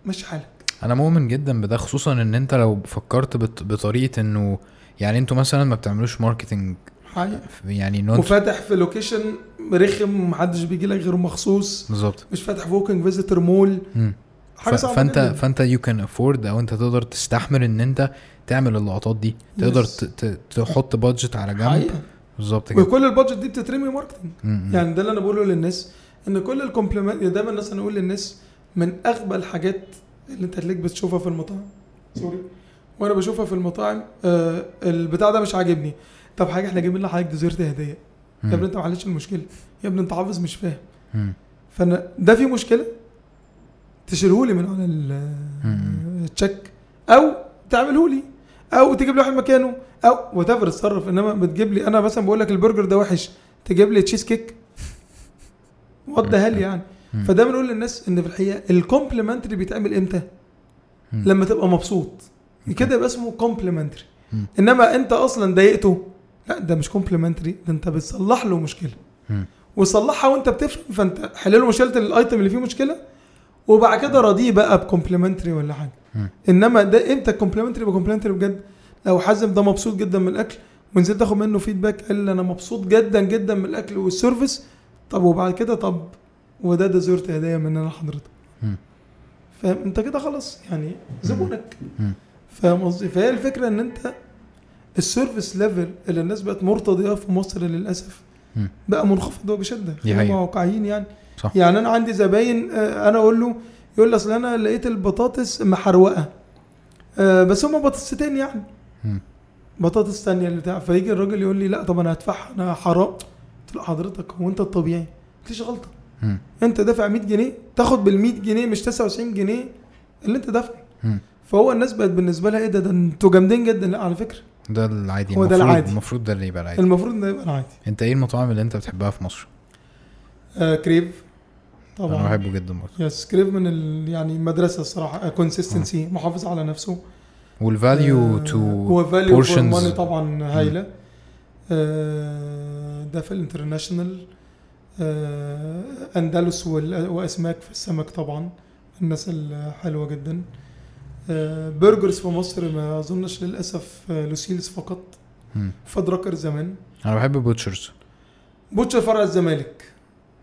Speaker 2: ماشي حالك
Speaker 1: انا مؤمن جدا بده خصوصا ان انت لو فكرت بط... بطريقه انه يعني انتوا مثلا ما بتعملوش ماركتنج
Speaker 2: حقيقة.
Speaker 1: يعني ان انتوا
Speaker 2: وفاتح في لوكيشن رخم محدش بيجي لك غير مخصوص
Speaker 1: بالظبط
Speaker 2: مش فاتح في ووكينج فيزيتور مول
Speaker 1: مم.
Speaker 2: حاجه
Speaker 1: ف...
Speaker 2: صعبه
Speaker 1: فانت
Speaker 2: جداً.
Speaker 1: فانت يو كان افورد او انت تقدر تستحمل ان انت تعمل اللقطات دي تقدر
Speaker 2: Yes.
Speaker 1: ت... ت... تحط بادجت على جنب
Speaker 2: حقيقة.
Speaker 1: بالظبط كده
Speaker 2: وكل البادجت دي بتترمي ماركتنج
Speaker 1: مم.
Speaker 2: يعني ده اللي انا بقوله للناس ان كل الكومبلمنت دايما الناس انا اقول للناس من اغبى الحاجات اللي انت هتلاقيك بتشوفها في المطاعم سوري وانا بشوفها في المطاعم آه البتاع ده مش عاجبني طب حاجه احنا جايبين لحضرتك ديزرت هديه يا ابني
Speaker 1: مم.
Speaker 2: انت معلش المشكله يا ابني انت حافظ مش فاهم
Speaker 1: مم.
Speaker 2: فانا ده في مشكله تشيلهولي من على ال-
Speaker 1: مم.
Speaker 2: التشيك او تعمله لي او تجيب لي واحد مكانه او وات ايفر اتصرف انما بتجيب لي انا مثلا بقول لك البرجر ده وحش تجيب لي تشيز كيك وات ذا هيل يعني
Speaker 1: مم.
Speaker 2: فده بنقول للناس ان في الحقيقه الكومبلمنتري بيتعمل امتى؟
Speaker 1: مم.
Speaker 2: لما تبقى مبسوط كده يبقى اسمه كومبلمنتري
Speaker 1: مم.
Speaker 2: انما انت اصلا ضايقته لا ده مش كومبلمنتري ده انت بتصلح له مشكله
Speaker 1: مم.
Speaker 2: وصلحها وانت بتفهم فانت حل له مشكله الايتم اللي فيه مشكله وبعد كده راضيه بقى بكومبلمنتري ولا حاجه
Speaker 1: مم.
Speaker 2: انما ده امتى الكومبلمنتري بكومبلمنتري بجد لو حازم ده مبسوط جدا من الاكل ونزلت اخد منه فيدباك قال لي انا مبسوط جدا جدا من الاكل والسيرفيس طب وبعد كده طب وده ديزرت هديه مننا لحضرتك
Speaker 1: مم.
Speaker 2: فاهم انت كده خلاص يعني زبونك
Speaker 1: مم.
Speaker 2: فاهم قصدي فهي الفكره ان انت السيرفيس ليفل اللي الناس بقت مرتضيه في مصر للاسف
Speaker 1: مم.
Speaker 2: بقى منخفض وبشده خلينا
Speaker 1: حقيقة.
Speaker 2: واقعيين يعني
Speaker 1: صح.
Speaker 2: يعني انا عندي زباين آه، انا اقول له يقول لي اصل انا لقيت البطاطس محروقه آه، بس هم بطاطستين يعني
Speaker 1: مم.
Speaker 2: بطاطس تانية اللي بتاع فيجي الراجل يقول لي لا طب انا هدفعها انا حرام قلت له حضرتك هو انت الطبيعي مفيش غلطه
Speaker 1: مم.
Speaker 2: انت دافع 100 جنيه تاخد بال 100 جنيه مش 99 جنيه اللي انت دافعه
Speaker 1: مم.
Speaker 2: فهو الناس بقت بالنسبه لها ايه ده ده انتوا جامدين جدا لا على فكره
Speaker 1: ده العادي
Speaker 2: هو ده
Speaker 1: المفروض-
Speaker 2: العادي.
Speaker 1: المفروض ده اللي يبقى العادي
Speaker 2: المفروض ان ده يبقى عادي
Speaker 1: انت ايه المطاعم اللي انت بتحبها في مصر؟
Speaker 2: آه كريف
Speaker 1: انا
Speaker 2: طبعا
Speaker 1: بحبه جدا برضه
Speaker 2: يس كريف من ال... يعني مدرسه الصراحه كونسيستنسي محافظ على نفسه
Speaker 1: والفاليو
Speaker 2: آه،
Speaker 1: تو
Speaker 2: وفاليو فور
Speaker 1: portions.
Speaker 2: ماني طبعا هايله آه، ده في الانترناشونال آه، اندلس وال- واسماك في السمك طبعا الناس الحلوه جدا آه، برجرز في مصر ما اظنش للاسف آه، لوسيلز فقط فدركر زمان
Speaker 1: انا بحب بوتشرز
Speaker 2: بوتشر فرع الزمالك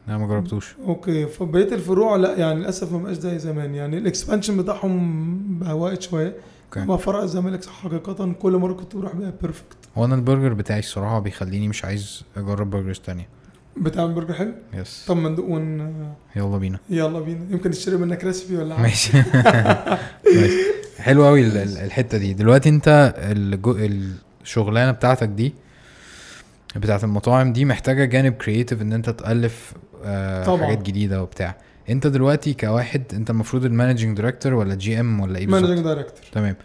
Speaker 1: انا ما جربتوش
Speaker 2: اوكي فبقيه الفروع لا يعني للاسف ما بقاش زي زمان يعني الاكسبانشن بتاعهم بقى واقع شويه
Speaker 1: اوكي.
Speaker 2: ما فرع الزمالك حقيقه كل مره كنت بروح بيها بيرفكت
Speaker 1: هو انا البرجر بتاعي الصراحه بيخليني مش عايز اجرب برجرز تانية
Speaker 2: بتعمل برجر حلو
Speaker 1: يس
Speaker 2: طب ما ندوق ون...
Speaker 1: يلا بينا
Speaker 2: يلا بينا يمكن نشتري منك ريسبي ولا حاجه
Speaker 1: ماشي ماشي. حلو قوي الحته دي دلوقتي انت الجو... الشغلانه بتاعتك دي بتاعت المطاعم دي محتاجه جانب كرييتيف ان انت تالف آه
Speaker 2: طبعا.
Speaker 1: حاجات جديده وبتاع انت دلوقتي كواحد انت المفروض المانجنج دايركتور ولا جي ام ولا ايه بالظبط
Speaker 2: مانجنج دايركتور
Speaker 1: تمام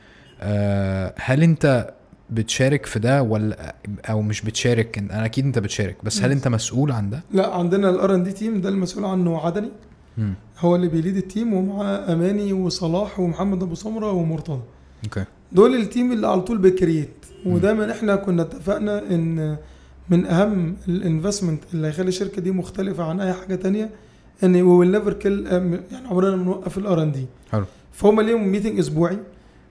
Speaker 1: آه هل انت بتشارك في ده ولا او مش بتشارك انا اكيد انت بتشارك بس هل انت مسؤول عن ده
Speaker 2: لا عندنا الار ان دي تيم ده المسؤول عنه عدني
Speaker 1: مم.
Speaker 2: هو اللي بيليد التيم ومعاه اماني وصلاح ومحمد ابو سمره ومرتضى
Speaker 1: اوكي
Speaker 2: دول التيم اللي على طول بيكريت ودايما احنا كنا اتفقنا ان من اهم الانفستمنت اللي هيخلي الشركه دي مختلفه عن اي حاجه تانية ان وي ويل نيفر كيل يعني عمرنا ما نوقف الار ان دي
Speaker 1: حلو
Speaker 2: فهم ليهم ميتنج اسبوعي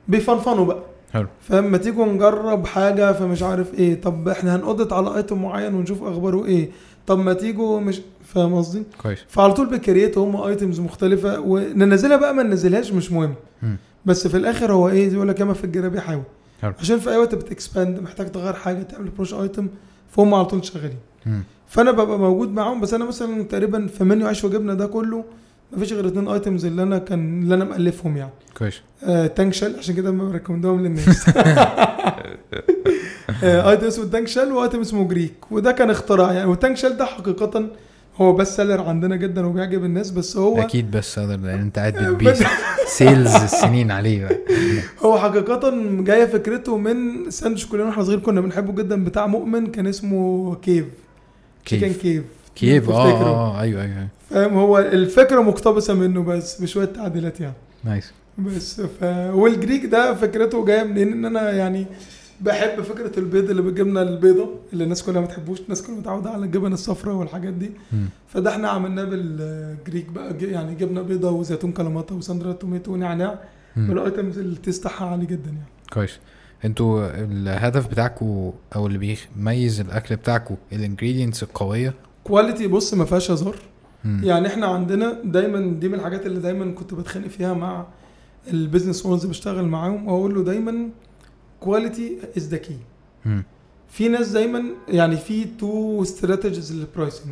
Speaker 2: بيفنفنوا بقى
Speaker 1: حلو
Speaker 2: فاما تيجوا نجرب حاجه فمش عارف ايه طب احنا هنقضت على ايتم معين ونشوف اخباره ايه طب ما تيجوا مش فاهم قصدي
Speaker 1: كويس
Speaker 2: فعلى طول بكريت هم ايتمز مختلفه وننزلها بقى ما ننزلهاش مش مهم
Speaker 1: مم.
Speaker 2: بس في الاخر هو ايه يقول لك ياما في الجراب يحاول
Speaker 1: حلو.
Speaker 2: عشان في اي وقت بتكسباند محتاج تغير حاجه تعمل بروش ايتم فهم على طول شغالين
Speaker 1: مم.
Speaker 2: فانا ببقى موجود معاهم بس انا مثلا تقريبا في منيو عيش وجبنه ده كله مفيش غير اتنين ايتمز اللي انا كان اللي انا مالفهم يعني
Speaker 1: كويس
Speaker 2: آه، تانك شل عشان كده ما بركمندهم للناس آه، ايتم اسمه تانك شل وايتم اسمه جريك وده كان اختراع يعني والتانك شل ده حقيقه هو بس سيلر عندنا جدا وبيعجب الناس بس هو
Speaker 1: اكيد بس قادر لان انت قاعد بتبيع سيلز السنين عليه بقى
Speaker 2: هو حقيقه جايه فكرته من ساندوتش كلنا واحنا صغير كنا بنحبه جدا بتاع مؤمن كان اسمه كيف تشيكن
Speaker 1: كيف
Speaker 2: كيف
Speaker 1: كييف اه
Speaker 2: تفتكره.
Speaker 1: آه، ايوه ايوه أيوة.
Speaker 2: فاهم هو الفكره مقتبسه منه بس بشويه تعديلات يعني
Speaker 1: نايس
Speaker 2: بس ف والجريك ده فكرته جايه منين ان انا يعني بحب فكره البيض اللي بالجبنه البيضه اللي الناس كلها ما تحبوش الناس كلها متعوده على الجبن الصفراء والحاجات دي
Speaker 1: مم.
Speaker 2: فده احنا عملناه بالجريك بقى ج- يعني جبنه بيضه وزيتون كلاماتا وساندرا توميتو ونعناع
Speaker 1: مم.
Speaker 2: من الايتمز اللي تستحى عالي جدا يعني
Speaker 1: كويس انتوا الهدف بتاعكوا او اللي بيميز الاكل بتاعكوا الانجريدينتس القويه
Speaker 2: كواليتي بص ما فيهاش هزار
Speaker 1: مم.
Speaker 2: يعني احنا عندنا دايما دي من الحاجات اللي دايما كنت بتخانق فيها مع البيزنس اونرز بشتغل معاهم واقول له دايما كواليتي از ذا كي
Speaker 1: مم.
Speaker 2: في ناس دايما يعني في تو استراتيجيز للبرايسنج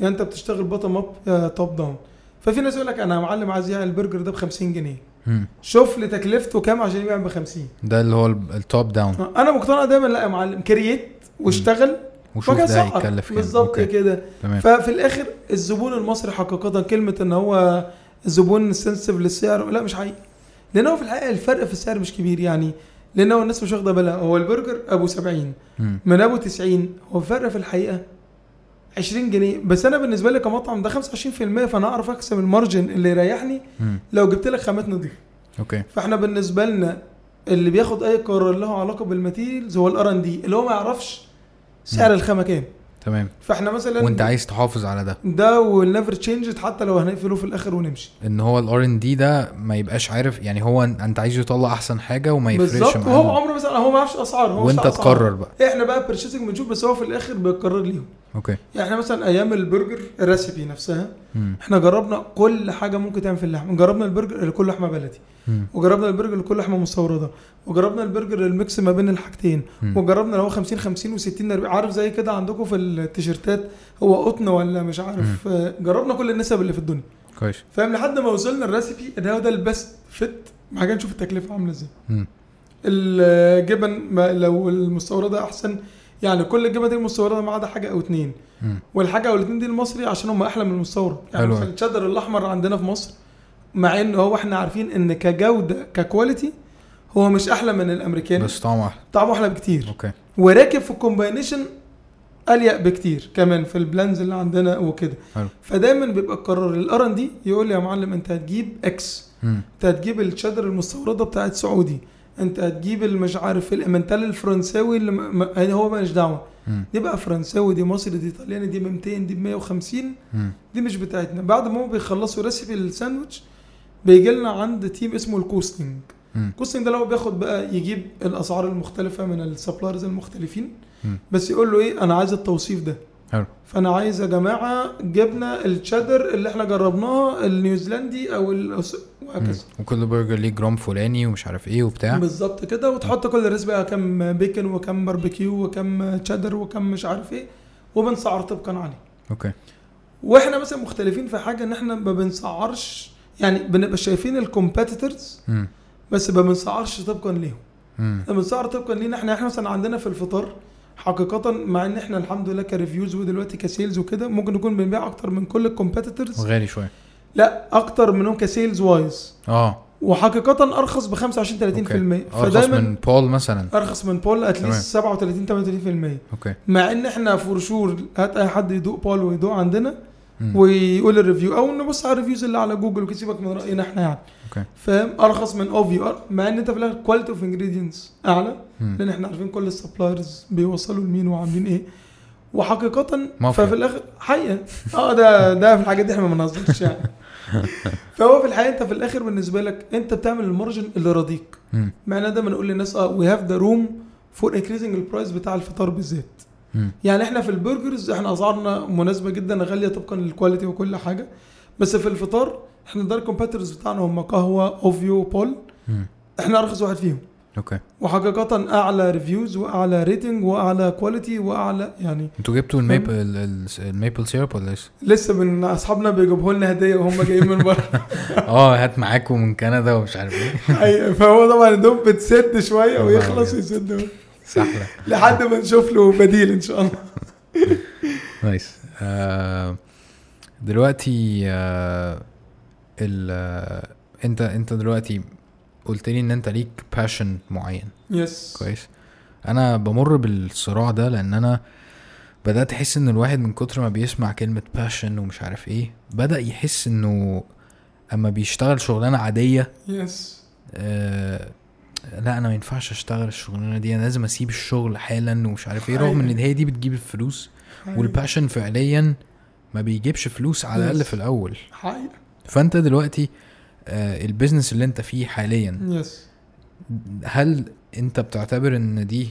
Speaker 2: يا انت بتشتغل بottom اب يا توب داون ففي ناس يقول لك انا يا معلم عايز يعمل البرجر ده ب 50 جنيه
Speaker 1: مم.
Speaker 2: شوف لي تكلفته كام عشان يبيع ب 50
Speaker 1: ده اللي هو التوب داون
Speaker 2: انا مقتنع دايما لا يا معلم كرييت واشتغل
Speaker 1: وشوف
Speaker 2: وبعد كده
Speaker 1: ده
Speaker 2: سعر.
Speaker 1: هيتكلف كام
Speaker 2: بالظبط
Speaker 1: أوكي،
Speaker 2: كده
Speaker 1: تمام
Speaker 2: ففي الاخر الزبون المصري حقيقه كلمه ان هو الزبون سنسيف للسعر لا مش حقيقي لان هو في الحقيقه الفرق في السعر مش كبير يعني لان هو الناس مش واخده بالها هو البرجر ابو 70
Speaker 1: مم.
Speaker 2: من ابو 90 هو الفرق في الحقيقه 20 جنيه بس انا بالنسبه لي كمطعم ده 25% فانا اعرف اكسب المارجن اللي يريحني
Speaker 1: مم.
Speaker 2: لو جبت لك خامات نضيفه
Speaker 1: اوكي
Speaker 2: فاحنا بالنسبه لنا اللي بياخد اي قرار له علاقه بالماتيريالز هو الار ان دي اللي هو ما يعرفش سعر الخامه كام
Speaker 1: تمام
Speaker 2: فاحنا مثلا
Speaker 1: وانت عايز تحافظ على ده
Speaker 2: ده والنيفر تشينج حتى لو هنقفله في الاخر ونمشي
Speaker 1: ان هو الار ان دي ده ما يبقاش عارف يعني هو أن- انت عايزه يطلع احسن حاجه وما يفرقش
Speaker 2: بالظبط وهو
Speaker 1: معاه
Speaker 2: عمره مثلا هو ما يعرفش اسعار هو مش
Speaker 1: وانت
Speaker 2: عارف أسعار.
Speaker 1: تقرر بقى
Speaker 2: احنا بقى بيرشيزنج بنشوف بس هو في الاخر بيقرر ليهم
Speaker 1: اوكي
Speaker 2: يعني احنا مثلا ايام البرجر الريسيبي نفسها
Speaker 1: مم.
Speaker 2: احنا جربنا كل حاجه ممكن تعمل في اللحمه جربنا البرجر اللي كله لحمه بلدي
Speaker 1: مم.
Speaker 2: وجربنا البرجر اللي كله لحمه مستورده وجربنا البرجر الميكس ما بين الحاجتين
Speaker 1: مم.
Speaker 2: وجربنا اللي هو 50 50 و60 40 عارف زي كده عندكم في التيشيرتات هو قطن ولا مش عارف آه، جربنا كل النسب اللي في الدنيا
Speaker 1: كويس
Speaker 2: فاهم لحد ما وصلنا الريسيبي ان هو ده البست فيت بعد كده نشوف التكلفه عامله ازاي
Speaker 1: مم.
Speaker 2: الجبن ما لو المستورده احسن يعني كل الجبن دي المستورده ما عدا حاجه او اتنين
Speaker 1: مم.
Speaker 2: والحاجه او الاتنين دي المصري عشان هم احلى من المستورد يعني
Speaker 1: حلو.
Speaker 2: مثلا الشدر الاحمر عندنا في مصر مع ان هو احنا عارفين ان كجوده ككواليتي هو مش احلى من الامريكاني
Speaker 1: بس طعمه احلى
Speaker 2: طعمه احلى بكتير
Speaker 1: اوكي
Speaker 2: وراكب في الكومباينيشن اليق بكتير كمان في البلانز اللي عندنا وكده
Speaker 1: حلو
Speaker 2: فدايما بيبقى القرار الار ان دي يقول لي يا معلم انت هتجيب اكس
Speaker 1: مم.
Speaker 2: انت هتجيب الشادر المستورده بتاعت سعودي انت هتجيب المش عارف الامنتال الفرنساوي اللي م... م- يعني هو مالش دعوه
Speaker 1: مم.
Speaker 2: دي بقى فرنساوي دي مصري دي ايطالياني دي ب 200 دي ب 150
Speaker 1: مم.
Speaker 2: دي مش بتاعتنا بعد ما هم بيخلصوا ريسيبي الساندوتش بيجي لنا عند تيم اسمه الكوستنج
Speaker 1: مم.
Speaker 2: الكوستنج ده لو بياخد بقى يجيب الاسعار المختلفه من السبلايرز المختلفين
Speaker 1: مم.
Speaker 2: بس يقول له ايه انا عايز التوصيف ده
Speaker 1: حلو
Speaker 2: فانا عايز يا جماعه جبنه التشادر اللي احنا جربناها النيوزيلندي او الأس...
Speaker 1: مم.
Speaker 2: وهكذا
Speaker 1: وكل برجر ليه جرام فلاني ومش عارف ايه وبتاع
Speaker 2: بالظبط كده وتحط كل الريس بقى كم بيكن وكم باربيكيو وكم تشادر وكم مش عارف ايه وبنسعر طبقا عليه
Speaker 1: اوكي
Speaker 2: واحنا مثلا مختلفين في حاجه ان احنا ما بنسعرش يعني بنبقى شايفين الكومبيتيتورز
Speaker 1: مم.
Speaker 2: بس ما بنسعرش طبقا ليهم
Speaker 1: مم.
Speaker 2: احنا بنسعر طبقا لينا احنا احنا مثلا عندنا في الفطار حقيقة مع ان احنا الحمد لله كريفيوز ودلوقتي كسيلز وكده ممكن نكون بنبيع اكتر من كل الكومبيتيتورز
Speaker 1: وغالي شويه
Speaker 2: لا اكتر منهم كسيلز وايز
Speaker 1: اه
Speaker 2: وحقيقه ارخص ب 25 30%
Speaker 1: اوكي ارخص
Speaker 2: فدايما
Speaker 1: من بول مثلا
Speaker 2: ارخص من بول
Speaker 1: تمام.
Speaker 2: اتليست 37 38%
Speaker 1: اوكي
Speaker 2: مع ان احنا فور شور هات اي حد يدوق بول ويدوق عندنا
Speaker 1: مم.
Speaker 2: ويقول الريفيو او نبص على الريفيوز اللي على جوجل وكده سيبك من راينا احنا يعني
Speaker 1: اوكي
Speaker 2: فاهم ارخص من اوفيو أر- مع ان انت في الاخر كواليتي اوف انجريدينتس اعلى
Speaker 1: مم.
Speaker 2: لان احنا عارفين كل السبلايرز بيوصلوا لمين وعاملين ايه وحقيقة
Speaker 1: مافيا.
Speaker 2: ففي الاخر حقيقة اه ده ده في الحاجات دي احنا ما بنهزرش يعني فهو في الحقيقة انت في الاخر بالنسبة لك انت بتعمل المارجن اللي راضيك
Speaker 1: مم.
Speaker 2: معناه ده بنقول للناس اه وي هاف ذا روم فور انكريزنج البرايس بتاع الفطار بالذات
Speaker 1: مم.
Speaker 2: يعني احنا في البرجرز احنا اسعارنا مناسبه جدا غاليه طبقا للكواليتي وكل حاجه بس في الفطار احنا ده الكومبيتيتورز بتاعنا هم قهوه اوفيو بول
Speaker 1: مم.
Speaker 2: احنا ارخص واحد فيهم
Speaker 1: اوكي
Speaker 2: وحقيقه اعلى ريفيوز واعلى ريتنج واعلى كواليتي واعلى يعني
Speaker 1: انتوا جبتوا الميبل ال- ال- الميبل سيرب ولا لسه؟
Speaker 2: لسه من اصحابنا بيجيبوا لنا هديه وهم جايين من بره
Speaker 1: اه هات معاكم من كندا ومش عارف ايه
Speaker 2: حقيقة. فهو طبعا دوب بتسد شويه
Speaker 1: يا نهار
Speaker 2: ويخلص
Speaker 1: أبيض.
Speaker 2: يسد
Speaker 1: سحله
Speaker 2: لحد ما نشوف له بديل ان شاء الله
Speaker 1: نايس آه، دلوقتي آه، ال آه، انت انت دلوقتي قلت لي ان انت ليك باشن معين
Speaker 2: يس
Speaker 1: كويس انا بمر بالصراع ده لان انا بدات احس ان الواحد من كتر ما بيسمع كلمه باشن ومش عارف ايه بدا يحس انه اما بيشتغل شغلانه عاديه
Speaker 2: يس
Speaker 1: آه لا انا ما ينفعش اشتغل الشغلانه دي انا لازم اسيب الشغل حالا ومش عارف ايه رغم ان هي دي بتجيب الفلوس والباشن فعليا ما بيجيبش فلوس على الاقل
Speaker 2: Yes.
Speaker 1: في الاول
Speaker 2: حقيقة
Speaker 1: فانت دلوقتي آه البيزنس اللي انت فيه حاليا
Speaker 2: يس
Speaker 1: هل انت بتعتبر ان دي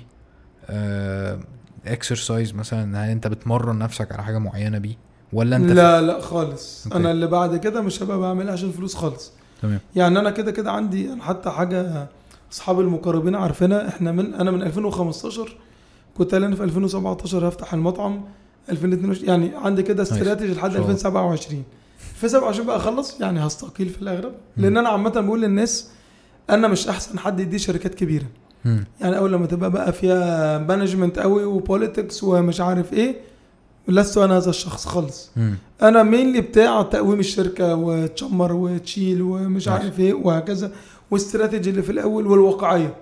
Speaker 1: اكسرسايز مثلا هل انت بتمرن نفسك على حاجه معينه بيه ولا انت
Speaker 2: لا لا خالص
Speaker 1: أوكي.
Speaker 2: انا اللي بعد كده مش هبقى بعملها عشان فلوس خالص
Speaker 1: تمام
Speaker 2: يعني انا كده كده عندي انا حتى حاجه اصحابي المقربين عارفينها احنا من انا من 2015 كنت قايل انا في 2017 هفتح المطعم 2022 يعني عندي كده استراتيجي لحد
Speaker 1: شاطر.
Speaker 2: 2027 2027 بقى اخلص يعني هستقيل في الاغلب لان انا عامه بقول للناس انا مش احسن حد يدي شركات كبيره
Speaker 1: مم.
Speaker 2: يعني اول لما تبقى بقى فيها مانجمنت قوي وبوليتكس ومش عارف ايه لست انا هذا الشخص خالص
Speaker 1: مم.
Speaker 2: انا مينلي بتاع تقويم الشركه وتشمر وتشيل ومش
Speaker 1: ماشي.
Speaker 2: عارف ايه وهكذا والاستراتيجي اللي في الاول والواقعيه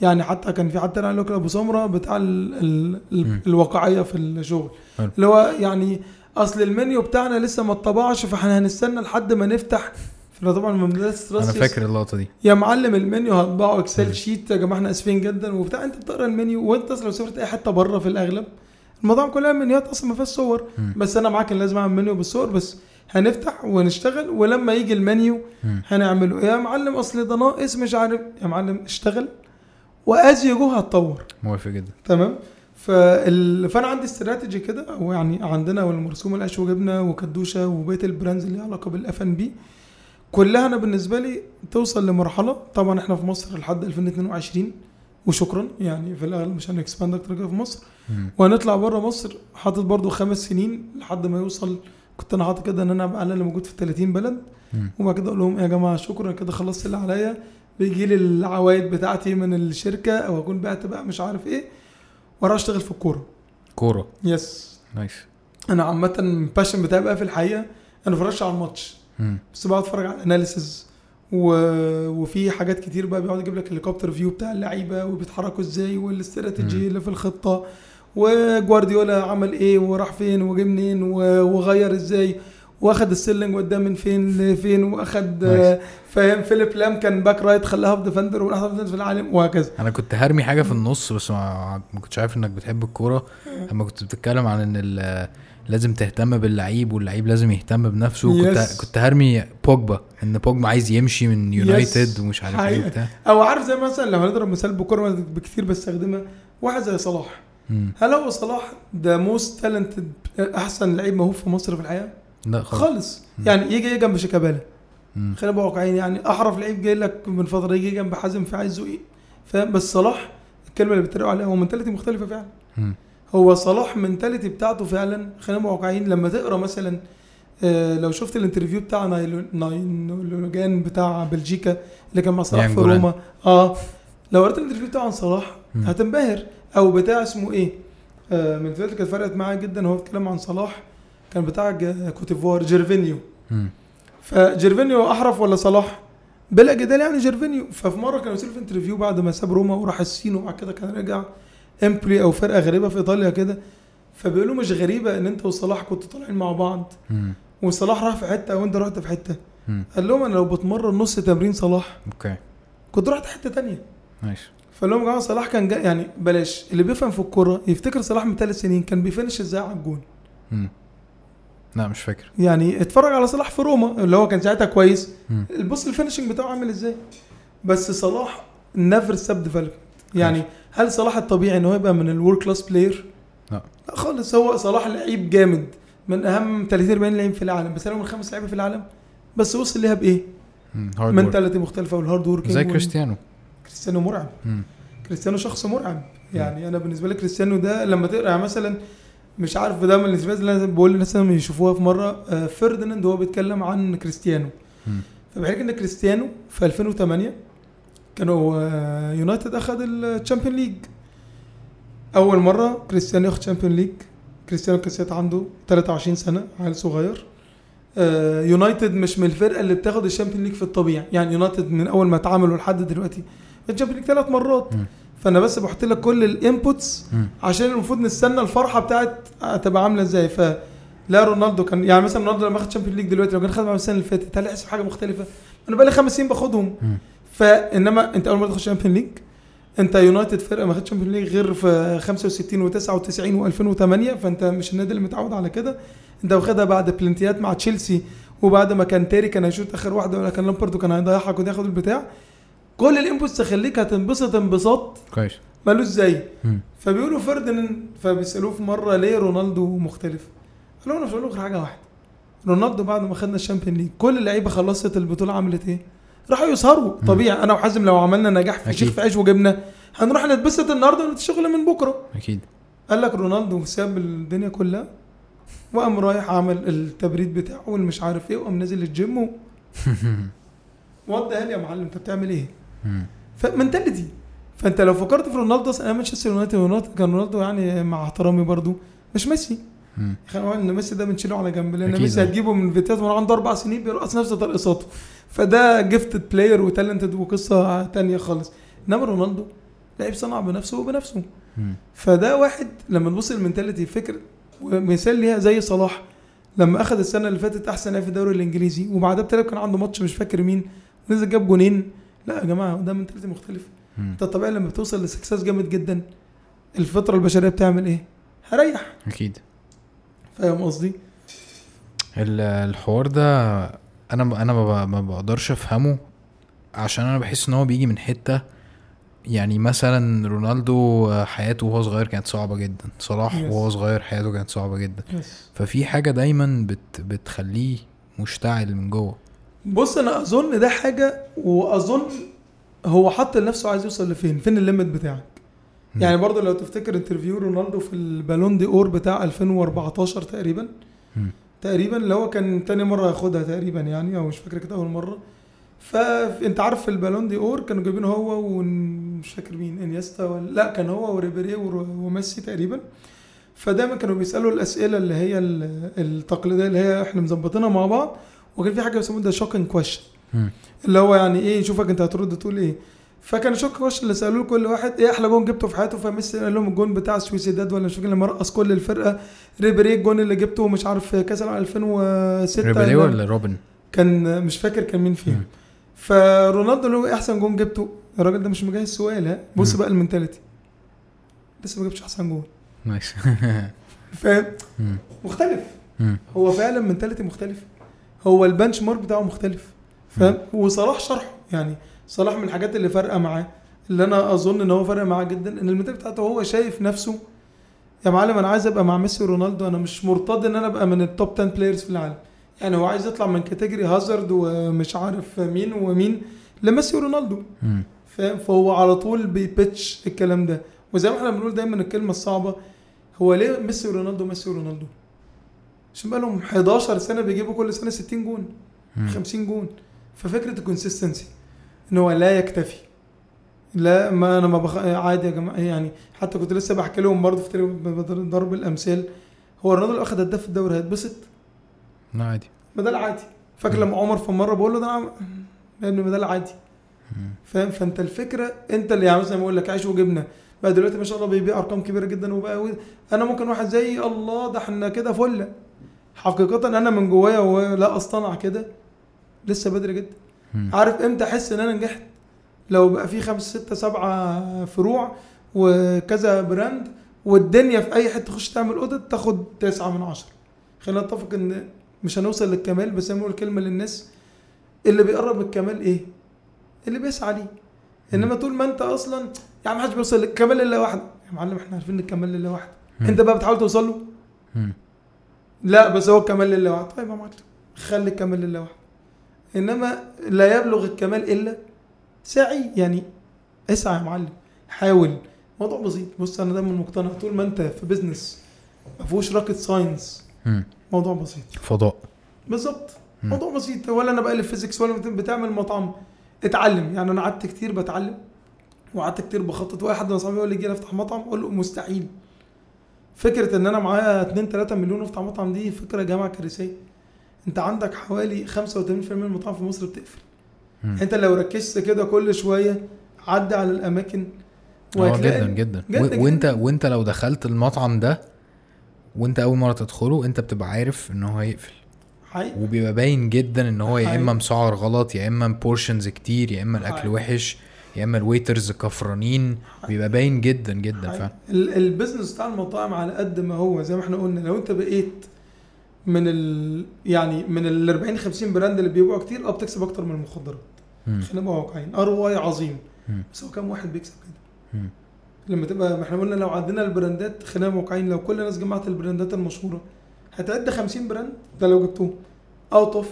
Speaker 2: يعني حتى كان في حتى انا لك ابو سمره بتاع ال ال
Speaker 1: مم.
Speaker 2: ال الواقعيه في الشغل
Speaker 1: حلو.
Speaker 2: اللي هو يعني اصل المنيو بتاعنا لسه ما اتطبعش فاحنا هنستنى لحد ما نفتح فأنا طبعا من مدرسه
Speaker 1: انا
Speaker 2: راسيوس
Speaker 1: فاكر اللقطه دي
Speaker 2: يا معلم المنيو هطبعه
Speaker 1: مم.
Speaker 2: اكسل شيت يا جماعه احنا اسفين جدا وبتاع انت بتقرا المنيو وانت اصلا لو سافرت اي حته بره في الاغلب المطاعم كلها منيوات اصلا ما فيهاش صور
Speaker 1: مم.
Speaker 2: بس انا معاك ان لازم اعمل منيو بالصور بس هنفتح ونشتغل ولما يجي المنيو
Speaker 1: مم.
Speaker 2: هنعمله يا معلم اصل ده ناقص مش عارف يا معلم اشتغل واز يو جو هتطور
Speaker 1: موافق جدا
Speaker 2: تمام فال... فانا عندي استراتيجي كده او يعني عندنا والمرسوم القش وجبنه وكدوشه وبقيه البراندز اللي ليها علاقه بالاف ان بي كلها انا بالنسبه لي توصل لمرحله طبعا احنا في مصر لحد 2022 وشكرا يعني في الاغلب مش هنكسباند اكتر كده في مصر
Speaker 1: مم.
Speaker 2: وهنطلع بره مصر حاطط برضو خمس سنين لحد ما يوصل كنت انا حاطط كده ان انا ابقى على الاقل موجود في 30 بلد
Speaker 1: مم.
Speaker 2: وبعد كده اقول لهم يا جماعه شكرا كده خلصت اللي عليا بيجي لي العوائد بتاعتي من الشركه او اكون بعت بقى مش عارف ايه واروح اشتغل في الكوره
Speaker 1: كوره
Speaker 2: يس
Speaker 1: نايس
Speaker 2: انا عامه الباشن بتاعي بقى في الحقيقه انا بفرجش على الماتش
Speaker 1: مم.
Speaker 2: بس بقعد اتفرج على الاناليسز و... وفي حاجات كتير بقى بيقعد يجيب لك هليكوبتر فيو بتاع اللعيبه وبيتحركوا ازاي
Speaker 1: مم.
Speaker 2: والاستراتيجي اللي في الخطه وجوارديولا عمل ايه وراح فين وجه منين و- وغير ازاي واخد السيلينج قدام من فين لفين واخد
Speaker 1: نايس.
Speaker 2: فاهم فيليب لام كان باك رايت خلاها هاف ديفندر ومن احسن هاف ديفندر في العالم وهكذا
Speaker 1: انا كنت هرمي حاجه في النص بس ما, ما كنتش عارف انك بتحب الكوره اما كنت بتتكلم عن ان ال- لازم تهتم باللعيب واللعيب لازم يهتم بنفسه كنت
Speaker 2: Yes.
Speaker 1: كنت هرمي بوجبا ان بوجبا عايز يمشي من يونايتد ومش عارف ايه
Speaker 2: حقيقة.
Speaker 1: وبتاع
Speaker 2: او عارف زي مثلا لو هنضرب مثال بكره بكتير بستخدمها واحد زي صلاح
Speaker 1: مم.
Speaker 2: هل هو صلاح ده موست تالنتد احسن لعيب موهوب في مصر في الحياه؟
Speaker 1: لا خالص
Speaker 2: خالص
Speaker 1: مم.
Speaker 2: يعني يجي جنب شيكابالا
Speaker 1: مم.
Speaker 2: خلينا نبقى واقعيين يعني احرف لعيب جاي لك من فتره يجي جنب حازم في عايزه ايه فاهم بس صلاح الكلمه اللي بيتريقوا عليها هو منتاليتي مختلفه فعلا
Speaker 1: مم.
Speaker 2: هو صلاح منتاليتي بتاعته فعلا خلينا نبقى واقعيين لما تقرا مثلا آه، لو شفت الانترفيو بتاع نايلو- ناينولوجان بتاع بلجيكا اللي كان مع صلاح
Speaker 1: يعني
Speaker 2: في
Speaker 1: جولان.
Speaker 2: روما اه لو قريت الانترفيو بتاعه عن صلاح
Speaker 1: مم.
Speaker 2: هتنبهر او بتاع اسمه ايه آه، من الفيديوهات اللي كانت فرقت معايا جدا هو بيتكلم عن صلاح كان بتاع ج- كوتيفوار جيرفينيو
Speaker 1: مم.
Speaker 2: فجيرفينيو احرف ولا صلاح؟ بلا جدال يعني جيرفينيو ففي مره كانوا يسألوا في انترفيو بعد ما ساب روما وراح الصين وبعد كده كان رجع امبلي او فرقه غريبه في ايطاليا كده فبيقولوا مش غريبه ان انت وصلاح كنتوا طالعين مع بعض
Speaker 1: مم.
Speaker 2: وصلاح راح في حته وانت رحت في حته
Speaker 1: مم.
Speaker 2: قال لهم انا لو بتمرن نص تمرين صلاح
Speaker 1: اوكي
Speaker 2: كنت رحت حته تانية
Speaker 1: نايس
Speaker 2: فقال لهم يا جماعه صلاح كان جاي يعني بلاش اللي بيفهم في الكوره يفتكر صلاح من ثلاث سنين كان بيفنش ازاي على الجون
Speaker 1: مم. لا مش فاكر
Speaker 2: يعني اتفرج على صلاح في روما اللي هو كان ساعتها كويس
Speaker 1: مم.
Speaker 2: بص الفينشنج بتاعه عامل ازاي بس صلاح نيفر ساب ديفلوبمنت يعني هل صلاح الطبيعي ان هو يبقى من الورك كلاس بلاير؟
Speaker 1: لا.
Speaker 2: لا خالص هو صلاح لعيب جامد من اهم 30 40 لعيب في العالم بس هو من خمس لعيبه في العالم بس وصل ليها بايه؟
Speaker 1: مم. هارد ورك.
Speaker 2: منتاليتي مختلفه والهارد وركينج
Speaker 1: زي
Speaker 2: وال-
Speaker 1: كريستيانو
Speaker 2: كريستيانو مرعب
Speaker 1: مم.
Speaker 2: كريستيانو شخص مرعب يعني انا بالنسبه لي كريستيانو ده لما تقرا يعني مثلا مش عارف ده من الاسباب اللي انا بقول للناس لما يشوفوها في مره آه، فرديناند وهو بيتكلم عن كريستيانو
Speaker 1: مم.
Speaker 2: فبحكي ان كريستيانو في 2008 كانوا آه، يونايتد اخذ الشامبيون ليج اول مره كريستيانو ياخد شامبيون ليج كريستيانو كان ساعتها عنده 23 سنه عيل صغير آه، يونايتد مش من الفرقه اللي بتاخد الشامبيون ليج في الطبيعي يعني يونايتد من اول ما اتعملوا لحد دلوقتي الشامبيون ليج ثلاث مرات
Speaker 1: مم.
Speaker 2: فانا بس بحط لك كل الانبوتس
Speaker 1: مم.
Speaker 2: عشان المفروض نستنى الفرحه بتاعت هتبقى عامله ازاي ف لا رونالدو كان يعني مثلا رونالدو لما اخد شامبيون ليج دلوقتي لو كان خدها مع السنه اللي فاتت هل هيحسب حاجه مختلفه؟ انا بقى لي خمس سنين باخدهم
Speaker 1: مم.
Speaker 2: فانما انت اول مره تاخد شامبيون ليج انت يونايتد فرقه ما خدتش شامبيون ليج غير في 65 و99 و2008 فانت مش النادي اللي متعود على كده انت واخدها بعد بلنتيات مع تشيلسي وبعد ما كان تيري كان هيشوط اخر واحده ولا كان لامبرد وكان هيضيعك وتاخد البتاع كل الانبوتس تخليك هتنبسط انبساط
Speaker 1: كويس
Speaker 2: مالوش زي
Speaker 1: مم.
Speaker 2: فبيقولوا فردناند فبيسالوه في مره ليه رونالدو مختلف؟ قال له انا مش هقول لك غير حاجه واحده رونالدو بعد ما خدنا الشامبيون ليج كل اللعيبه خلصت البطوله عملت ايه؟ راحوا يسهروا طبيعي انا وحازم لو عملنا نجاح في
Speaker 1: أكيد.
Speaker 2: شيخ في عيش وجبنه هنروح نتبسط النهارده ونتشغل من بكره
Speaker 1: اكيد
Speaker 2: قال لك رونالدو ساب الدنيا كلها وقام رايح عمل التبريد بتاعه واللي مش عارف ايه وقام نازل الجيم و... وات يا معلم انت بتعمل ايه؟
Speaker 1: مم.
Speaker 2: فمنتاليتي فانت لو فكرت في رونالدو اصلا انا مانشستر يونايتد رونالدو كان رونالدو يعني مع احترامي برضو مش ميسي
Speaker 1: مم.
Speaker 2: خلينا نقول ان ميسي ده بنشيله على جنب لان
Speaker 1: أكيد.
Speaker 2: ميسي هتجيبه من فيتيات وانا عنده اربع سنين بيرقص نفس ترقصاته فده جيفتد بلاير وتالنتد وقصه تانية خالص انما رونالدو لعيب صنع بنفسه وبنفسه
Speaker 1: مم.
Speaker 2: فده واحد لما نبص المنتاليتي فكر ومثال ليها زي صلاح لما اخذ السنه اللي فاتت احسن لاعب في الدوري الانجليزي وبعدها بتلعب كان عنده ماتش مش فاكر مين نزل جاب جونين لا يا جماعه ده منتاليتي مختلف
Speaker 1: مم.
Speaker 2: انت طبيعي لما بتوصل لسكسس جامد جدا الفطره البشريه بتعمل ايه؟ هريح
Speaker 1: اكيد
Speaker 2: فاهم قصدي؟
Speaker 1: ال- الحوار ده انا ب- انا ما ب- ما بقدرش افهمه عشان انا بحس ان هو بيجي من حته يعني مثلا رونالدو آه، حياته وهو صغير كانت صعبه جدا صلاح
Speaker 2: Yes.
Speaker 1: وهو صغير حياته كانت صعبه جدا ففي حاجه دايما بت بتخليه مشتعل من جوه
Speaker 2: بص انا اظن ده حاجه واظن هو حط لنفسه عايز يوصل لفين فين الليمت بتاعك
Speaker 1: مم.
Speaker 2: يعني برضه لو تفتكر انترفيو رونالدو في البالون دي اور بتاع 2014 تقريبا
Speaker 1: مم.
Speaker 2: تقريبا اللي هو كان تاني مره ياخدها تقريبا يعني او مش فاكر كده اول مره فانت عارف في البالون دي اور كانوا جايبين هو ومش فاكر مين انيستا ولا لا كان هو وريبيري ور- وميسي تقريبا فدايما كانوا بيسالوا الاسئله اللي هي ال- التقليديه اللي هي احنا مظبطينها مع بعض وكان في حاجه بيسموها ده شوكينج كويشن
Speaker 1: مم.
Speaker 2: اللي هو يعني ايه يشوفك انت هترد تقول ايه فكان شوك كويشن اللي سالوه لكل واحد ايه احلى جون جبته في حياته فميسي قال لهم الجون بتاع سويسيداد ولا مش فاكر لما رقص كل الفرقه ريبيري الجون اللي جبته مش عارف في كاس العالم 2006
Speaker 1: ريبيري
Speaker 2: اللي-
Speaker 1: ولا روبن
Speaker 2: كان مش فاكر كان مين فيهم
Speaker 1: مم.
Speaker 2: فرونالدو اللي هو ايه احسن جون جبته الراجل ده مش مجهز سؤال ها بص
Speaker 1: مم.
Speaker 2: بقى المنتاليتي لسه ما جبتش احسن جون
Speaker 1: نايس
Speaker 2: فاهم
Speaker 1: مم.
Speaker 2: مختلف
Speaker 1: مم.
Speaker 2: هو فعلا منتاليتي مختلف هو البنش مارك بتاعه مختلف فاهم وصلاح شرحه يعني صلاح من الحاجات اللي فارقه معاه اللي انا اظن ان هو فارق معاه جدا ان المنتاليتي بتاعته هو شايف نفسه يا معلم انا عايز ابقى مع ميسي ورونالدو انا مش مرتضي ان انا ابقى من التوب 10 بلايرز في العالم يعني هو عايز يطلع من كاتيجوري هازارد ومش عارف مين ومين لميسي ورونالدو
Speaker 1: مم.
Speaker 2: فاهم فهو على طول بيبتش الكلام ده وزي ما احنا بنقول دايما الكلمه الصعبه هو ليه ميسي ورونالدو ميسي ورونالدو عشان بقالهم 11 سنه بيجيبوا كل سنه 60 جون
Speaker 1: مم.
Speaker 2: 50 جون ففكره الكونسستنسي ان هو لا يكتفي لا ما انا ما بخ... عادي يا جماعه يعني حتى كنت لسه بحكي لهم برضه في تليفون- ضرب الامثال هو رونالدو لو اخد هداف في الدوري هيتبسط
Speaker 1: لا عادي
Speaker 2: ما ده العادي فاكر لما عمر في مره بقول له ده انا يا ابني ما ده العادي
Speaker 1: مم.
Speaker 2: فاهم فانت الفكره انت اللي يعني مثلا بقول لك عيش وجبنه بقى دلوقتي ما شاء الله بيبيع ارقام كبيره جدا وبقى و- انا ممكن واحد زي الله ده احنا كده فله حقيقه انا من جوايا ولا اصطنع كده لسه بدري جدا
Speaker 1: مم.
Speaker 2: عارف امتى احس ان انا نجحت لو بقى في خمسة ستة سبعة فروع وكذا براند والدنيا في اي حته تخش تعمل اوديت تاخد تسعة من عشرة خلينا نتفق ان مش هنوصل للكمال بس انا بقول كلمه للناس اللي بيقرب من الكمال ايه اللي بيسعى ليه انما طول ما انت اصلا يا عم محدش بيوصل للكمال الا واحده يا معلم احنا عارفين ان الكمال الا واحده
Speaker 1: مم.
Speaker 2: انت بقى بتحاول توصل له
Speaker 1: مم.
Speaker 2: لا بس هو الكمال لله وحده طيب يا معلم خلي الكمال لله وحده انما لا يبلغ الكمال الا سعي يعني اسعى يا معلم حاول موضوع بسيط بص انا دايما مقتنع طول ما انت في بزنس ما فيهوش راكت ساينس
Speaker 1: مم.
Speaker 2: موضوع بسيط
Speaker 1: فضاء
Speaker 2: بالظبط
Speaker 1: مم.
Speaker 2: موضوع بسيط ولا انا بقلب فيزيكس ولا بت- بتعمل مطعم اتعلم يعني انا قعدت كتير بتعلم وقعدت كتير بخطط واي حد من اصحابي يقول لي جينا افتح مطعم اقول له مستحيل فكره ان انا معايا 2 3 مليون افتح مطعم دي فكره جامعه كارثيه انت عندك حوالي 85% من المطاعم في مصر بتقفل
Speaker 1: مم.
Speaker 2: انت لو ركزت كده كل شويه عدى على الاماكن
Speaker 1: اه
Speaker 2: وهتلاقي-
Speaker 1: جدا جدا
Speaker 2: جدا
Speaker 1: و-
Speaker 2: جدا.
Speaker 1: وانت وانت لو دخلت المطعم ده وانت اول مره تدخله انت بتبقى عارف ان هو هيقفل
Speaker 2: حقيقي
Speaker 1: وبيبقى باين جدا ان هو يا
Speaker 2: حقيقي.
Speaker 1: اما مسعر غلط يا اما بورشنز كتير يا اما الاكل
Speaker 2: حقيقي.
Speaker 1: وحش يا اما الويترز كفرانين بيبقى باين جدا جدا فعلا
Speaker 2: ال- البيزنس بتاع المطاعم على قد ما هو زي ما احنا قلنا لو انت بقيت من ال يعني من ال 40 50 براند اللي بيبقوا كتير اه بتكسب اكتر من المخدرات
Speaker 1: مم.
Speaker 2: خلينا نبقى واقعيين ار واي عظيم
Speaker 1: مم.
Speaker 2: بس هو كام واحد بيكسب كده
Speaker 1: مم.
Speaker 2: لما تبقى ما احنا قلنا لو عندنا البراندات خلينا نبقى واقعيين لو كل الناس جمعت البراندات المشهوره هتعد 50 براند ده لو جبتهم اوت اوف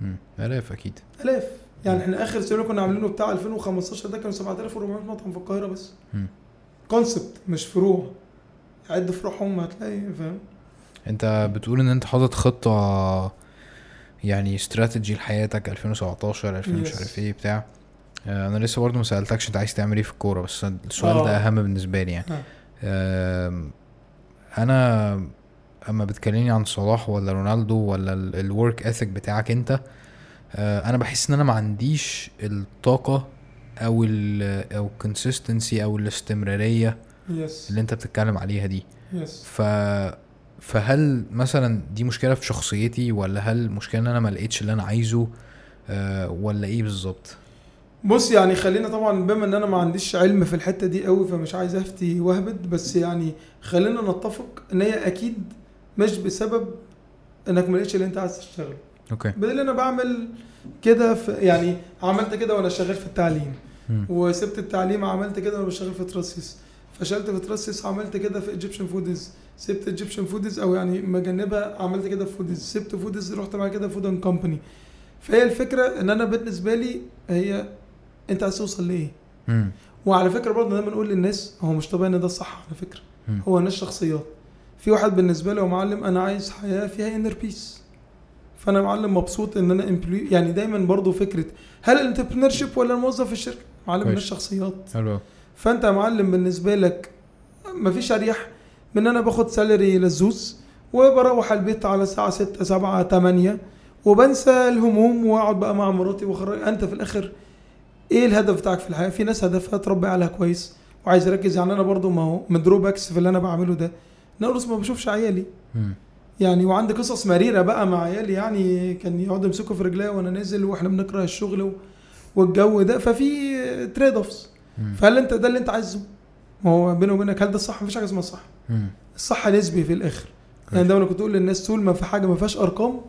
Speaker 1: مم. الاف اكيد
Speaker 2: الاف يعني احنا اخر سيرفي كنا عاملينه بتاع 2015 ده كانوا 7400 مطعم في القاهره بس
Speaker 1: مم.
Speaker 2: كونسبت مش فروع عد فروعهم هتلاقي فاهم
Speaker 1: انت بتقول ان انت حاطط خطه يعني استراتيجي لحياتك 2017 2000 مش
Speaker 2: Yes.
Speaker 1: عارف ايه بتاع آه، انا لسه برضه ما سالتكش انت عايز تعمل ايه في الكوره بس السؤال
Speaker 2: اه.
Speaker 1: ده اهم بالنسبه لي يعني
Speaker 2: اه.
Speaker 1: آم، انا اما بتكلمني عن صلاح ولا رونالدو ولا الورك اثيك بتاعك انت آه، انا بحس ان انا ما عنديش الطاقه او ال او الكونسيستنسي او الاستمراريه
Speaker 2: يس
Speaker 1: اللي انت بتتكلم عليها دي
Speaker 2: يس
Speaker 1: ف فهل مثلا دي مشكله في شخصيتي ولا هل مشكله ان انا ما لقيتش اللي انا عايزه آه، ولا ايه بالظبط
Speaker 2: بص يعني خلينا طبعا بما ان انا ما عنديش علم في الحته دي قوي فمش عايز افتي واهبد بس يعني خلينا نتفق ان هي اكيد مش بسبب انك ما لقيتش اللي انت عايز تشتغله
Speaker 1: اوكي
Speaker 2: بدل انا بعمل كده في- يعني عملت كده وانا شغال في التعليم
Speaker 1: مم.
Speaker 2: وسبت التعليم عملت كده وانا بشتغل في تراسيس فشلت في تراسيس عملت كده في ايجيبشن فودز سبت ايجيبشن فودز او يعني مجنبها عملت كده في فودز سبت فودز رحت بعد كده فود اند كومباني فهي الفكره ان انا بالنسبه لي هي انت عايز توصل لايه
Speaker 1: مم.
Speaker 2: وعلى فكره برضه دايما نقول للناس هو مش طبيعي ان ده الصح على فكره
Speaker 1: مم.
Speaker 2: هو ناس شخصيات في واحد بالنسبه له معلم انا عايز حياه فيها انر بيس فانا معلم مبسوط ان انا امبلوي يعني دايما برضه فكره هل الانتربرينور شيب ولا الموظف في الشركه معلم
Speaker 1: كويس.
Speaker 2: ناس شخصيات
Speaker 1: حلو
Speaker 2: فانت يا معلم بالنسبه لك مفيش اريح من ان انا باخد سالري للزوز وبروح البيت على الساعه 6 7 8 وبنسى الهموم واقعد بقى مع مراتي واخرج انت في الاخر ايه الهدف بتاعك في الحياه في ناس هدفها تربي عليها كويس وعايز اركز يعني انا برضو ما هو من دروباكس في اللي انا بعمله ده إن انا خلاص ما بشوفش عيالي
Speaker 1: مم.
Speaker 2: يعني وعندي قصص مريره بقى مع عيالي يعني كان يقعدوا يمسكوا في رجليا وانا نازل واحنا بنكره الشغل و- والجو ده ففي تريد اوفس
Speaker 1: مم.
Speaker 2: فهل انت ده اللي انت عايزه؟ ما هو بيني وبينك هل ده الصح؟ مفيش حاجه اسمها الصح.
Speaker 1: مم.
Speaker 2: الصح نسبي في الاخر. يعني دايما كنت اقول للناس طول ما في حاجه ما فيهاش ارقام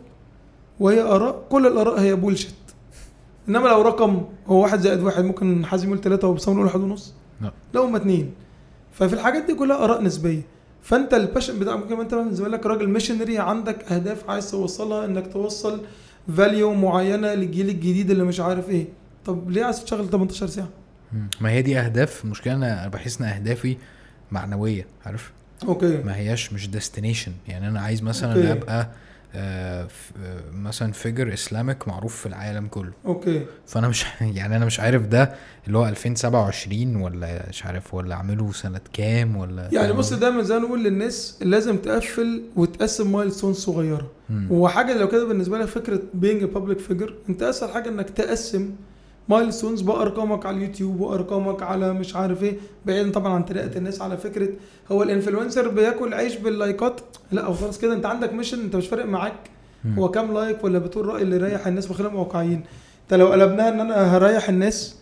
Speaker 2: وهي اراء كل الاراء هي بولشت. انما لو رقم هو واحد زائد واحد ممكن حازم يقول ثلاثه وبسام يقول واحد ونص.
Speaker 1: لا.
Speaker 2: لا هما اثنين. ففي الحاجات دي كلها اراء نسبيه. فانت الباشن بتاعك ممكن انت بالنسبه لك راجل ميشنري عندك اهداف عايز توصلها انك توصل فاليو معينه للجيل الجديد اللي مش عارف ايه. طب ليه عايز تشتغل 18 ساعه؟
Speaker 1: مم. ما هي دي اهداف المشكله انا أنا بحس ان اهدافي معنويه عارف
Speaker 2: اوكي.
Speaker 1: ما هياش مش ديستنيشن يعني انا عايز مثلا
Speaker 2: أوكي.
Speaker 1: ابقى آه، ف- آه، مثلا فيجر اسلامك معروف في العالم كله
Speaker 2: اوكي.
Speaker 1: فانا مش يعني انا مش عارف ده اللي هو 2027 ولا مش عارف ولا اعمله سنه كام ولا
Speaker 2: يعني
Speaker 1: فاهم
Speaker 2: بص
Speaker 1: قصدي؟
Speaker 2: دايما زي ما نقول للناس لازم تقفل وتقسم مايلستون صغيره
Speaker 1: مم.
Speaker 2: وحاجه لو كده بالنسبه لك فكره بينج بابليك فيجر انت اسهل حاجه انك تقسم مايلستونز بارقامك على اليوتيوب وارقامك على مش عارف ايه بعيدا طبعا عن طريقه الناس على فكره هو الانفلونسر بياكل عيش باللايكات لا هو خلاص كده انت عندك ميشن انت مش فارق معاك
Speaker 1: مم.
Speaker 2: هو كام لايك ولا بتقول راي اللي يريح الناس وخلينا واقعيين انت لو قلبناها ان انا هريح الناس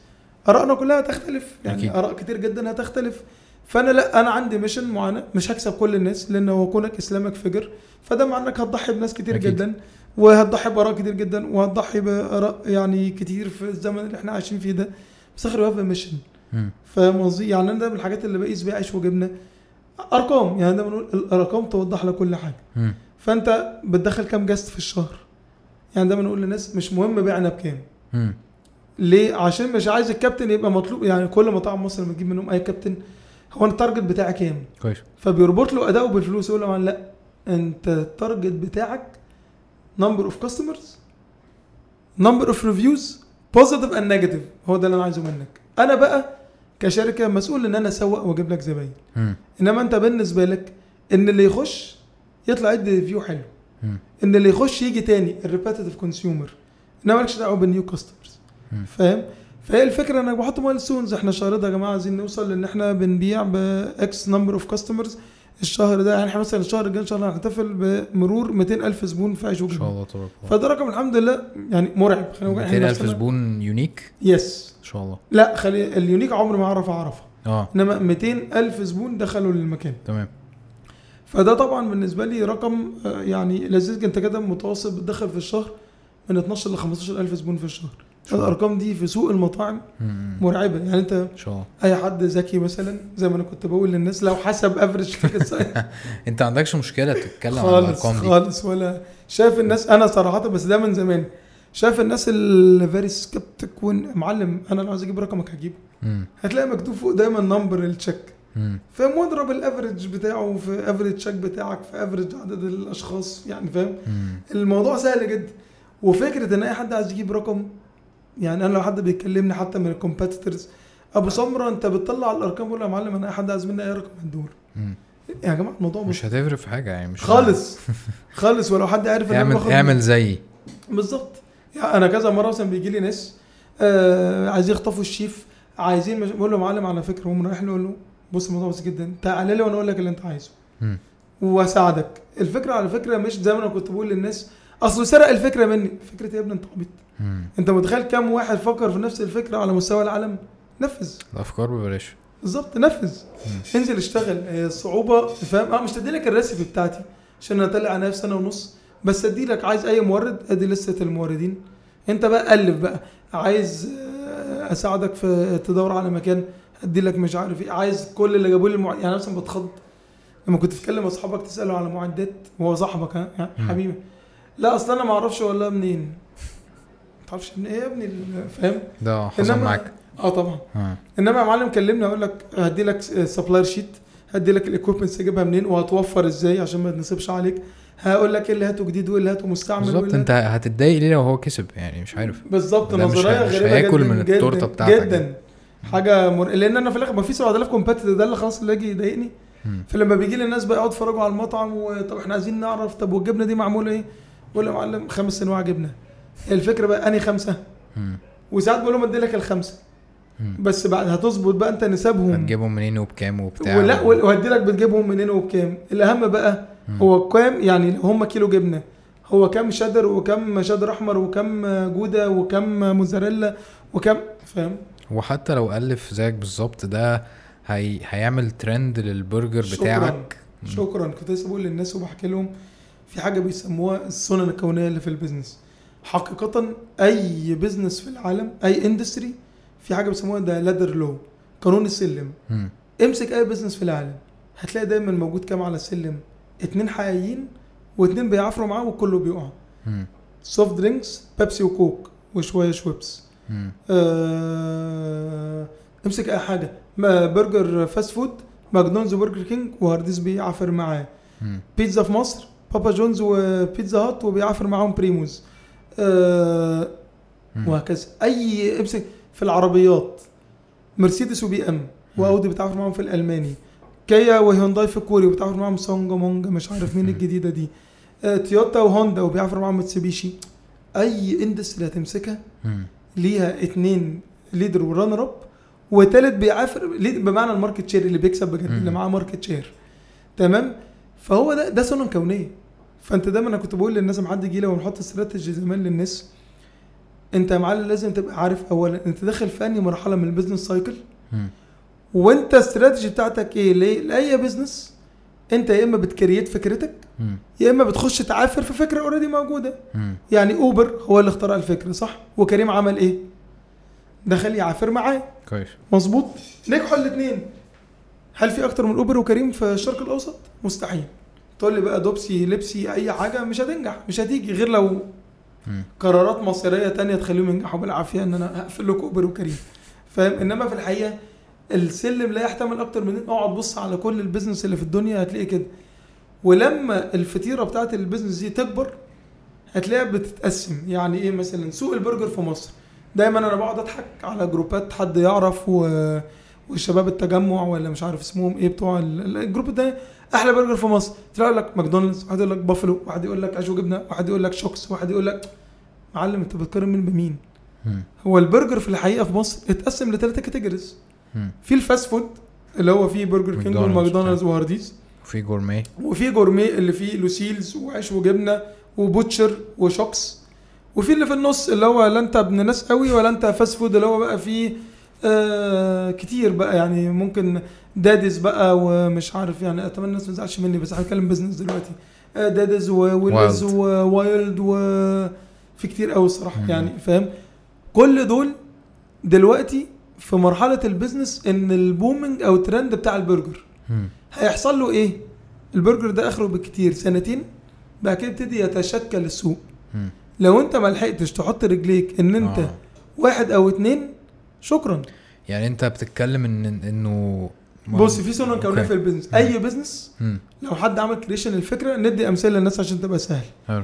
Speaker 2: ارائنا كلها هتختلف يعني
Speaker 1: أكيد.
Speaker 2: أكيد. اراء كتير جدا هتختلف فانا لا انا عندي ميشن معينه مش هكسب كل الناس لان هو كونك اسلامك فجر فده معناه انك هتضحي بناس كتير
Speaker 1: أكيد.
Speaker 2: أكيد. جدا وهتضحي باراء كتير جدا وهتضحي باراء يعني كتير في الزمن اللي احنا عايشين فيه ده بس اخر واقف ميشن
Speaker 1: مم.
Speaker 2: فاهم قصدي يعني انا ده من الحاجات اللي بقيس بيها عيش وجبنه ارقام يعني ده بنقول الارقام توضح لك كل حاجه
Speaker 1: مم.
Speaker 2: فانت بتدخل كام جاست في الشهر يعني دايما نقول للناس مش مهم بعنا بكام
Speaker 1: مم.
Speaker 2: ليه عشان مش عايز الكابتن يبقى مطلوب يعني كل مطاعم مصر لما تجيب منهم اي كابتن هو أنا التارجت بتاعي كام
Speaker 1: كويس
Speaker 2: فبيربط له اداؤه بالفلوس يقول له لا انت التارجت بتاعك نمبر اوف كاستمرز نمبر اوف ريفيوز بوزيتيف اند نيجاتيف هو ده اللي انا عايزه منك انا بقى كشركه مسؤول ان انا اسوق واجيب لك زباين
Speaker 1: مم.
Speaker 2: انما انت بالنسبه لك ان اللي يخش يطلع يدي ريفيو حلو
Speaker 1: مم.
Speaker 2: ان اللي يخش يجي تاني الريبيتيتيف كونسيومر انما مالكش دعوه بالنيو كاستمرز
Speaker 1: مم.
Speaker 2: فاهم فهي الفكره انك بحط مايلستونز احنا الشهر ده يا جماعه عايزين نوصل لان احنا بنبيع باكس نمبر اوف كاستمرز الشهر ده يعني احنا مثلا الشهر الجاي ان شاء الله هنحتفل بمرور 200000 زبون في عيش
Speaker 1: ان شاء
Speaker 2: وجبه
Speaker 1: الله تبارك الله
Speaker 2: فده رقم الحمد لله يعني مرعب خلينا نقول احنا
Speaker 1: 200000
Speaker 2: نفسنا-
Speaker 1: زبون يونيك
Speaker 2: يس
Speaker 1: ان شاء الله
Speaker 2: لا خلي اليونيك عمر ما اعرف اعرفها
Speaker 1: اه
Speaker 2: انما 200000 زبون دخلوا للمكان
Speaker 1: تمام
Speaker 2: فده طبعا بالنسبه لي رقم آه، يعني لذيذ انت كده متوسط بتدخل في الشهر من 12 ل 15000 زبون في الشهر الارقام دي في سوق المطاعم
Speaker 1: مم.
Speaker 2: مرعبه يعني انت
Speaker 1: ان شاء الله
Speaker 2: اي حد ذكي مثلا زي ما انا كنت بقول للناس لو حسب افرج
Speaker 1: انت ما عندكش مشكله تتكلم عن
Speaker 2: خالص
Speaker 1: الارقام دي
Speaker 2: خالص ولا شايف الناس انا صراحه بس ده من زمان شايف الناس اللي فيري سكبتك معلم انا لو عايز اجيب رقمك هجيبه
Speaker 1: مم.
Speaker 2: هتلاقي مكتوب فوق دايما نمبر التشيك
Speaker 1: مم.
Speaker 2: فاهم واضرب الافرج بتاعه في افرج تشيك بتاعك في افرج عدد الاشخاص يعني فاهم
Speaker 1: مم.
Speaker 2: الموضوع سهل جدا وفكره ان اي حد عايز يجيب رقم يعني انا لو حد بيكلمني حتى من الكومبيتيتورز ابو سمره انت بتطلع الارقام بقول له يا معلم انا اي حد عايز مني اي رقم هتدور
Speaker 1: مم.
Speaker 2: يا جماعه الموضوع مش
Speaker 1: مش هتفرق في حاجه يعني مش
Speaker 2: خالص خالص ولو حد عارف
Speaker 1: اعمل
Speaker 2: باخد-
Speaker 1: اعمل زيي
Speaker 2: بالظبط يعني انا كذا مره مثلا بيجي لي ناس آه عايزين يخطفوا الشيف عايزين مش... بقول له معلم على فكره هم رايح له أقول له بص الموضوع بسيط جدا تعالى لي وانا اقول لك اللي انت عايزه
Speaker 1: مم.
Speaker 2: واساعدك الفكره على فكره مش زي ما انا كنت بقول للناس اصله سرق الفكره مني فكره يا ابني انت عبيط
Speaker 1: مم.
Speaker 2: انت متخيل كام واحد فكر في نفس الفكره على مستوى العالم نفذ
Speaker 1: الافكار ببلاش
Speaker 2: بالظبط نفذ انزل اشتغل آه، الصعوبه فاهم اه مش هدي لك الريسيبي بتاعتي عشان انا طالع عليها في سنه ونص بس ادي لك عايز اي مورد ادي لسته الموردين انت بقى الف بقى عايز آه، اساعدك في تدور على مكان ادي لك مش عارف ايه عايز كل اللي جابوا لي المع... يعني أنا مثلا بتخض لما كنت بتكلم اصحابك تساله على معدات وهو صاحبك ها ها،
Speaker 1: مم.
Speaker 2: حبيبي لا اصل انا ما اعرفش والله منين ما تعرفش من ايه يا ابني ال- فاهم
Speaker 1: ده حصل
Speaker 2: إنما-
Speaker 1: معاك
Speaker 2: اه طبعا
Speaker 1: آه.
Speaker 2: انما يا معلم كلمني اقول لك هدي لك سبلاير شيت هدي لك الاكويبمنتس تجيبها منين وهتوفر ازاي عشان ما تنصبش عليك هقول لك ايه اللي هاته جديد وايه اللي هاته مستعمل وايه
Speaker 1: بالظبط
Speaker 2: اللي
Speaker 1: انت هتتضايق ليه لو هو كسب يعني مش عارف
Speaker 2: بالظبط
Speaker 1: ده مش
Speaker 2: نظريه
Speaker 1: هي- مش
Speaker 2: غريبه
Speaker 1: هياكل
Speaker 2: جدا
Speaker 1: من
Speaker 2: جدا
Speaker 1: التورته بتاعتك
Speaker 2: جدا حاجه مر... لان انا في الاخر ما في 7000 كومبيتيتور ده اللي خلاص اللي يجي يضايقني
Speaker 1: مم.
Speaker 2: فلما بيجي لي الناس بقى يقعدوا يتفرجوا على المطعم وطب احنا عايزين نعرف طب والجبنه دي معموله ايه؟ بقول له يا معلم خمس انواع جبنه الفكره بقى انهي خمسه؟
Speaker 1: مم.
Speaker 2: وساعات بقول لهم ادي لك الخمسه
Speaker 1: مم.
Speaker 2: بس بعد هتظبط بقى انت نسابهم
Speaker 1: هتجيبهم منين وبكام وبتاع
Speaker 2: ولا وهدي لك بتجيبهم منين وبكام الاهم بقى
Speaker 1: مم.
Speaker 2: هو كام يعني لو هم كيلو جبنه هو كام شدر وكم شدر احمر وكم جوده وكم موزاريلا وكم فاهم
Speaker 1: وحتى لو الف زيك بالظبط ده هي... هيعمل ترند للبرجر
Speaker 2: شكراً.
Speaker 1: بتاعك مم.
Speaker 2: شكرا كنت لسه بقول للناس وبحكي لهم في حاجه بيسموها السنن الكونيه اللي في البيزنس حقيقه اي بيزنس في العالم اي اندستري في حاجه بيسموها ده لادر لو قانون السلم
Speaker 1: مم.
Speaker 2: امسك اي بزنس في العالم هتلاقي دايما موجود كام على السلم اتنين حقيقيين واتنين بيعافروا معاه وكله بيقع
Speaker 1: مم.
Speaker 2: سوفت درينكس بيبسي وكوك وشويه شويبس
Speaker 1: مم.
Speaker 2: آه... امسك اي حاجه ما برجر فاست فود ماكدونالدز وبرجر كينج وهارديز بيعافر معاه
Speaker 1: مم.
Speaker 2: بيتزا في مصر بابا جونز وبيتزا هات وبيعافر معاهم بريموز آه...
Speaker 1: مم.
Speaker 2: وهكذا اي امسك في العربيات مرسيدس وبي ام واودي بتعافر معاهم في الالماني كيا وهيونداي في الكوري وبتعافر معاهم سونجا مونجا مش عارف مين الجديده دي آه، تويوتا وهوندا وبيعافر معاهم متسوبيشي اي اندستري هتمسكها
Speaker 1: مم.
Speaker 2: ليها اتنين ليدر ورانر اب وتالت بيعافر lead بمعنى الماركت شير اللي بيكسب بجد
Speaker 1: مم.
Speaker 2: اللي معاه ماركت شير تمام فهو ده ده سنن كونيه فانت دايما انا كنت بقول للناس لما حد يجي لي ونحط استراتيجي زمان للناس انت يا معلم لازم تبقى عارف اولا انت داخل في انهي مرحله من البيزنس سايكل
Speaker 1: مم. و
Speaker 2: وانت الاستراتيجي بتاعتك ايه ليه لاي بيزنس انت يا اما بتكريت فكرتك
Speaker 1: مم.
Speaker 2: يا اما بتخش تعافر في فكره اوريدي موجوده
Speaker 1: مم.
Speaker 2: يعني اوبر هو اللي اخترع الفكره صح وكريم عمل ايه دخل يعافر معاه
Speaker 1: كويس
Speaker 2: مظبوط نجحوا الاثنين هل في اكتر من اوبر وكريم في الشرق الاوسط مستحيل تقول لي بقى دوبسي لبسي اي حاجه مش هتنجح مش هتيجي غير لو
Speaker 1: مم.
Speaker 2: قرارات مصيريه تانية تخليهم ينجحوا بالعافيه ان انا هقفل لكم اوبر وكريم فاهم انما في الحقيقه السلم لا يحتمل اكتر من اقعد بص على كل البيزنس اللي في الدنيا هتلاقيه كده ولما الفطيره بتاعت البيزنس دي تكبر هتلاقيها بتتقسم يعني ايه مثلا سوق البرجر في مصر دايما انا بقعد اضحك على جروبات حد يعرف و... والشباب التجمع ولا مش عارف اسمهم ايه بتوع ال- ال- الجروب ده احلى برجر في مصر تلاقي يقول لك ماكدونالدز واحد يقول لك بافلو واحد يقول لك عيش وجبنه واحد يقول لك شوكس واحد يقول لك معلم انت بتقارن مين بمين
Speaker 1: مم.
Speaker 2: هو البرجر في الحقيقه في مصر اتقسم لثلاثه كاتيجوريز
Speaker 1: مم.
Speaker 2: في الفاست فود اللي هو فيه برجر كينج
Speaker 1: ماكدونالدز
Speaker 2: وماكدونالدز وهارديز
Speaker 1: في جورميه
Speaker 2: وفي جورميه اللي فيه لوسيلز وعيش وجبنه وبوتشر وشوكس وفي اللي في النص اللي هو لا انت ابن ناس قوي ولا انت فاست فود اللي هو بقى فيه آه كتير بقى يعني ممكن دادز بقى ومش عارف يعني اتمنى الناس ما تزعلش مني بس هتكلم بزنس دلوقتي آه دادز وويلز
Speaker 3: Wild.
Speaker 2: ووايلد وفي كتير قوي الصراحه
Speaker 1: مم.
Speaker 2: يعني فاهم كل دول دلوقتي في مرحله البيزنس ان البومنج او الترند بتاع البرجر
Speaker 1: مم.
Speaker 2: هيحصل له ايه؟ البرجر ده اخره بالكتير سنتين بعد كده يبتدي يتشكل السوق
Speaker 1: مم.
Speaker 2: لو انت ما لحقتش تحط رجليك ان انت
Speaker 1: آه.
Speaker 2: آه. واحد او اتنين شكرا
Speaker 1: يعني انت بتتكلم ان انه ما-
Speaker 2: بص في سنه كونيه
Speaker 1: أوكي.
Speaker 2: في البيزنس
Speaker 1: مم.
Speaker 2: اي بيزنس
Speaker 1: مم.
Speaker 2: لو حد عمل كريشن الفكره ندي امثله للناس عشان تبقى سهل
Speaker 1: حلو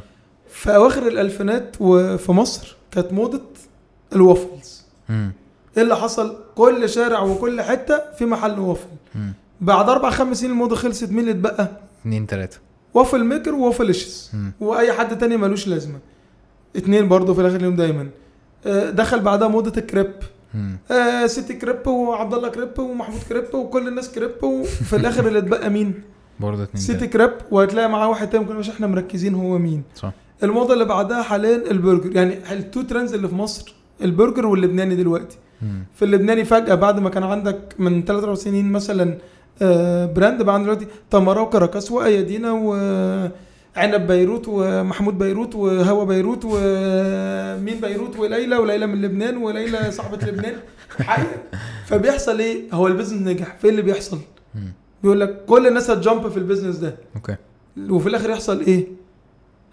Speaker 2: في اواخر الالفينات وفي مصر كانت موضه الوافلز
Speaker 1: مم.
Speaker 2: ايه اللي حصل كل شارع وكل حته في محل وافل
Speaker 1: مم.
Speaker 2: بعد اربع خمس سنين الموضه خلصت مين اللي اتبقى
Speaker 1: اتنين تلاته
Speaker 2: وافل ميكر ووافلشز
Speaker 1: مم.
Speaker 2: واي حد تاني ملوش لازمه اتنين برضه في الاخر اليوم دايما آه، دخل بعدها موضه الكريب
Speaker 1: مم.
Speaker 2: آه، سيتي كريب وعبد الله كريب ومحمود كريب وكل الناس كريب وفي الاخر اللي اتبقى مين
Speaker 1: برضه اتنين
Speaker 2: سيتي
Speaker 1: تلاته
Speaker 2: كريب وهتلاقي معاه واحد تاني ممكن مش احنا مركزين هو مين
Speaker 1: صح
Speaker 2: الموضه اللي بعدها حاليا البرجر يعني التو ترندز اللي في مصر البرجر واللبناني دلوقتي
Speaker 1: مم.
Speaker 2: في اللبناني فجاه بعد ما كان عندك من 3 4 سنين مثلا آه، براند بقى عندنا دلوقتي تمارا وكراكاس وايادينا وعنب بيروت ومحمود بيروت وهوا بيروت ومين بيروت وليلى وليلى من لبنان وليلى صاحبه لبنان حقيقة. فبيحصل ايه؟ هو البيزنس نجح، فين اللي بيحصل؟
Speaker 1: مم.
Speaker 2: بيقول لك كل الناس هتجامب في البيزنس ده
Speaker 1: اوكي
Speaker 2: وفي الاخر يحصل ايه؟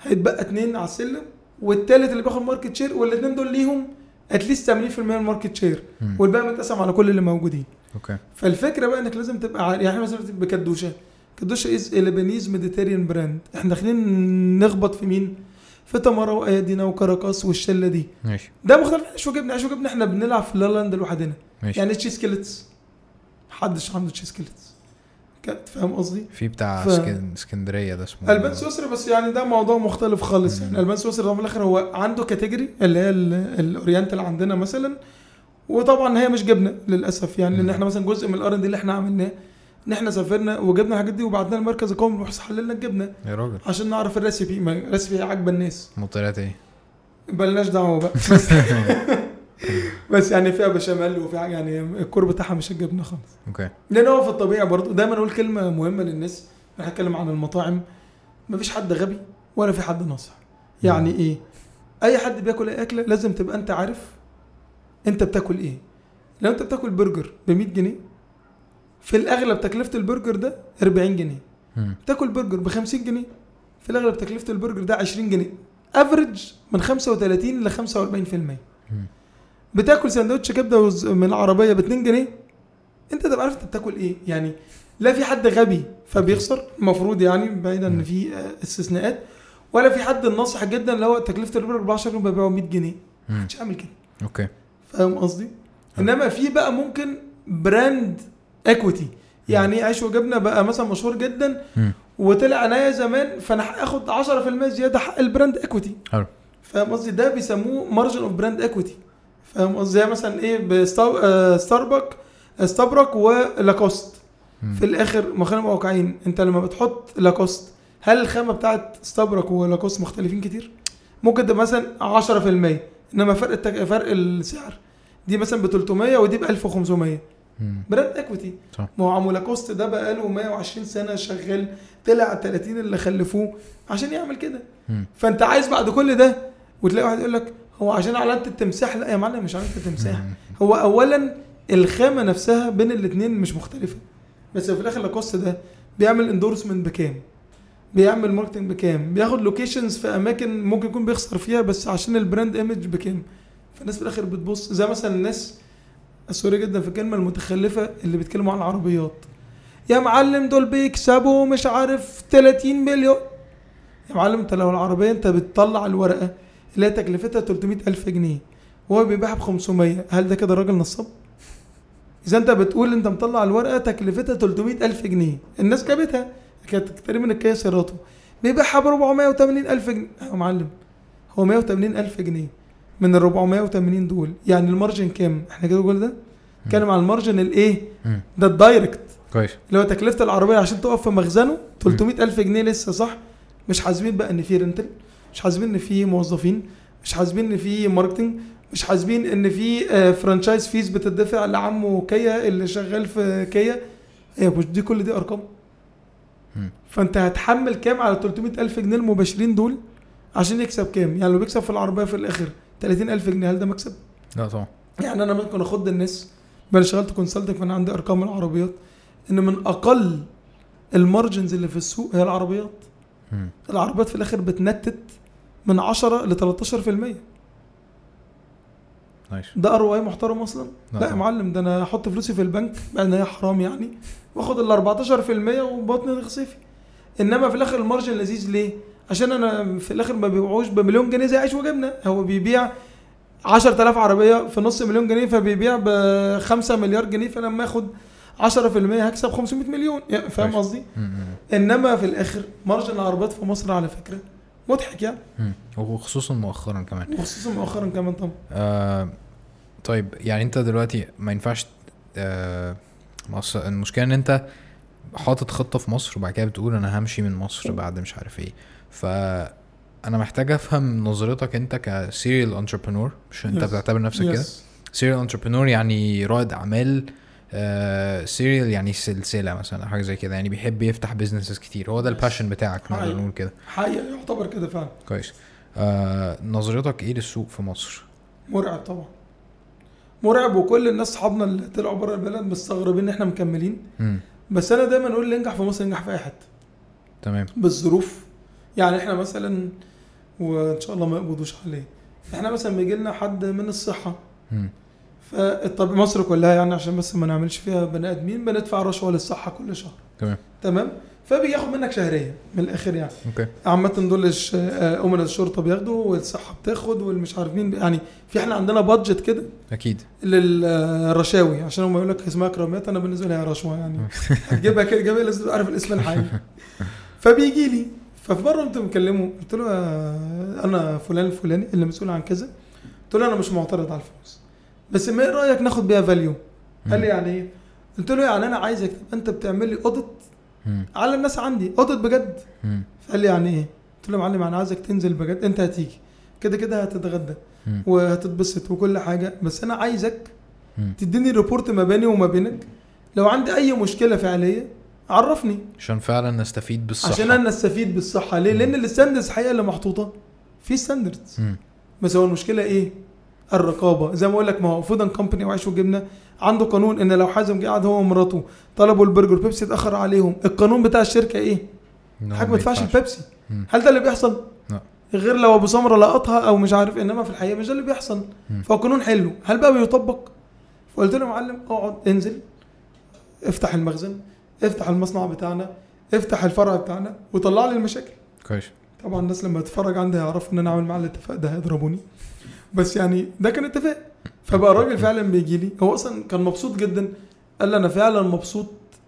Speaker 2: هيتبقى اتنين على السلم والتالت اللي بياخد ماركت شير والاتنين دول ليهم اتليست 80% من الماركت شير
Speaker 1: مم.
Speaker 2: والباقي متقسم على كل اللي موجودين
Speaker 1: اوكي
Speaker 2: فالفكره بقى انك لازم تبقى عارف يعني إحنا مثلا بكدوشه كدوشه از لبنيز ميديتيريان براند احنا داخلين نخبط في مين؟ في تمارا وايادينا وكراكاس والشله دي
Speaker 1: ماشي
Speaker 2: ده مختلف عن عيش وجبنه عيش وجبنه احنا بنلعب في لالاند لوحدنا
Speaker 1: ماشي
Speaker 2: يعني تشيز كيلتس محدش عنده تشيز كيلتس فاهم قصدي؟
Speaker 1: في بتاع
Speaker 2: ف-
Speaker 1: اسكن- اسكندريه ده اسمه
Speaker 2: البان سويسرا بس يعني ده موضوع مختلف خالص يعني البان سويسرا ده في الاخر هو عنده كاتيجوري اللي هي ال- الاورينتال عندنا مثلا وطبعا هي مش جبنه للاسف يعني لان
Speaker 1: مم.
Speaker 2: احنا مثلا جزء من الار دي اللي احنا عملناه ان احنا سافرنا وجبنا الحاجات دي وبعتنا المركز القومي للبحوث حللنا الجبنه
Speaker 1: يا راجل
Speaker 2: عشان نعرف الريسيبي ما الريسيبي عاجبه الناس
Speaker 1: مطيرات ايه
Speaker 2: بلاش دعوه بقى بس, بس يعني فيها بشاميل وفيها حاجة يعني الكور بتاعها مش الجبنه خالص
Speaker 1: اوكي
Speaker 2: لان هو في الطبيعي برضه دايما اقول كلمه مهمه للناس انا هتكلم عن المطاعم مفيش حد غبي ولا في حد ناصح يعني ايه اي حد بياكل اي اكله لازم تبقى انت عارف انت بتاكل ايه لو انت بتاكل برجر ب 100 جنيه في الاغلب تكلفه البرجر ده 40 جنيه
Speaker 1: مم.
Speaker 2: تاكل برجر ب 50 جنيه في الاغلب تكلفه البرجر ده 20 جنيه افريج من 35 ل 45%
Speaker 1: مم.
Speaker 2: بتاكل سندوتش كبده وز- من العربيه ب 2 جنيه انت تبقى عارف انت بتاكل ايه يعني لا في حد غبي فبيخسر المفروض يعني بعيدا ان في آه، استثناءات ولا في حد ناصح جدا اللي هو تكلفه البرجر ب 10 جنيه ببيعه 100 جنيه
Speaker 1: مم.
Speaker 2: مش هعمل كده
Speaker 1: اوكي
Speaker 2: فاهم قصدي؟ انما في بقى ممكن براند اكويتي يعني عيش وجبنه بقى مثلا مشهور جدا
Speaker 1: مم.
Speaker 2: وطلع عينيا زمان فانا هاخد 10% زياده حق البراند اكويتي
Speaker 1: حلو
Speaker 2: فاهم قصدي ده بيسموه مارجن اوف براند اكويتي فاهم قصدي زي مثلا ايه بستار... آه، ستاربك ستابرك ولاكوست
Speaker 1: مم.
Speaker 2: في الاخر ما خلينا نبقى واقعيين انت لما بتحط لاكوست هل الخامه بتاعت ستابرك ولاكوست مختلفين كتير؟ ممكن تبقى مثلا 10% انما فرق التك... فرق السعر دي مثلا ب 300 ودي ب 1500
Speaker 1: مم.
Speaker 2: براند اكويتي
Speaker 1: صح.
Speaker 2: ما هو عمو لاكوست ده بقى له 120 سنه شغال طلع 30 اللي خلفوه عشان يعمل كده
Speaker 1: مم.
Speaker 2: فانت عايز بعد كل ده وتلاقي واحد يقول لك هو عشان علامه التمساح لا يا معلم مش علامه التمساح هو اولا الخامه نفسها بين الاثنين مش مختلفه بس في الاخر لاكوست ده بيعمل اندورسمنت بكام بيعمل ماركتنج بكام بياخد لوكيشنز في اماكن ممكن يكون بيخسر فيها بس عشان البراند ايمج بكام فالناس في الاخر بتبص زي مثلا الناس سوري جدا في الكلمه المتخلفه اللي بيتكلموا عن العربيات يا معلم دول بيكسبوا مش عارف 30 مليون يا معلم انت لو العربيه انت بتطلع الورقه اللي هي تكلفتها 300 الف جنيه وهو بيبيعها ب 500 هل ده كده راجل نصاب اذا انت بتقول انت مطلع الورقه تكلفتها 300 الف جنيه الناس جابتها كانت تقريبا الكيا سيراتو بيبيعها ب 480 الف جنيه يا معلم هو 180 الف جنيه من ال 480 دول يعني المارجن كام احنا كده قلنا ده اتكلم على المارجن الايه
Speaker 1: مم.
Speaker 2: ده الدايركت
Speaker 1: كويس
Speaker 2: اللي هو تكلفه العربيه عشان تقف في مخزنه 300 الف جنيه لسه صح مش حاسبين بقى ان في رنتل مش حاسبين ان في موظفين مش حاسبين ان في ماركتنج مش حاسبين ان في آه، فرانشايز فيز بتدفع لعمه كيا اللي شغال في كيا هي مش دي كل دي ارقام
Speaker 1: مم.
Speaker 2: فانت هتحمل كام على 300 الف جنيه المباشرين دول عشان يكسب كام يعني لو بيكسب في العربيه في الاخر 30 الف جنيه هل ده مكسب
Speaker 1: لا طبعا
Speaker 2: يعني انا ممكن اخد الناس ما انا شغلت كونسلتنج فانا عندي ارقام العربيات ان من اقل المارجنز اللي في السوق هي العربيات
Speaker 1: مم.
Speaker 2: العربيات في الاخر بتنتت من 10 ل 13%
Speaker 1: نايس
Speaker 2: ده ار اي محترم اصلا
Speaker 1: لا
Speaker 2: لا يا
Speaker 1: طبعا.
Speaker 2: معلم ده انا احط فلوسي في البنك بعد ما هي حرام يعني واخد ال 14% وبطني تخصيفي انما في الاخر المارجن لذيذ ليه؟ عشان انا في الاخر ما بيبيعوش بمليون جنيه زي عيش وجبنه هو بيبيع 10000 عربيه في نص مليون جنيه فبيبيع ب 5 مليار جنيه فلما اخد 10% هكسب 500 مليون يعني فاهم
Speaker 1: ماشي.
Speaker 2: قصدي؟
Speaker 1: مم، مم،
Speaker 2: انما في الاخر مارجن العربيات في مصر على فكره مضحك يعني
Speaker 1: مم. وخصوصا مؤخرا كمان
Speaker 2: وخصوصا مؤخرا كمان طبعا
Speaker 1: آه طيب يعني انت دلوقتي ما ينفعش آه ما أصل- المشكله ان انت حاطط خطه في مصر وبعد كده بتقول انا همشي من مصر بعد مش عارف ايه ف انا محتاج افهم نظرتك انت كسيريال انتربرنور مش انت
Speaker 2: Yes.
Speaker 1: بتعتبر نفسك
Speaker 2: Yes.
Speaker 1: كده سيريال انتربرنور يعني رائد اعمال سيريال يعني سلسله مثلا أو حاجه زي كده يعني بيحب يفتح بيزنسز كتير هو ده الباشن بتاعك نقدر
Speaker 2: أيوة.
Speaker 1: نقول كده
Speaker 2: حقيقه يعتبر كده فعلا
Speaker 1: كويس آه نظرتك ايه للسوق في مصر
Speaker 2: مرعب طبعا مرعب وكل الناس اصحابنا اللي طلعوا بره البلد مستغربين ان احنا مكملين
Speaker 1: امم
Speaker 2: بس انا دايما اقول اللي ينجح في مصر ينجح في اي حته
Speaker 1: تمام
Speaker 2: بالظروف يعني احنا مثلا وان شاء الله ما يقبضوش عليه احنا مثلا بيجي لنا حد من الصحه
Speaker 1: امم
Speaker 2: فطب مصر كلها يعني عشان بس ما نعملش فيها بني ادمين بندفع رشوه للصحه كل شهر
Speaker 1: تمام
Speaker 2: تمام فبياخد منك شهريه من الاخر يعني
Speaker 1: اوكي
Speaker 2: عامة دول الش- آه، امنا الشرطه بياخدوا والصحه بتاخد والمش عارف مين بي- يعني في احنا عندنا بادجت كده
Speaker 1: اكيد
Speaker 2: للرشاوي عشان هم يقول لك اسمها كرامات انا بالنسبه لي هي رشوه يعني هتجيبها كده جايبها لازم تبقى عارف الاسم الحقيقي فبيجي لي ففي مره كنت مكلمه قلت له آه، انا فلان الفلاني اللي مسؤول عن كذا قلت له انا مش معترض على الفلوس بس ما ايه رايك ناخد بيها فاليو قال لي يعني ايه قلت له يعني انا عايزك تبقى انت بتعمل لي اوديت
Speaker 1: امم
Speaker 2: على الناس عندي اوديت بجد
Speaker 1: امم
Speaker 2: فقال لي يعني ايه قلت له يا معلم انا عايزك تنزل بجد انت هتيجي كده كده هتتغدى
Speaker 1: مم.
Speaker 2: وهتتبسط وكل حاجه بس انا عايزك
Speaker 1: مم.
Speaker 2: تديني ريبورت ما بيني وما بينك لو عندي اي مشكله فعليه عرفني
Speaker 1: عشان فعلا نستفيد بالصحه
Speaker 2: عشان انا استفيد بالصحه ليه لان الستاندرز الحقيقه اللي محطوطه في ستاندردز
Speaker 1: امم
Speaker 2: بس هو المشكله ايه الرقابه زي ما اقول لك ما هو فودن كومباني وعيش وجبنه عنده قانون ان لو حازم جه قعد هو ومراته طلبوا البرجر بيبسي اتاخر عليهم القانون بتاع الشركه ايه حاجه ما تدفعش البيبسي
Speaker 1: مم.
Speaker 2: هل ده اللي بيحصل
Speaker 1: لا.
Speaker 2: غير لو ابو سمره لقطها او مش عارف انما في الحقيقه مش ده اللي بيحصل
Speaker 1: مم.
Speaker 2: فهو قانون حلو هل بقى بيطبق فقلت له يا معلم اقعد انزل افتح المخزن افتح المصنع بتاعنا افتح الفرع بتاعنا وطلع لي المشاكل
Speaker 1: كويس
Speaker 2: طبعا الناس لما تتفرج عندي هيعرفوا ان انا عامل معاه الاتفاق ده هيضربوني بس يعني ده كان اتفاق فبقى الراجل فعلا بيجي لي هو اصلا كان مبسوط جدا قال لي انا فعلا مبسوط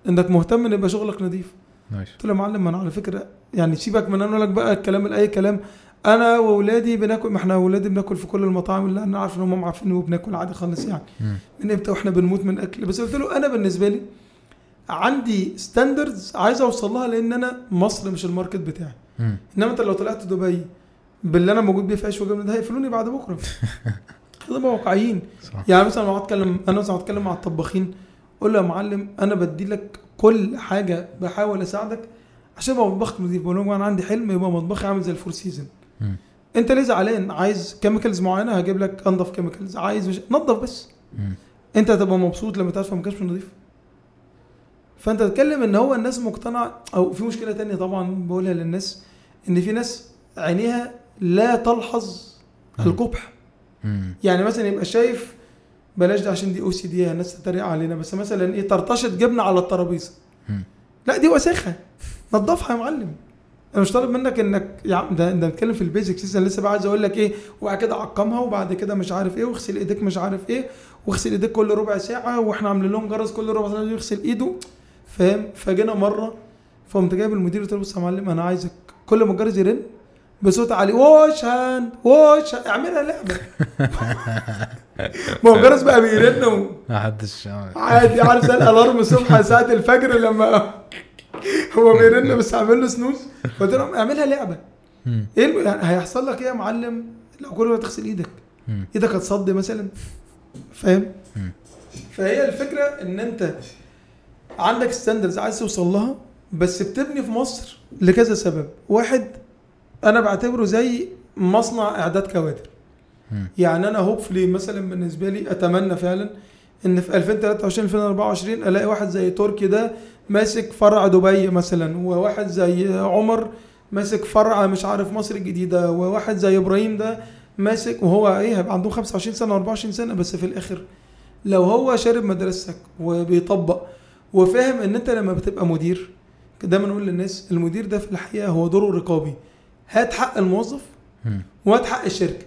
Speaker 2: انك مهتم ان يبقى شغلك نظيف
Speaker 1: نايس
Speaker 2: قلت له يا معلم ما انا على فكره يعني سيبك من انا اقول لك بقى الكلام لاي كلام انا واولادي بناكل ما احنا اولادي بناكل في كل المطاعم اللي انا عارف ان هم عارفين وبناكل عادي خالص يعني
Speaker 1: مم.
Speaker 2: من امتى واحنا بنموت من اكل بس قلت له انا بالنسبه لي عندي ستاندردز عايز اوصل لها لان انا مصر مش الماركت بتاعي
Speaker 1: مم.
Speaker 2: انما انت لو طلعت دبي باللي انا موجود بيه في عيش وجبنه ده هيقفلوني بعد بكره خلينا نبقى واقعيين
Speaker 1: صح
Speaker 2: يعني مثلا لو اتكلم انا مثلا اتكلم مع الطباخين اقول له يا معلم انا بدي لك كل حاجه بحاول اساعدك عشان يبقى مطبخك نظيف بقول لهم انا عندي حلم يبقى مطبخي عامل زي الفور سيزون
Speaker 1: مم.
Speaker 2: انت ليه زعلان عايز كيميكالز معينه هجيب لك انضف كيميكالز عايز مش... نضف بس
Speaker 1: مم.
Speaker 2: انت هتبقى مبسوط لما تعرف إن ما كانش نظيف فانت تتكلم ان هو الناس مقتنع او في مشكله تانية طبعا بقولها للناس ان في ناس عينيها لا تلحظ
Speaker 1: مم.
Speaker 2: القبح
Speaker 1: مم.
Speaker 2: يعني مثلا يبقى شايف بلاش ده عشان دي او سي دي الناس تتريق علينا بس مثلا ايه طرطشه جبنه على الترابيزه
Speaker 1: مم.
Speaker 2: لا دي وساخه نظفها يا معلم انا مش طالب منك انك يا عم ده ده بنتكلم في البيزكس لسه لسه بقى عايز اقول لك ايه وبعد كده عقمها وبعد كده مش عارف ايه واغسل ايديك مش عارف ايه واغسل ايديك كل ربع ساعه واحنا عاملين لهم جرس كل ربع ساعه يغسل ايده فاهم فجينا مره فقمت جايب المدير قلت له بص يا معلم انا عايزك كل ما الجرس يرن بصوت عالي واش هاند واش هاند. اعملها لعبه ما هو الجرس بقى بيرن و-
Speaker 1: محدش عمل.
Speaker 2: عادي عارف زي الالارم الصبح ساعه الفجر لما هو بيرن بس عامل له سنوز قلت لهم اعملها لعبه
Speaker 1: مم.
Speaker 2: ايه الم- يعني هيحصل لك ايه يا معلم لو كل ما تغسل ايدك
Speaker 1: مم.
Speaker 2: ايدك هتصد مثلا فاهم
Speaker 1: مم.
Speaker 2: فهي الفكره ان انت عندك ستاندرز عايز توصل لها بس بتبني في مصر لكذا سبب واحد انا بعتبره زي مصنع اعداد كوادر
Speaker 1: مم.
Speaker 2: يعني انا هوبفلي مثلا بالنسبه لي اتمنى فعلا ان في 2023 2024 الاقي واحد زي تركي ده ماسك فرع دبي مثلا وواحد زي عمر ماسك فرع مش عارف مصر الجديده وواحد زي ابراهيم ده ماسك وهو ايه هيبقى عندهم 25 سنه و24 سنه بس في الاخر لو هو شارب مدرستك وبيطبق وفاهم ان انت لما بتبقى مدير دايما نقول للناس المدير ده في الحقيقه هو دوره رقابي هات حق الموظف
Speaker 1: مم.
Speaker 2: وهات حق الشركه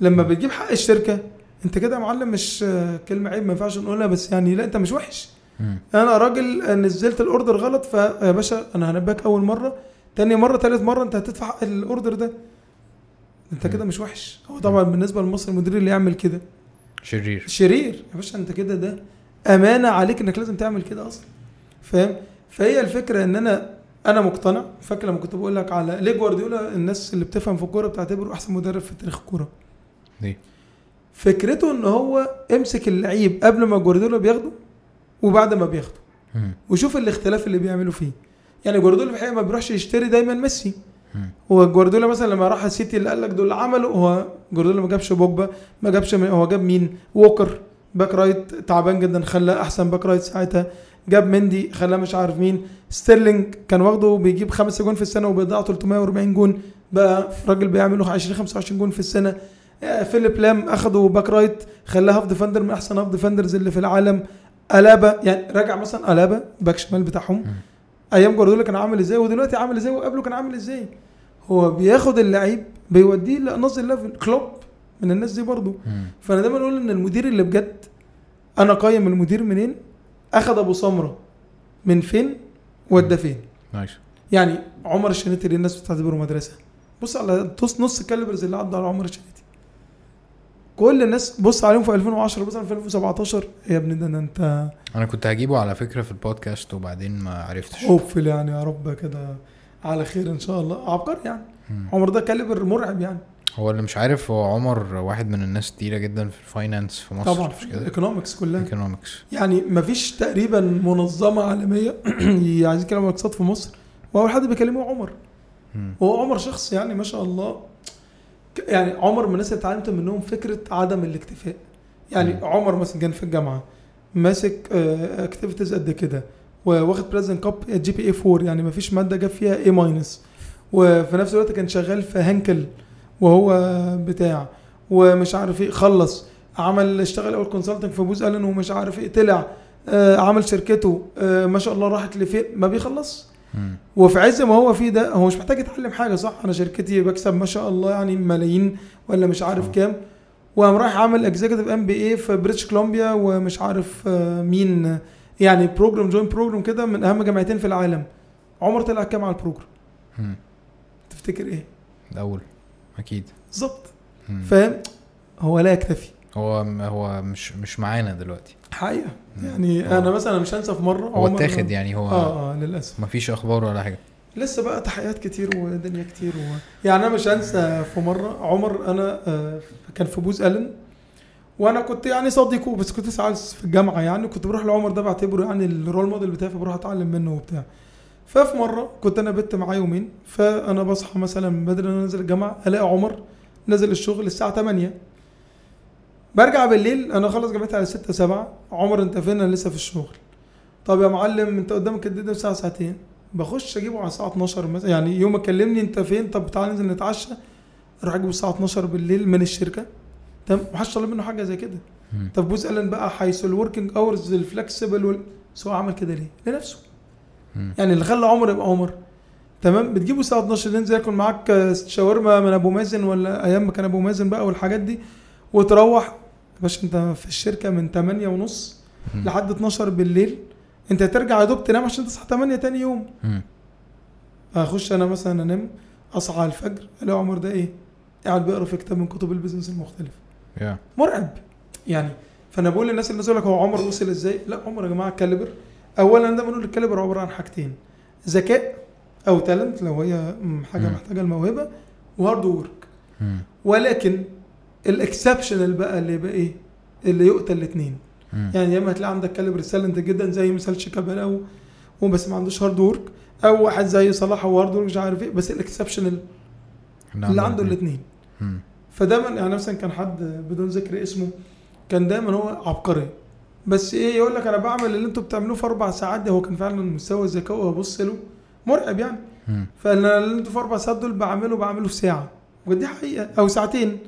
Speaker 2: لما بتجيب حق الشركه انت كده يا معلم مش كلمه عيب ما ينفعش نقولها بس يعني لا انت مش وحش
Speaker 1: مم.
Speaker 2: انا راجل نزلت الاوردر غلط فيا باشا انا هنبهك اول مره تاني مره تالت مره انت هتدفع حق الاوردر ده انت كده مش وحش هو طبعا بالنسبه لمصر المدير اللي يعمل كده
Speaker 1: شرير
Speaker 2: شرير يا باشا انت كده ده امانه عليك انك لازم تعمل كده اصلا فاهم فهي الفكره ان انا انا مقتنع فاكر لما كنت بقول لك على ليه جوارديولا الناس اللي بتفهم في الكوره بتعتبره احسن مدرب في تاريخ الكوره
Speaker 1: ليه؟
Speaker 2: فكرته ان هو امسك اللعيب قبل ما جوارديولا بياخده وبعد ما بياخده
Speaker 1: مم.
Speaker 2: وشوف الاختلاف اللي بيعملوا فيه يعني جوارديولا في الحقيقه ما بيروحش يشتري دايما ميسي
Speaker 1: مم.
Speaker 2: هو جوارديولا مثلا لما راح السيتي اللي قال لك دول عملوا هو جوارديولا ما جابش بوجبا ما جابش مي- هو جاب مين ووكر باك رايت تعبان جدا خلى احسن باك رايت ساعتها جاب مندي خلاه مش عارف مين ستيرلينج كان واخده بيجيب خمسة جون في السنه وبيضيع 340 جون بقى راجل بيعمل له 20 25 جون في السنه آه، فيليب لام اخده باك رايت خلاه هاف ديفندر من احسن هاف ديفندرز اللي في العالم الابا يعني راجع مثلا الابا باك شمال بتاعهم ايام جوارديولا كان عامل ازاي ودلوقتي عامل ازاي وقبله كان عامل ازاي هو بياخد اللعيب بيوديه لانظر ليفل كلوب من الناس دي برضه
Speaker 1: مم.
Speaker 2: فانا دايما اقول ان المدير اللي بجد انا قيم المدير منين اخد ابو سمره من فين ودى فين
Speaker 1: نايس
Speaker 2: يعني عمر الشناتي الناس بتعتبره مدرسه بص على نص نص الكالبرز اللي عدى على عمر الشناتي كل الناس بص عليهم في 2010 بص عليهم في 2017 يا ابني ده ده انت
Speaker 1: انا كنت هجيبه على فكره في البودكاست وبعدين ما عرفتش
Speaker 2: هوبفل يعني يا رب كده على خير ان شاء الله عبقري يعني
Speaker 1: مم.
Speaker 2: عمر ده كالبر مرعب يعني
Speaker 1: هو اللي مش عارف هو عمر واحد من الناس التقيله جدا في الفاينانس في مصر
Speaker 2: طبعا
Speaker 1: مش كده
Speaker 2: الايكونومكس كلها
Speaker 1: ايكونومكس
Speaker 2: يعني مفيش تقريبا منظمه عالميه عايزين يتكلموا عن الاقتصاد في مصر واول حد بيكلمه عمر
Speaker 1: مم.
Speaker 2: هو عمر شخص يعني ما شاء الله ك- يعني عمر من الناس اللي اتعلمت منهم فكره عدم الاكتفاء يعني
Speaker 1: مم.
Speaker 2: عمر مثلا كان في الجامعه ماسك اكتيفيتيز قد كده وواخد بريزن كاب جي بي اي 4 يعني ما فيش ماده جاب فيها اي ماينس وفي نفس الوقت كان شغال في هنكل وهو بتاع ومش عارف ايه خلص عمل اشتغل اول كونسلتنج في بوز الن ومش عارف ايه طلع آه، عمل شركته آه، ما شاء الله راحت لفين ما بيخلص
Speaker 1: مم.
Speaker 2: وفي عز ما هو فيه ده هو مش محتاج يتعلم حاجه صح انا شركتي بكسب ما شاء الله يعني ملايين ولا مش عارف
Speaker 1: آه.
Speaker 2: كام وقام رايح عامل اكزيكتيف ام بي اي في بريتش كولومبيا ومش عارف آه، مين آه، يعني بروجرام جوين بروجرام كده من اهم جامعتين في العالم عمر طلع كام على البروجرام
Speaker 1: مم.
Speaker 2: تفتكر ايه
Speaker 1: الاول اكيد
Speaker 2: بالظبط
Speaker 1: مم.
Speaker 2: فاهم هو لا يكتفي
Speaker 1: هو هو مش مش معانا دلوقتي
Speaker 2: حقيقه
Speaker 1: مم.
Speaker 2: يعني
Speaker 1: آه.
Speaker 2: انا مثلا مش هنسى في مره
Speaker 1: هو
Speaker 2: عمر-
Speaker 1: اتاخد يعني هو
Speaker 2: اه اه للاسف
Speaker 1: مفيش اخبار ولا حاجه
Speaker 2: لسه بقى تحقيقات كتير ودنيا كتير و... يعني انا مش هنسى في مره عمر انا آه، كان في بوز الن وانا كنت يعني صديقه بس كنت لسه عايز في الجامعه يعني كنت بروح لعمر ده بعتبره يعني الرول موديل بتاعي فبروح اتعلم منه وبتاع ففي مره كنت انا بت معاه يومين فانا بصحى مثلا بدري انا نازل الجامعه الاقي عمر نازل الشغل الساعه 8 برجع بالليل انا خلص جامعتي على 6 7 عمر انت فين انا لسه في الشغل طب يا معلم انت قدامك قد ايه ساعه ساعتين بخش اجيبه على الساعه 12 مثلا يعني يوم ما كلمني انت فين طب تعالى ننزل نتعشى راح اجيبه الساعه 12 بالليل من الشركه تمام محدش طالب منه حاجه زي كده
Speaker 1: مم.
Speaker 2: طب بوز قال بقى حيث الوركينج اورز الفلكسبل وال... بس هو عمل كده ليه؟ لنفسه
Speaker 1: مم.
Speaker 2: يعني اللي خلى عمر يبقى عمر تمام بتجيبه الساعه 12 ننزل ياكل معاك آه، شاورما من ابو مازن ولا ايام ما كان ابو مازن بقى والحاجات دي وتروح يا باشا انت في الشركه من 8 ونص
Speaker 1: مم.
Speaker 2: لحد 12 بالليل انت هترجع يا دوب تنام عشان تصحى 8 تاني يوم
Speaker 1: مم.
Speaker 2: هخش انا مثلا انام اصحى الفجر الاقي عمر ده ايه قاعد بيقرا في كتاب من كتب البيزنس المختلف
Speaker 1: يا
Speaker 2: مرعب يعني فانا بقول للناس اللي بتقول لك هو عمر وصل ازاي لا عمر يا جماعه الكاليبر اولا ده بنقول الكاليبر عباره عن حاجتين ذكاء او تالنت لو هي م- حاجه
Speaker 1: مم.
Speaker 2: محتاجه الموهبه وهارد وورك
Speaker 1: مم.
Speaker 2: ولكن الاكسبشنال بقى اللي بقى ايه اللي يقتل الاثنين
Speaker 1: مم.
Speaker 2: يعني يا اما هتلاقي عندك كاليبر سالنت جدا زي مثال شيكابالا او وبس ما عندوش هارد وورك او واحد زي صلاح هو هارد وورك مش عارف ايه بس الاكسبشنال يعني
Speaker 1: نعم،
Speaker 2: اللي عنده
Speaker 1: الاتنين.
Speaker 2: الاثنين
Speaker 1: مم.
Speaker 2: فدايما يعني مثلا كان حد بدون ذكر اسمه كان دايما هو عبقري بس ايه يقول لك انا بعمل اللي انتوا بتعملوه في اربع ساعات ده هو كان فعلا مستوى الذكاء وابص له مرعب يعني
Speaker 1: مم.
Speaker 2: فانا اللي انتوا في اربع ساعات دول بعمله بعمله في ساعه ودي حقيقه او ساعتين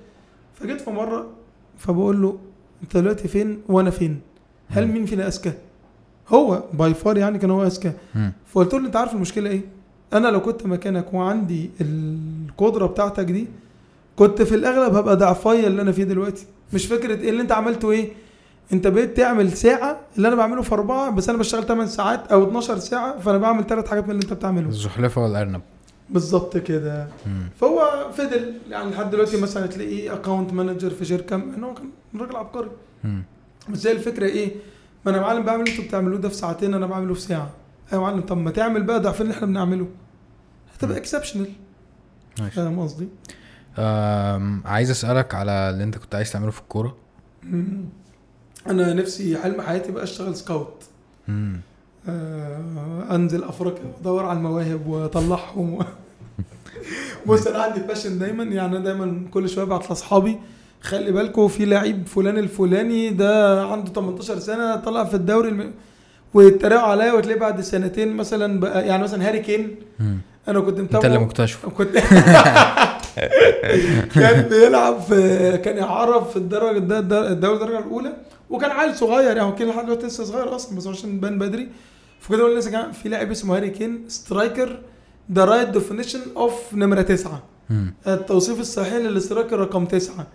Speaker 2: فجيت في مره فبقول له انت دلوقتي فين وانا فين؟ هل مين فينا اذكى؟ هو باي فار يعني كان هو اذكى
Speaker 1: مم.
Speaker 2: فقلت له انت عارف المشكله ايه؟ انا لو كنت مكانك وعندي القدره بتاعتك دي كنت في الاغلب هبقى ضعفايا اللي انا فيه دلوقتي مش فكره ايه اللي انت عملته ايه؟ انت بقيت تعمل ساعه اللي انا بعمله في اربعه بس انا بشتغل 8 ساعات او 12 ساعه فانا بعمل ثلاث حاجات من اللي انت بتعمله
Speaker 1: الزحلفه والارنب
Speaker 2: بالظبط كده
Speaker 1: مم.
Speaker 2: فهو فضل يعني لحد دلوقتي مثلا تلاقيه اكونت مانجر في شركه ان هو كان راجل عبقري
Speaker 1: مم.
Speaker 2: بس هي الفكره ايه؟ ما انا يا معلم بعمل اللي انتوا بتعملوه ده في ساعتين انا بعمله في ساعه ايوه يا معلم طب ما تعمل بقى ضعفين اللي احنا بنعمله هتبقى اكسبشنال
Speaker 1: نايس.
Speaker 2: فاهم قصدي؟
Speaker 1: أم، عايز اسالك على اللي انت كنت عايز تعمله في الكوره
Speaker 2: مم. انا نفسي حلم حياتي بقى اشتغل سكاوت
Speaker 1: مم.
Speaker 2: آه انزل افريقيا وادور على المواهب واطلعهم و... بص انا عندي باشن دايما يعني انا دايما كل شويه ابعت لاصحابي خلي بالكم في لعيب فلان الفلاني ده عنده 18 سنه طلع في الدوري الم... ويتريقوا عليا وتلاقيه بعد سنتين مثلا بقى يعني مثلا هاري كين
Speaker 1: مم.
Speaker 2: انا كنت
Speaker 1: انت اللي
Speaker 2: متابعه
Speaker 1: مكتشفه
Speaker 2: كنت كان بيلعب في كان يعرف في الدرجه ده ده- الدوري الدرجه الاولى وكان عيل صغير يعني هو كان لحد دلوقتي لسه صغير اصلا بس هو عشان بان بدري فكده بقول لسه كمان في لاعب اسمه هاري كين سترايكر ذا رايت ديفينيشن اوف نمره تسعه
Speaker 1: مم.
Speaker 2: التوصيف الصحيح للاسترايكر رقم تسعه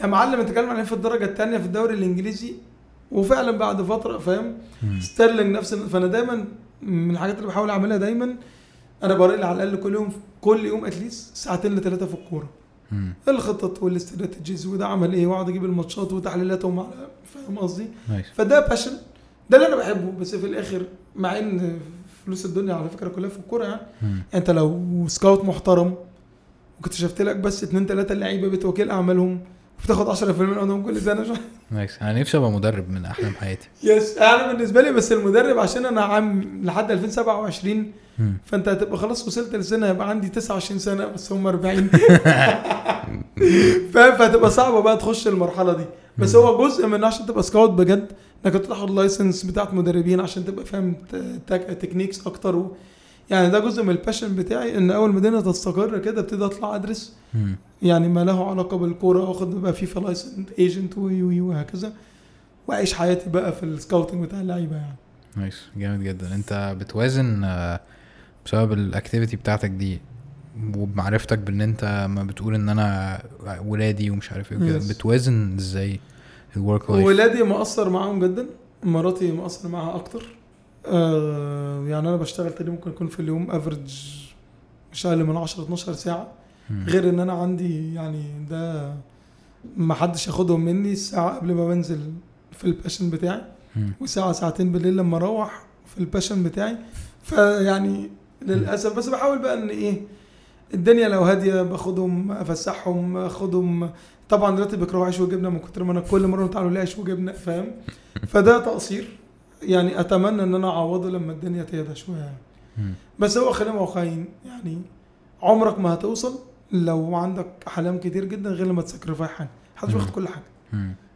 Speaker 2: يا معلم انت بتتكلم عليه في الدرجه الثانيه في الدوري الانجليزي وفعلا بعد فتره فاهم
Speaker 1: مم.
Speaker 2: ستيرلينج نفس فانا دايما من الحاجات اللي بحاول اعملها دايما انا بريل على الاقل كل يوم كل يوم اتليست ساعتين لثلاثه في الكوره
Speaker 1: مم.
Speaker 2: الخطط والاستراتيجيز وده عمل ايه واقعد اجيب الماتشات وتحليلاتهم على- فاهم قصدي؟
Speaker 1: نايس
Speaker 2: فده باشن ده اللي انا بحبه بس في الاخر مع ان فلوس الدنيا على فكره كلها في الكوره يعني
Speaker 1: مم.
Speaker 2: انت لو سكاوت محترم واكتشفت لك بس اتنين تلاته لعيبه بتوكيل اعمالهم وبتاخد 10% من عندهم كل سنه مش عارف-
Speaker 1: نايس انا نفسي ابقى مدرب من احلام حياتي
Speaker 2: يس انا بالنسبه لي بس المدرب عشان انا عام لحد 2027
Speaker 1: مم.
Speaker 2: فانت هتبقى خلاص وصلت لسنه هيبقى عندي 29 سنه بس هم 40 فاهم فهتبقى صعبه بقى تخش المرحله دي بس هو جزء من عشان تبقى سكاوت بجد انك تاخد لايسنس بتاعت مدربين عشان تبقى فاهم ت- تك- تكنيكس اكتر و... يعني ده جزء من الباشن بتاعي ان اول ما الدنيا تستقر كده ابتدي اطلع ادرس
Speaker 1: مم.
Speaker 2: يعني ما له علاقه بالكوره واخد بقى فيفا لايسنس ايجنت وي وي وهكذا واعيش حياتي بقى في السكاوتنج بتاع اللعيبه يعني
Speaker 1: نايس جامد جدا انت بتوازن آه، بسبب الاكتيفيتي بتاعتك دي وبمعرفتك بان انت ما بتقول ان انا ولادي ومش عارف ايه وكده
Speaker 2: Yes.
Speaker 1: بتوازن ازاي الورك لايف
Speaker 2: ولادي مقصر معاهم جدا مراتي مقصر معاها اكتر آه يعني انا بشتغل تاني ممكن يكون في اليوم افريج مش اقل من 10 12 ساعه غير ان انا عندي يعني ده ما حدش ياخدهم مني الساعه قبل ما بنزل في الباشن بتاعي وساعه ساعتين بالليل لما اروح في الباشن بتاعي فيعني للاسف بس بحاول بقى ان ايه الدنيا لو هاديه باخدهم افسحهم اخدهم طبعا دلوقتي بيكرهوا عيش وجبنه من كتر ما انا كل مره تعالوا لي عيش وجبنه فاهم فده تقصير يعني اتمنى ان انا اعوضه لما الدنيا تهدى شويه يعني. بس هو خلينا واقعيين يعني عمرك ما هتوصل لو عندك احلام كتير جدا غير لما تسكرفاي حاجه محدش
Speaker 1: مم.
Speaker 2: بياخد كل حاجه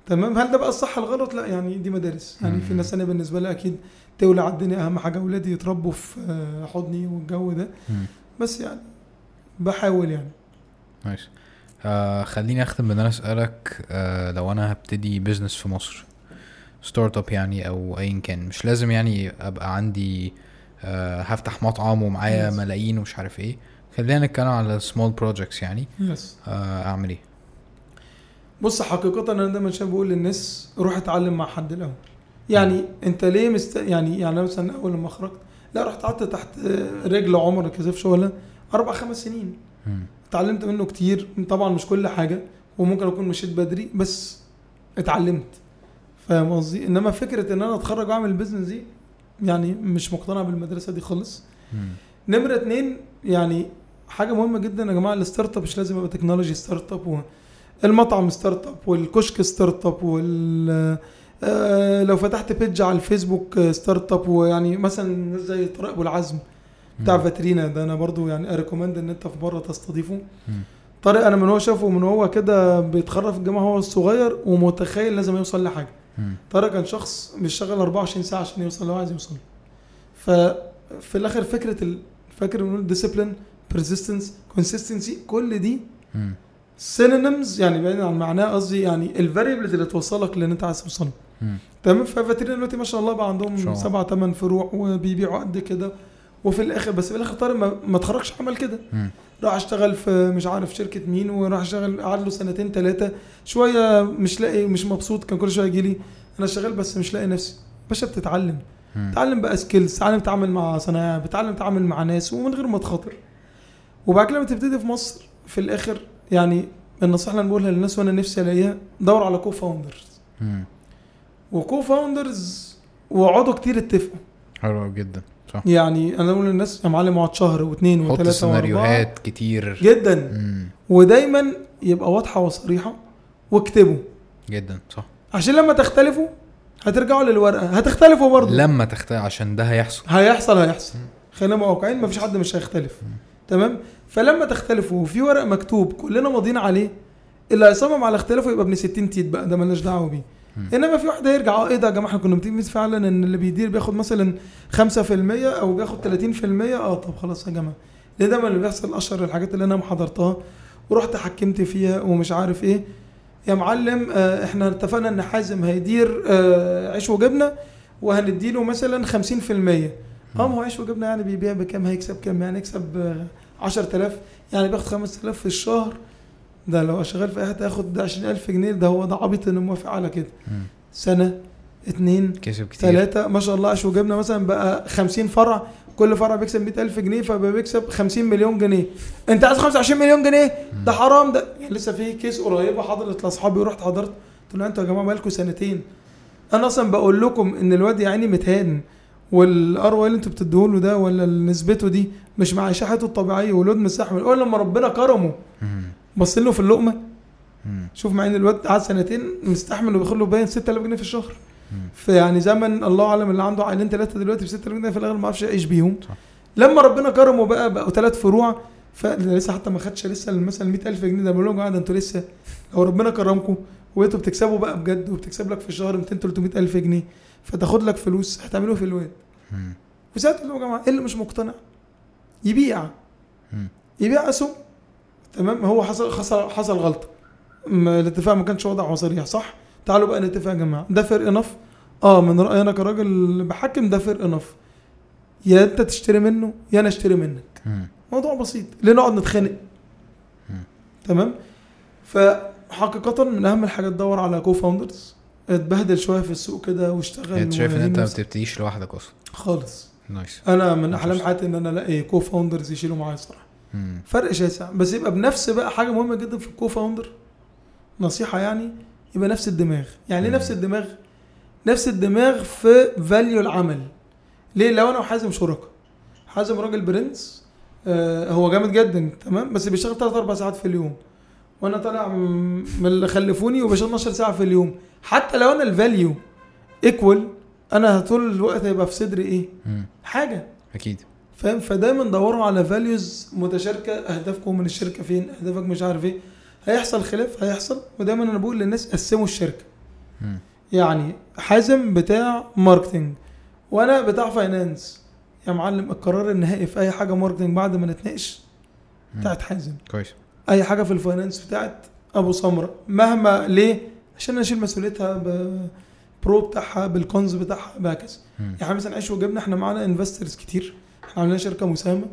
Speaker 2: تمام هل ده بقى الصح الغلط لا يعني دي مدارس يعني في
Speaker 1: مم.
Speaker 2: ناس انا بالنسبه لها اكيد تولع الدنيا اهم حاجه اولادي يتربوا في آه، حضني والجو ده بس يعني بحاول يعني
Speaker 1: نايس آه خليني اختم بان انا اسالك آه لو انا هبتدي بزنس في مصر ستارت اب يعني او ايا كان مش لازم يعني ابقى عندي آه هفتح مطعم ومعايا
Speaker 2: Yes.
Speaker 1: ملايين ومش عارف ايه خلينا نتكلم على سمول بروجكتس يعني
Speaker 2: يس
Speaker 1: آه اعمل ايه
Speaker 2: بص حقيقه انا دايما شايف بقول للناس روح اتعلم مع حد الاول يعني انت ليه مست يعني يعني أنا مثلا اول لما خرجت لا رحت قعدت تحت آه، رجل عمر كسيف شغله اربع خمس سنين
Speaker 1: مم.
Speaker 2: اتعلمت منه كتير طبعا مش كل حاجه وممكن اكون مشيت بدري بس اتعلمت فاهم قصدي انما فكره ان انا اتخرج واعمل البيزنس دي يعني مش مقتنع بالمدرسه دي خالص
Speaker 1: مم.
Speaker 2: نمره اتنين يعني حاجه مهمه جدا يا جماعه الستارت اب مش لازم يبقى تكنولوجي ستارت اب والمطعم ستارت اب والكشك ستارت اب وال آه، لو فتحت بيج على الفيسبوك آه، ستارت اب ويعني مثلا ناس زي طارق ابو العزم بتاع
Speaker 1: مم.
Speaker 2: فاترينا ده انا برضو يعني اريكومند ان انت في مره تستضيفه
Speaker 1: مم.
Speaker 2: طارق انا من هو شافه من هو كده بيتخرج في الجامعه هو الصغير ومتخيل لازم يوصل لحاجه
Speaker 1: مم.
Speaker 2: طارق كان شخص بيشتغل 24 ساعه عشان يوصل اللي هو عايز يوصل ففي الاخر فكره ال... فاكر بنقول ديسيبلين persistence كونسيستنسي كل دي
Speaker 1: مم.
Speaker 2: سينونيمز يعني بعيدا عن معناها قصدي يعني الفاريبلز اللي توصلك للي انت عايز توصله
Speaker 1: مم.
Speaker 2: تمام ففاترينا دلوقتي ما شاء الله بقى عندهم
Speaker 1: شاء
Speaker 2: سبعة ثمان فروع وبيبيعوا قد كده وفي الاخر بس في الاخر طارق ما, ما اتخرجش عمل كده
Speaker 1: مم.
Speaker 2: راح اشتغل في مش عارف شركه مين وراح اشتغل قعد له سنتين ثلاثه شويه مش لاقي مش مبسوط كان كل شويه يجي لي انا شغال بس مش لاقي نفسي باشا بتتعلم
Speaker 1: مم.
Speaker 2: بتتعلم بقى سكيلز بتتعلم تتعامل مع صنايع بتتعلم تتعامل مع ناس ومن غير ما تخاطر وبعد كده لما تبتدي في مصر في الاخر يعني النصيحه اللي أنا بقولها للناس وانا نفسي الاقيها دور على كو فاوندرز
Speaker 1: مم.
Speaker 2: وكو فاوندرز واقعدوا كتير اتفقوا
Speaker 1: حلو جدا صح
Speaker 2: يعني انا بقول للناس يا معلم اقعد شهر واثنين
Speaker 1: حط
Speaker 2: وثلاثه واربعه
Speaker 1: سيناريوهات كتير
Speaker 2: جدا
Speaker 1: مم.
Speaker 2: ودايما يبقى واضحه وصريحه واكتبوا
Speaker 1: جدا صح
Speaker 2: عشان لما تختلفوا هترجعوا للورقه هتختلفوا برضه
Speaker 1: لما تختار عشان ده هيحصل
Speaker 2: هيحصل هيحصل خلينا نبقى واقعيين مفيش حد مش هيختلف تمام فلما تختلفوا وفي ورق مكتوب كلنا ماضيين عليه اللي هيصمم على اختلافه يبقى ابن 60 تيت بقى ده ملناش دعوه بيه انما في واحد هيرجع اه ايه ده يا جماعه احنا كنا متفقين فعلا ان اللي بيدير بياخد مثلا 5% او بياخد 30% اه طب خلاص يا جماعه ليه ده ما اللي بيحصل اشهر الحاجات اللي انا ما حضرتها ورحت حكمت فيها ومش عارف ايه يا معلم آه احنا اتفقنا ان حازم هيدير آه عيش وجبنه وهنديله مثلا 50% اه ما هو عيش وجبنه يعني بيبيع بكام هيكسب كام يعني يكسب آه 10000 يعني بياخد 5000 في الشهر ده لو شغال في اي حته ياخد 20000 جنيه ده هو ده عبيط انه موافق على كده
Speaker 1: مم.
Speaker 2: سنه اتنين
Speaker 1: كسب كتير
Speaker 2: ثلاثة ما شاء الله عيش وجبنة مثلا بقى 50 فرع كل فرع بيكسب 100000 جنيه فبقى بيكسب 50 مليون جنيه انت عايز 25 مليون جنيه ده حرام ده يعني لسه في كيس قريبة حضرت لاصحابي ورحت حضرت قلت له انتوا يا جماعة بقالكم سنتين انا اصلا بقول لكم ان الواد يا عيني متهان والار اللي انتوا بتدوه له ده ولا نسبته دي مش معايشه حياته الطبيعيه والواد مستحمل اول لما ربنا كرمه
Speaker 1: مم.
Speaker 2: بص له في اللقمه
Speaker 1: مم.
Speaker 2: شوف مع ان الواد قعد سنتين مستحمل وبياخد له باين 6000 جنيه في الشهر
Speaker 1: Hmm,
Speaker 2: فيعني زمن الله اعلم اللي عنده عائلين ثلاثه دلوقتي ب 6000 جنيه في الاغلب ما اعرفش يعيش بيهم
Speaker 1: صح.
Speaker 2: لما ربنا كرمه بقى بقوا ثلاث فروع فلسه حتى ما خدش لسه مثلا 100000 جنيه ده بقول لهم يا جماعه ده انتوا لسه لو ربنا كرمكم وانتوا بتكسبوا بقى بجد وبتكسب لك في الشهر 200 300000 جنيه فتاخد لك فلوس هتعملوا إيه في الواد
Speaker 1: مم.
Speaker 2: وساعتها تقول له يا جماعه إيه اللي مش مقتنع يبيع
Speaker 1: مم.
Speaker 2: يبيع اسهم تمام هو حصل حصل حصل غلطه ما- الاتفاق ما كانش واضح وصريح صح تعالوا بقى نتفق يا جماعه ده فير انف اه من رايي انا كراجل بحكم ده فير انف يا انت تشتري منه يا انا اشتري منك
Speaker 1: مم.
Speaker 2: موضوع بسيط ليه نقعد نتخانق
Speaker 1: مم.
Speaker 2: تمام فحقيقة من أهم الحاجات تدور على كو فاوندرز اتبهدل شوية في السوق كده واشتغل
Speaker 1: انت شايف ان
Speaker 2: وهين
Speaker 1: انت ما
Speaker 2: نفسك.
Speaker 1: بتبتديش لوحدك اصلا
Speaker 2: خالص
Speaker 1: نايس
Speaker 2: انا من احلام حياتي ان انا الاقي كو فاوندرز يشيلوا معايا الصراحه
Speaker 1: مم.
Speaker 2: فرق شاسع بس يبقى بنفس بقى حاجه مهمه جدا في الكو فاوندر نصيحه يعني يبقى نفس الدماغ يعني ليه نفس الدماغ نفس الدماغ في فاليو العمل ليه لو انا وحازم شركاء حازم راجل برنس آه هو جامد جدا تمام بس بيشتغل 3 4 ساعات في اليوم وانا طالع م- من اللي خلفوني وبشتغل 12 ساعه في اليوم حتى لو انا الفاليو ايكوال انا طول الوقت هيبقى في صدري ايه
Speaker 1: مم.
Speaker 2: حاجه
Speaker 1: اكيد
Speaker 2: فاهم فدايما دوروا على فاليوز متشاركه اهدافكم من الشركه فين اهدافك مش عارف ايه هيحصل خلاف هيحصل ودايما انا بقول للناس قسموا الشركه
Speaker 1: مم.
Speaker 2: يعني حازم بتاع ماركتنج وانا بتاع فاينانس يا معلم القرار النهائي في اي حاجه ماركتنج بعد ما نتناقش بتاعت حازم
Speaker 1: كويس
Speaker 2: اي حاجه في الفاينانس بتاعت ابو سمره مهما ليه عشان انا اشيل مسؤوليتها برو بتاعها بالكونز بتاعها بهكذا
Speaker 1: مم.
Speaker 2: يعني مثلا عيش وجبنه احنا معانا انفسترز كتير احنا عاملين شركه مساهمه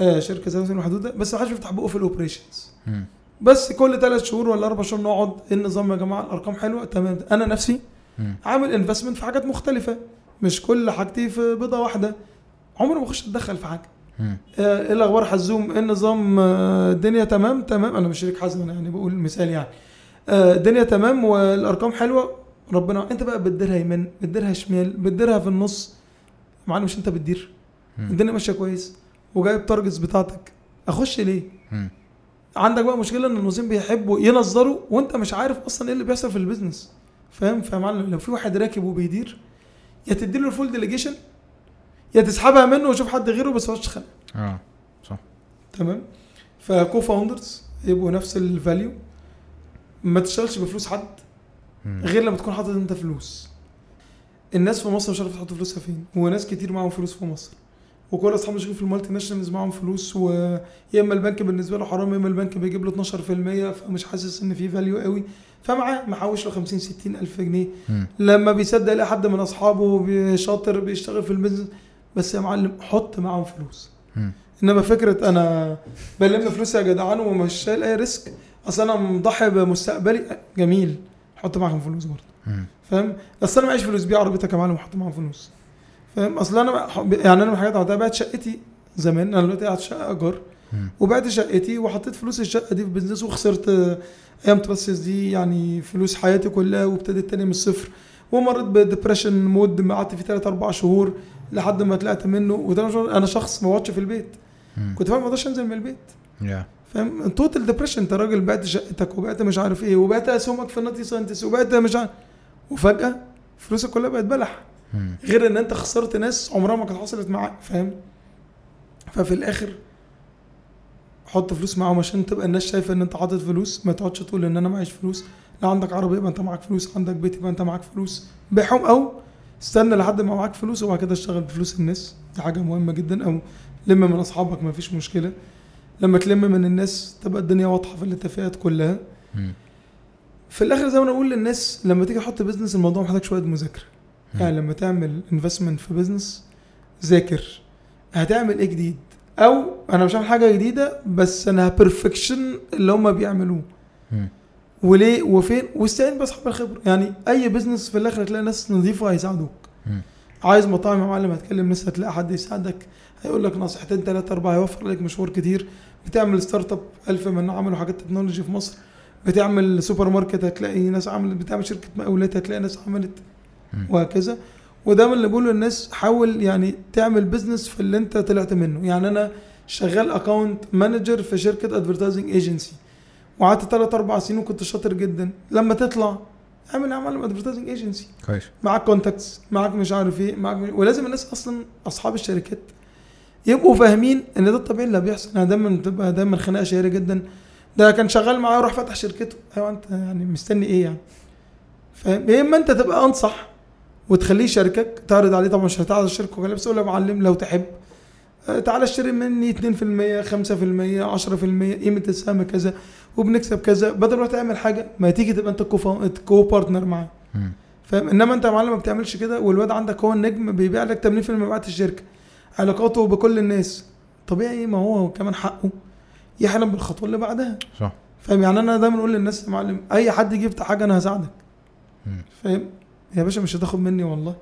Speaker 2: آه شركه زي مثلا محدوده بس ما حدش بيفتح بقه في الاوبريشنز
Speaker 1: مم.
Speaker 2: بس كل ثلاث شهور ولا اربع شهور نقعد ايه النظام يا جماعه الارقام حلوه تمام انا نفسي
Speaker 1: مم.
Speaker 2: عامل انفستمنت في حاجات مختلفه مش كل حاجتي في بيضه واحده عمري ما اخش اتدخل في حاجه
Speaker 1: مم.
Speaker 2: آه، ايه الاخبار حزوم ايه النظام آه، الدنيا تمام تمام انا مش شريك حزم انا يعني بقول مثال يعني آه، الدنيا تمام والارقام حلوه ربنا انت بقى بتديرها يمين بتديرها شمال بتديرها في النص يا معلم مش انت بتدير
Speaker 1: مم.
Speaker 2: الدنيا ماشيه كويس وجايب تارجتس بتاعتك اخش ليه
Speaker 1: مم.
Speaker 2: عندك بقى مشكله ان المذيعين بيحبوا ينظروا وانت مش عارف اصلا ايه اللي بيحصل في البيزنس فاهم فاهم معلم لو في واحد راكب وبيدير يا تديله الفول ديليجيشن يا تسحبها منه وشوف حد غيره بس ما تقعدش تخانق.
Speaker 1: اه صح
Speaker 2: تمام فكو فاوندرز يبقوا نفس الفاليو ما تشتغلش بفلوس حد
Speaker 1: مم.
Speaker 2: غير لما تكون حاطط انت فلوس الناس في مصر مش عارفه تحط فلوسها فين وناس كتير معاهم فلوس في مصر وكل اصحابي اللي شغالين في المالتي ناشونالز معاهم فلوس ويا اما البنك بالنسبه له حرام يا اما البنك بيجيب له 12% فمش حاسس ان في فاليو قوي فمعاه محوش له 50 60 الف جنيه
Speaker 1: مم.
Speaker 2: لما بيصدق يلاقي حد من اصحابه بي- شاطر بيشتغل في البيزنس بس يا معلم حط معاهم فلوس
Speaker 1: مم.
Speaker 2: انما فكره انا بلم فلوسي يا جدعان ومش شايل اي ريسك اصل انا مضحي بمستقبلي جميل حط معاهم فلوس برضه
Speaker 1: مم.
Speaker 2: فاهم اصل انا معيش فلوس بيع عربيتك يا معلم وحط معاهم فلوس فاهم اصل انا يعني انا من الحاجات اللي عملتها بعت شقتي زمان انا دلوقتي قاعد في شقه ايجار
Speaker 1: مم.
Speaker 2: وبعت شقتي وحطيت فلوس الشقه دي في بزنس وخسرت آه، ايام تراسيس دي يعني فلوس حياتي كلها وابتديت تاني من الصفر ومريت بديبريشن مود قعدت فيه 3 4 شهور لحد ما طلعت منه وده شهور انا شخص ما بقعدش في البيت
Speaker 1: مم.
Speaker 2: كنت فاهم ما اقدرش انزل من البيت
Speaker 1: يا
Speaker 2: فاهم توتال ديبريشن انت راجل بعت شقتك وبعت مش عارف ايه وبعت اسهمك في الناتي ساينتس وبعت مش عارف وفجاه فلوسك كلها بقت بلح
Speaker 1: مم.
Speaker 2: غير ان انت خسرت ناس عمرها ما كانت حصلت معاك فاهم ففي الاخر حط فلوس معاهم عشان تبقى الناس شايفه ان انت حاطط فلوس ما تقعدش تقول ان انا معيش فلوس لا عندك عربيه يبقى انت معاك فلوس عندك بيت يبقى انت معاك فلوس بيعهم او استنى لحد ما معاك فلوس وبعد كده اشتغل بفلوس الناس دي حاجه مهمه جدا او لم من اصحابك ما فيش مشكله لما تلم من الناس تبقى الدنيا واضحه في الاتفاقات كلها
Speaker 1: مم.
Speaker 2: في الاخر زي ما انا اقول للناس لما تيجي تحط بيزنس الموضوع محتاج شويه مذاكره
Speaker 1: مم.
Speaker 2: يعني لما تعمل انفستمنت في بيزنس ذاكر هتعمل ايه جديد او انا مش هعمل حاجه جديده بس انا هبرفكشن اللي هم بيعملوه
Speaker 1: مم.
Speaker 2: وليه وفين واستعين باصحاب الخبره يعني اي بيزنس في الاخر هتلاقي ناس نظيفه هيساعدوك
Speaker 1: مم.
Speaker 2: عايز مطاعم يا معلم هتكلم ناس هتلاقي حد يساعدك هيقول لك نصيحتين ثلاثه اربعه هيوفر لك مشوار كتير بتعمل ستارت اب الف من عملوا حاجات تكنولوجي في مصر بتعمل سوبر ماركت هتلاقي ناس عملت بتعمل شركه مقاولات هتلاقي ناس عملت
Speaker 1: مم.
Speaker 2: وهكذا وده من اللي بقوله للناس حاول يعني تعمل بزنس في اللي انت طلعت منه يعني انا شغال اكونت مانجر في شركه ادفرتايزنج ايجنسي وقعدت 3 4 سنين وكنت شاطر جدا لما تطلع اعمل اعمال ادفرتايزنج ايجنسي
Speaker 1: كويس
Speaker 2: معاك كونتاكتس معاك مش عارف ايه معاك مش... ولازم الناس اصلا اصحاب الشركات يبقوا فاهمين ان ده الطبيعي اللي بيحصل انا دايما بتبقى دايما خناقه شهيره جدا ده كان شغال معايا وراح فتح شركته ايوه انت يعني مستني ايه يعني فاهم يا اما انت تبقى انصح وتخليه شاركك تعرض عليه طبعا مش هتعرض الشركه وكلام بس قول له يا معلم لو تحب آه، تعالى اشتري مني 2% 5% 10% قيمه السهم كذا وبنكسب كذا بدل ما تعمل حاجه ما تيجي تبقى انت كوفا- كو بارتنر معاه
Speaker 1: مم.
Speaker 2: فاهم انما انت يا معلم ما بتعملش كده والواد عندك هو النجم بيبيع لك 80% من مبيعات الشركه علاقاته بكل الناس طبيعي ما هو كمان حقه يحلم بالخطوه اللي بعدها
Speaker 1: صح
Speaker 2: فاهم يعني انا دايما اقول للناس يا معلم اي حد يجي يفتح حاجه انا هساعدك
Speaker 1: مم.
Speaker 2: فاهم يا باشا مش هتاخد مني والله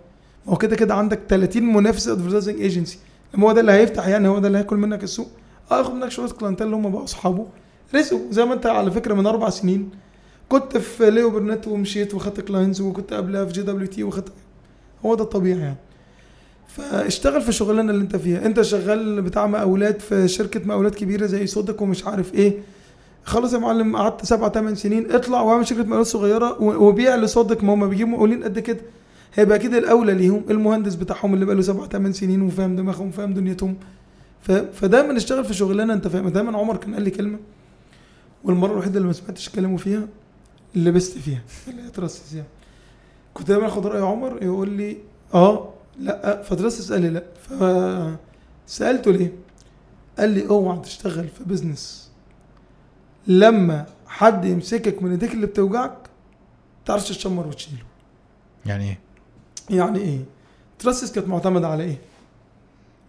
Speaker 2: ما هو كده كده عندك 30 منافس ادفرتايزنج ايجنسي لما هو ده اللي هيفتح يعني هو ده اللي هياكل منك السوق اه اخد منك شويه كلانتين اللي هم بقوا اصحابه رزقوا زي ما انت على فكره من اربع سنين كنت في ليو برنت ومشيت وخدت كلاينز وكنت قبلها في جي دبليو تي وخدت هو ده الطبيعي يعني فاشتغل في الشغلانه اللي انت فيها انت شغال بتاع مقاولات في شركه مقاولات كبيره زي صدق ومش عارف ايه خلاص يا معلم قعدت سبع ثمان سنين اطلع واعمل شركه مقاولات صغيره و- وبيع لصدق ما هم بيجيبوا مقاولين قد كده هيبقى اكيد الاولى ليهم المهندس بتاعهم اللي بقاله سبع ثمان سنين وفاهم دماغهم وفاهم دنيتهم ف... فدايما اشتغل في شغلانه انت فاهم دايما عمر كان قال لي كلمه والمره الوحيده اللي ما سمعتش كلامه فيها اللي لبست فيها اللي اترسس يعني كنت دايما اخد راي عمر يقول لي اه لا فترسس قال لي لا فسالته ليه؟ قال لي اوعى تشتغل في بزنس لما حد يمسكك من ايديك اللي بتوجعك تعرفش تشمر وتشيله
Speaker 1: يعني ايه
Speaker 2: يعني ايه؟ ترسس كانت معتمده على ايه؟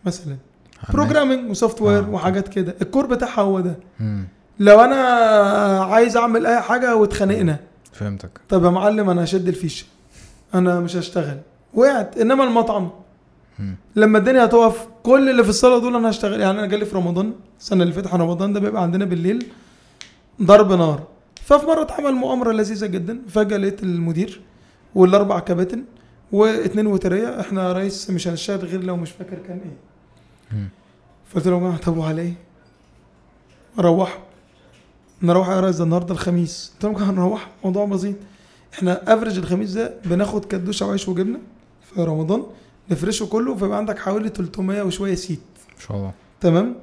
Speaker 2: مثلا
Speaker 1: عن-
Speaker 2: بروجرامنج وسوفت وير
Speaker 1: آه.
Speaker 2: وحاجات كده الكور بتاعها هو ده
Speaker 1: مم.
Speaker 2: لو انا عايز اعمل اي حاجه واتخانقنا
Speaker 1: فهمتك
Speaker 2: طب يا معلم انا هشد الفيشه انا مش هشتغل وقعت انما المطعم
Speaker 1: مم.
Speaker 2: لما الدنيا هتقف كل اللي في الصاله دول انا هشتغل يعني انا جالي في رمضان السنه اللي فاتت رمضان ده بيبقى عندنا بالليل ضرب نار ففي مره اتعمل مؤامره لذيذه جدا فجاه لقيت المدير والاربع كباتن واثنين وتريه احنا يا ريس مش هنشتغل غير لو مش فاكر كان ايه
Speaker 1: مم.
Speaker 2: فقلت له يا جماعه طب وعلى ايه؟ روحوا نروح يا ريس ده النهارده الخميس قلت لهم يا جماعة هنروح موضوع بسيط احنا افرج الخميس ده بناخد كدوشه وعيش وجبنه في رمضان نفرشه كله فيبقى عندك حوالي 300 وشويه سيت
Speaker 1: ان شاء الله
Speaker 2: تمام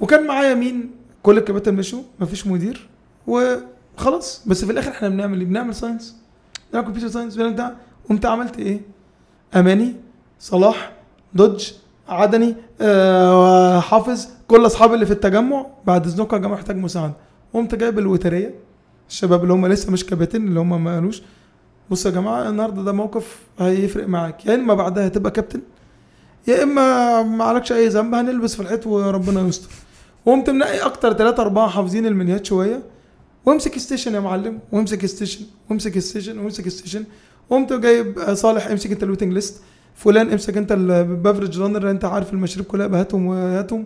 Speaker 2: وكان معايا مين كل الكباتن مشوا مفيش مدير وخلاص بس في الاخر احنا بنعمل ايه بنعمل ساينس بنعمل كمبيوتر ساينس بنعمل بتاع قمت عملت ايه اماني صلاح دودج عدني آه حافظ كل اصحابي اللي في التجمع بعد اذنكم يا جماعه محتاج مساعده قمت جايب الوتريه الشباب اللي هم لسه مش كباتن اللي هم ما قالوش بصوا يا جماعه النهارده ده موقف هيفرق معاك يا اما بعدها هتبقى كابتن يا اما ما عليكش اي ذنب هنلبس في الحيط وربنا يستر وقمت منقي اكتر ثلاثة أربعة حافظين المنيات شوية وامسك ستيشن يا معلم وامسك ستيشن وامسك ستيشن وامسك ستيشن وقمت جايب آه، صالح امسك انت الويتنج ليست فلان امسك انت البافرج رانر انت عارف المشاريب كلها بهاتهم وهاتهم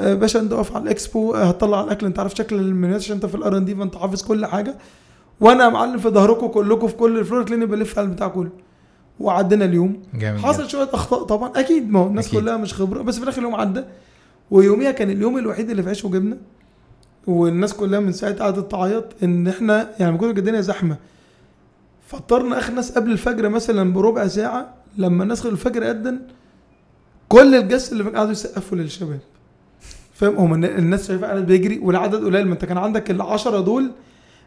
Speaker 2: آه، باشا انت اقف على الاكسبو آه، هتطلع على الاكل انت عارف شكل المنيات عشان انت في الار ان دي فانت حافظ كل حاجه وانا يا معلم في ظهركم كلكم في كل الفلور تلاقيني بلف على البتاع كله وعدينا اليوم
Speaker 1: جامد جدا.
Speaker 2: حصل شويه اخطاء طبعا اكيد ما هو الناس
Speaker 1: أكيد.
Speaker 2: كلها مش خبره بس في الاخر اليوم عدى ويوميها كان اليوم الوحيد اللي في عيش وجبنه والناس كلها من ساعتها قعدت تعيط ان احنا يعني من كتر كانت الدنيا زحمه فطرنا اخر ناس قبل الفجر مثلا بربع ساعه لما الناس قبل الفجر اذن كل الجس اللي فوق قعدوا يسقفوا للشباب فاهم هم الن- الناس شايفه قاعد بيجري والعدد قليل ما انت كان عندك ال 10 دول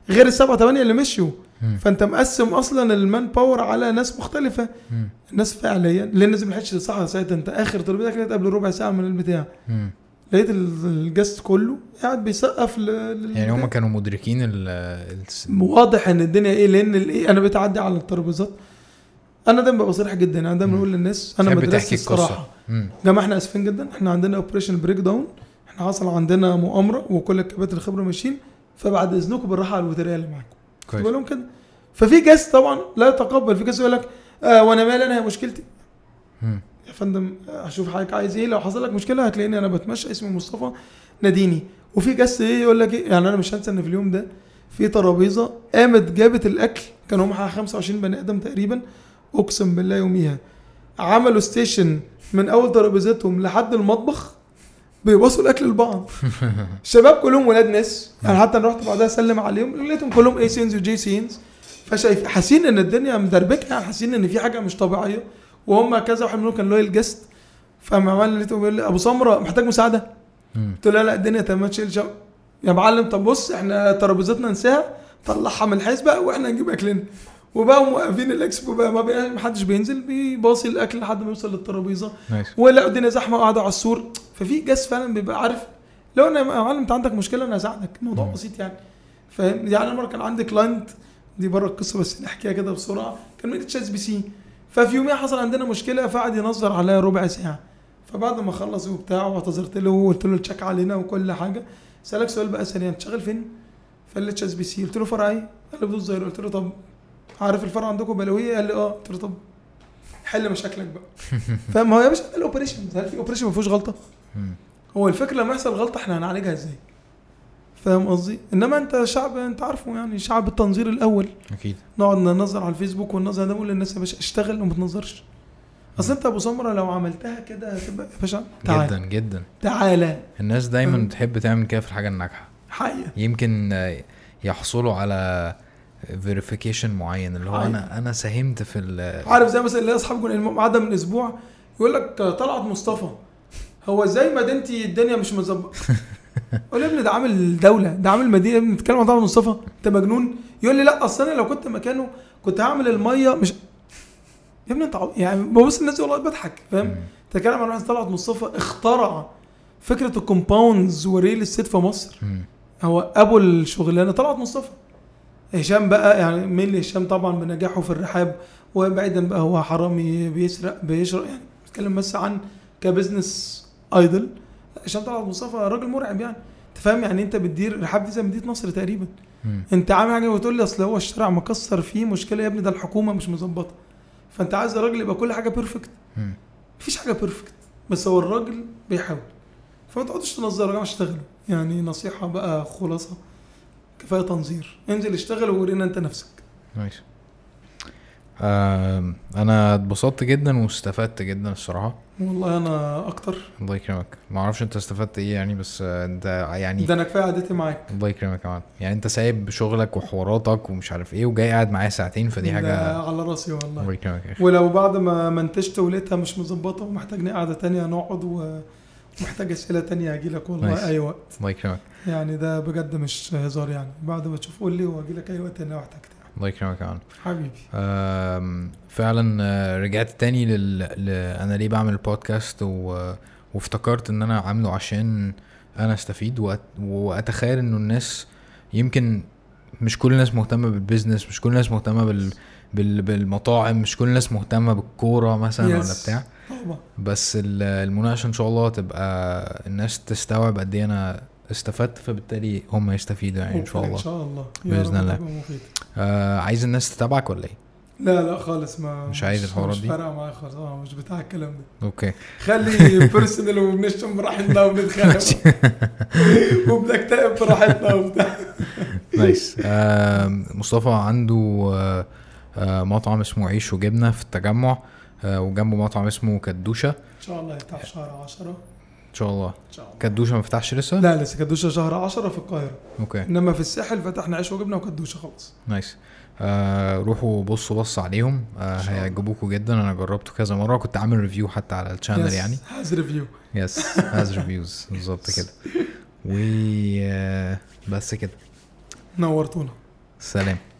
Speaker 2: غير السبعه ثمانيه اللي مشيوا
Speaker 1: مم.
Speaker 2: فانت مقسم اصلا المان باور على ناس مختلفه
Speaker 1: مم.
Speaker 2: الناس فعليا لان الناس ما لحقتش تصحى ساعتها انت اخر تربيتك كانت قبل ربع ساعه من البتاع
Speaker 1: مم.
Speaker 2: لقيت ال- الجست كله قاعد بيسقف ل... لل-
Speaker 1: يعني هم كانوا مدركين ال الس-
Speaker 2: واضح ان الدنيا ايه لان الايه انا بتعدي على الترابيزات انا دايما ببقى صريح جدا انا دايما بقول للناس انا
Speaker 1: تحب
Speaker 2: مدرسه
Speaker 1: تحكي
Speaker 2: الصراحه
Speaker 1: القصه مم.
Speaker 2: يا جماعه احنا اسفين جدا احنا عندنا اوبريشن بريك داون احنا حصل عندنا مؤامره وكل الكباتن الخبره ماشيين فبعد اذنكم بالراحه على الوتريه اللي معاكم كنت بقول
Speaker 1: كويس
Speaker 2: لهم كده ففي جاس طبعا لا يتقبل في جاس يقول لك آه وانا مالي انا هي مشكلتي
Speaker 1: مم.
Speaker 2: يا فندم هشوف حضرتك عايز ايه لو حصل لك مشكله هتلاقيني انا بتمشى اسمي مصطفى ناديني وفي جس ايه يقول لك ايه يعني انا مش هنسى ان في اليوم ده في ترابيزه قامت جابت الاكل كانوا هم 25 بني ادم تقريبا اقسم بالله يوميها عملوا ستيشن من اول ترابيزتهم لحد المطبخ بيبصوا الاكل لبعض الشباب كلهم ولاد ناس انا حتى أنا رحت بعدها اسلم عليهم لقيتهم كلهم اي سينز وجي سينز فشايف حاسين ان الدنيا مدربكه حاسين ان في حاجه مش طبيعيه وهم كذا واحد منهم كان لويال جست فعمال لقيته بيقول لي ابو سمره محتاج مساعده
Speaker 1: مم.
Speaker 2: قلت له لا لا الدنيا تمام تشيل شم يا معلم طب بص احنا ترابيزتنا ننساها طلعها من الحسبه واحنا نجيب اكلنا وبقوا موقفين الاكسبو بقى ما بقى- محدش بينزل بيباصي الاكل لحد ما يوصل للترابيزه
Speaker 1: نايس
Speaker 2: ولا الدنيا زحمه وقاعده على السور ففي جاس فعلا بيبقى عارف لو انا يا معلم انت عندك مشكله انا هساعدك الموضوع
Speaker 1: مم.
Speaker 2: بسيط يعني فاهم يعني انا مره كان عندي كلاينت دي بره القصه بس نحكيها كده بسرعه كان من اتش اس بي سي ففي يوميها حصل عندنا مشكله فقعد ينظر عليا ربع ساعه فبعد ما خلص وبتاع واعتذرت له وقلت له التشيك علينا وكل حاجه سالك سؤال بقى سريع انت شغال فين؟ فقال لي اتش اس بي سي قلت له فرع ايه؟ قال لي بدون زهير قلت له طب عارف الفرع عندكم بلاويه؟ قال لي اه قلت له طب حل مشاكلك بقى فاهم هو يا باشا ده الاوبريشن هل في اوبريشن ما فيهوش غلطه؟
Speaker 1: مم.
Speaker 2: هو الفكره لما يحصل غلطه احنا هنعالجها ازاي؟ فاهم قصدي؟ انما انت شعب انت عارفه يعني شعب التنظير الاول
Speaker 1: اكيد
Speaker 2: نقعد ننظر على الفيسبوك وننظر ده بقول للناس يا باشا اشتغل وما تنظرش اصل انت يا ابو سمره لو عملتها كده هتبقى يا باشا تعالى
Speaker 1: جدا جدا
Speaker 2: تعالى
Speaker 1: الناس
Speaker 2: طيب. مم.
Speaker 1: دايما بتحب تعمل كده في الحاجه الناجحه
Speaker 2: حقيقه
Speaker 1: يمكن آه، يحصلوا على فيريفيكيشن معين اللي هو
Speaker 2: أيوة.
Speaker 1: انا انا ساهمت في ال
Speaker 2: عارف زي مثلا اللي اصحابي كنا المهم عدى من اسبوع يقول لك طلعت مصطفى هو ازاي مدينتي الدنيا مش مظبطه قول يا ابني ده عامل دوله ده عامل مدينه يا ابني بتتكلم عن طلعت مصطفى انت مجنون يقول لي لا اصل انا لو كنت مكانه كنت هعمل الميه مش يا ابني انت عب- يعني ببص الناس دي والله بضحك فاهم تتكلم عن واحد طلعت مصطفى اخترع فكره الكومباوندز والريل استيت في مصر
Speaker 1: مم.
Speaker 2: هو ابو الشغلانه طلعت مصطفى هشام بقى يعني مين هشام طبعا بنجاحه في الرحاب وبعيدا بقى هو حرامي بيسرق بيشرق يعني بتكلم بس عن كبزنس ايدل لا، هشام طلعت مصطفى راجل مرعب يعني انت فاهم يعني انت بتدير الرحاب دي زي مدينه نصر تقريبا
Speaker 1: مم.
Speaker 2: انت عامل حاجه وتقول لي اصل هو الشارع مكسر فيه مشكله يا ابني ده الحكومه مش مظبطه فانت عايز الراجل يبقى كل حاجه بيرفكت
Speaker 1: مم.
Speaker 2: مفيش حاجه بيرفكت بس هو الراجل بيحاول فما تقعدش تنظر يا جماعه اشتغلوا يعني نصيحه بقى خلاصه كفايه تنظير انزل اشتغل وورينا انت نفسك
Speaker 1: ماشي آم، انا اتبسطت جدا واستفدت جدا الصراحه
Speaker 2: والله انا اكتر
Speaker 1: الله يكرمك ما اعرفش انت استفدت ايه يعني بس آه، انت يعني
Speaker 2: ده انا كفايه قعدتي معاك
Speaker 1: الله يكرمك يا معلم يعني انت سايب شغلك وحواراتك ومش عارف ايه وجاي قاعد معايا ساعتين فدي
Speaker 2: ده
Speaker 1: حاجه
Speaker 2: على راسي والله
Speaker 1: الله يكرمك يا اخي
Speaker 2: ولو بعد ما منتجت ولقيتها مش مظبطه ومحتاجني قعده تانية نقعد ومحتاج اسئله تانية هجي لك
Speaker 1: ماشي.
Speaker 2: والله أيوة. اي وقت
Speaker 1: الله يكرمك
Speaker 2: يعني ده بجد مش هزار يعني بعد ما تشوف قول لي وهجي لك اي وقت انا احتاجت
Speaker 1: الله يكرمك يا معلم
Speaker 2: حبيبي
Speaker 1: آم، فعلا آه، رجعت تاني لل... ل... انا ليه بعمل البودكاست و... وافتكرت ان انا عامله عشان انا استفيد وأت... واتخيل انه الناس يمكن مش كل الناس مهتمه بالبيزنس مش كل الناس مهتمه بال... بال... بالمطاعم مش كل الناس مهتمه بالكوره مثلا ولا
Speaker 2: Yes.
Speaker 1: بتاع
Speaker 2: طبعا
Speaker 1: بس ال- المناقشه ان شاء الله تبقى الناس تستوعب قد ايه انا استفدت فبالتالي هم يستفيدوا يعني ان شاء
Speaker 2: ان
Speaker 1: الله
Speaker 2: شاء الله يا
Speaker 1: بإذن
Speaker 2: رب
Speaker 1: الله.
Speaker 2: تبقى مفيدة.
Speaker 1: آه عايز الناس تتابعك ولا ايه
Speaker 2: لا لا خالص ما
Speaker 1: مش عايز الحوارات
Speaker 2: مش
Speaker 1: دي؟
Speaker 2: فارقه معايا خالص اه مش بتاع الكلام ده
Speaker 1: اوكي
Speaker 2: خلي بيرسونال وبنشتم براحتنا وبنتخانق وبنكتئب براحتنا وبتاع
Speaker 1: نايس آه مصطفى عنده آه آه مطعم اسمه عيش وجبنه في التجمع آه وجنبه مطعم اسمه كدوشه ان
Speaker 2: ان شاء الله يفتح شهر 10
Speaker 1: شاء الله
Speaker 2: ان شاء الله
Speaker 1: كدوشه ما فتحش لسه
Speaker 2: لا لسه كدوشه شهر 10 في القاهره
Speaker 1: اوكي
Speaker 2: انما في الساحل فتحنا عيش وجبنه وكدوشه خلاص
Speaker 1: نايس آه روحوا بصوا بص عليهم آه
Speaker 2: إن شاء الله.
Speaker 1: هيعجبوكوا جدا انا جربته كذا مره كنت عامل ريفيو حتى على الشانل يعني
Speaker 2: هاز ريفيو
Speaker 1: يس هاز ريفيوز بالظبط كده و آه، بس كده
Speaker 2: نورتونا
Speaker 1: سلام